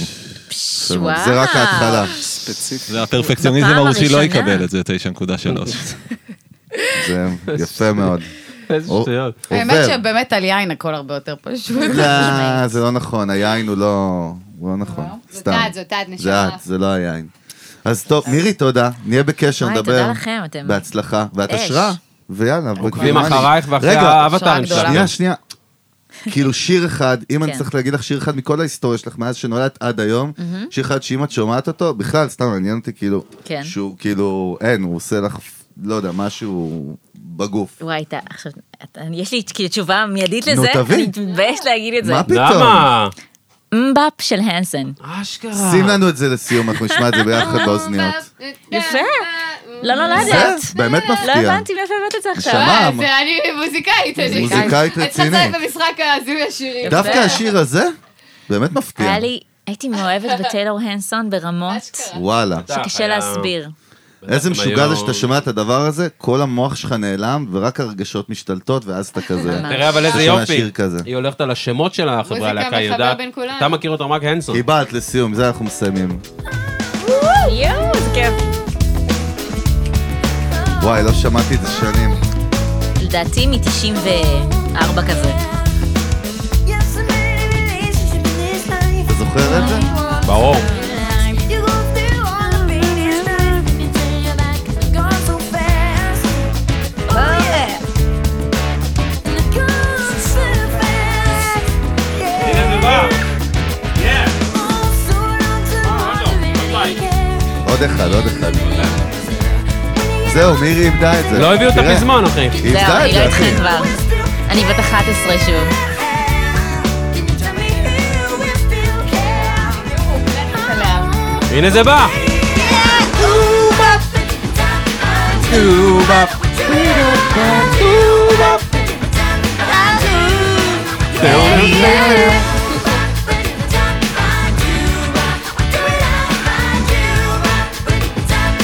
Speaker 3: וואו.
Speaker 1: זה רק ההתחלה.
Speaker 7: ספציפית.
Speaker 5: זה הפרפקציוניזם
Speaker 3: בפעם
Speaker 5: הרוסי לא
Speaker 3: הראשונה.
Speaker 5: יקבל את זה, 9.3.
Speaker 1: זה יפה מאוד.
Speaker 2: איזה
Speaker 1: או-
Speaker 2: שטויות.
Speaker 4: האמת
Speaker 1: עובר.
Speaker 4: שבאמת על יין הכל הרבה יותר פשוט.
Speaker 1: לא, זה לא נכון, היין הוא לא... הוא לא נכון.
Speaker 6: זאת
Speaker 1: סתם.
Speaker 6: את, זאת את,
Speaker 1: זה
Speaker 6: נשמה.
Speaker 1: את, זה לא היין. אז טוב, מירי, תודה. נהיה בקשר,
Speaker 3: וואי,
Speaker 1: נדבר.
Speaker 3: תודה לכם, אתם-
Speaker 1: בהצלחה. ואת
Speaker 3: אש.
Speaker 1: השראה. ויאללה,
Speaker 2: עוקבים
Speaker 1: בגרמניה.
Speaker 2: אחרייך ואחרי
Speaker 1: רגע,
Speaker 2: האבטרים
Speaker 4: השראה
Speaker 2: שלך.
Speaker 1: שנייה, שנייה. כאילו שיר אחד, אם אני
Speaker 3: כן.
Speaker 1: צריך להגיד לך שיר אחד מכל ההיסטוריה שלך מאז שנולדת עד היום, שיר אחד שאם את שומעת אותו, בכלל, סתם מעניין אותי כאילו,
Speaker 3: כן.
Speaker 1: שהוא כאילו, אין, הוא עושה לך, לא יודע, משהו בגוף.
Speaker 3: וואי, אתה עכשיו, אתה- יש לי כאילו תשובה מיידית לזה,
Speaker 1: תביא.
Speaker 3: אני מתביישת להגיד את זה.
Speaker 1: מה פתאום?
Speaker 2: למה?
Speaker 3: מבאפ של הנסן.
Speaker 2: אשכרה.
Speaker 1: שים לנו את זה לסיום, אנחנו נשמע את זה ביחד באוזניות.
Speaker 3: יפה. לא נולדת.
Speaker 1: זה באמת
Speaker 3: לא
Speaker 1: מפתיע.
Speaker 3: הבנתי מאיפה הבאת את זה עכשיו.
Speaker 1: נשמה.
Speaker 6: אה,
Speaker 1: אמר.
Speaker 6: זה אני מוזיקאית, אני
Speaker 1: מוזיקאית
Speaker 6: את צריכה
Speaker 1: רצינית.
Speaker 6: לשחק במשחק הזוי השירים.
Speaker 1: דווקא השיר הזה, באמת מפתיע.
Speaker 3: היה לי, הייתי מאוהבת בטיילור הנסון ברמות
Speaker 1: וואלה.
Speaker 3: שקשה
Speaker 2: היה-
Speaker 3: להסביר.
Speaker 1: איזה משוגע
Speaker 2: היום.
Speaker 1: זה שאתה שומע את הדבר הזה, כל המוח שלך נעלם, ורק הרגשות משתלטות, ואז אתה כזה.
Speaker 3: ממש.
Speaker 2: תראה אבל איזה
Speaker 1: שומע
Speaker 2: יופי,
Speaker 1: שיר כזה.
Speaker 2: היא הולכת על השמות של החברה
Speaker 6: מוזיקה
Speaker 2: הלהקה, היא
Speaker 6: מחבר
Speaker 2: יודעת,
Speaker 6: בין כולם.
Speaker 2: אתה מכיר אותם רק הנסון.
Speaker 1: קיבלת לסיום, זה אנחנו מסיימים.
Speaker 3: יואו, זה כיף.
Speaker 1: וואי, לא שמעתי את זה שנים.
Speaker 3: לדעתי מ-94 כזה.
Speaker 1: אתה זוכר את זה?
Speaker 2: ברור.
Speaker 1: עוד אחד, עוד אחד. זהו, מירי איבדה את זה.
Speaker 2: לא הביאו אותה
Speaker 1: תראה,
Speaker 2: מזמן אחי.
Speaker 1: היא
Speaker 3: זהו,
Speaker 1: איבדה את
Speaker 3: אני לא
Speaker 1: זה,
Speaker 3: איתכם
Speaker 1: אחי.
Speaker 3: כבר. אני בת 11 שוב.
Speaker 2: הנה זה בא.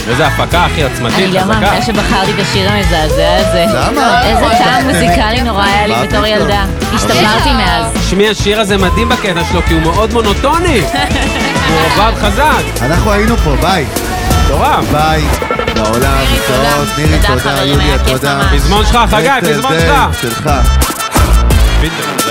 Speaker 2: איזה הפקה הכי
Speaker 3: אני
Speaker 2: עוצמתית,
Speaker 3: לא מאמינה
Speaker 2: חזקה.
Speaker 3: שבחרתי את השיר המזעזע הזה.
Speaker 1: למה?
Speaker 3: איזה טעם מוזיקלי נורא היה לי
Speaker 1: מה
Speaker 3: בתור
Speaker 1: פתאום? אוקיי.
Speaker 3: ילדה. השתפרתי מאז.
Speaker 2: שמי השיר הזה מדהים בקטע שלו, כי הוא מאוד מונוטוני. הוא עבד חזק,
Speaker 1: אנחנו היינו פה, ביי.
Speaker 2: מטורף.
Speaker 1: ביי. לעולם, להתראות. מירי,
Speaker 3: תודה,
Speaker 1: תודה, אה,
Speaker 3: חברים, היה
Speaker 1: יוליה,
Speaker 3: כיף
Speaker 1: תודה.
Speaker 3: ממש.
Speaker 2: פזמון שלך, חגג,
Speaker 1: זה-
Speaker 2: פזמון
Speaker 1: זה
Speaker 2: שלך.
Speaker 1: שלך.
Speaker 2: בדיוק.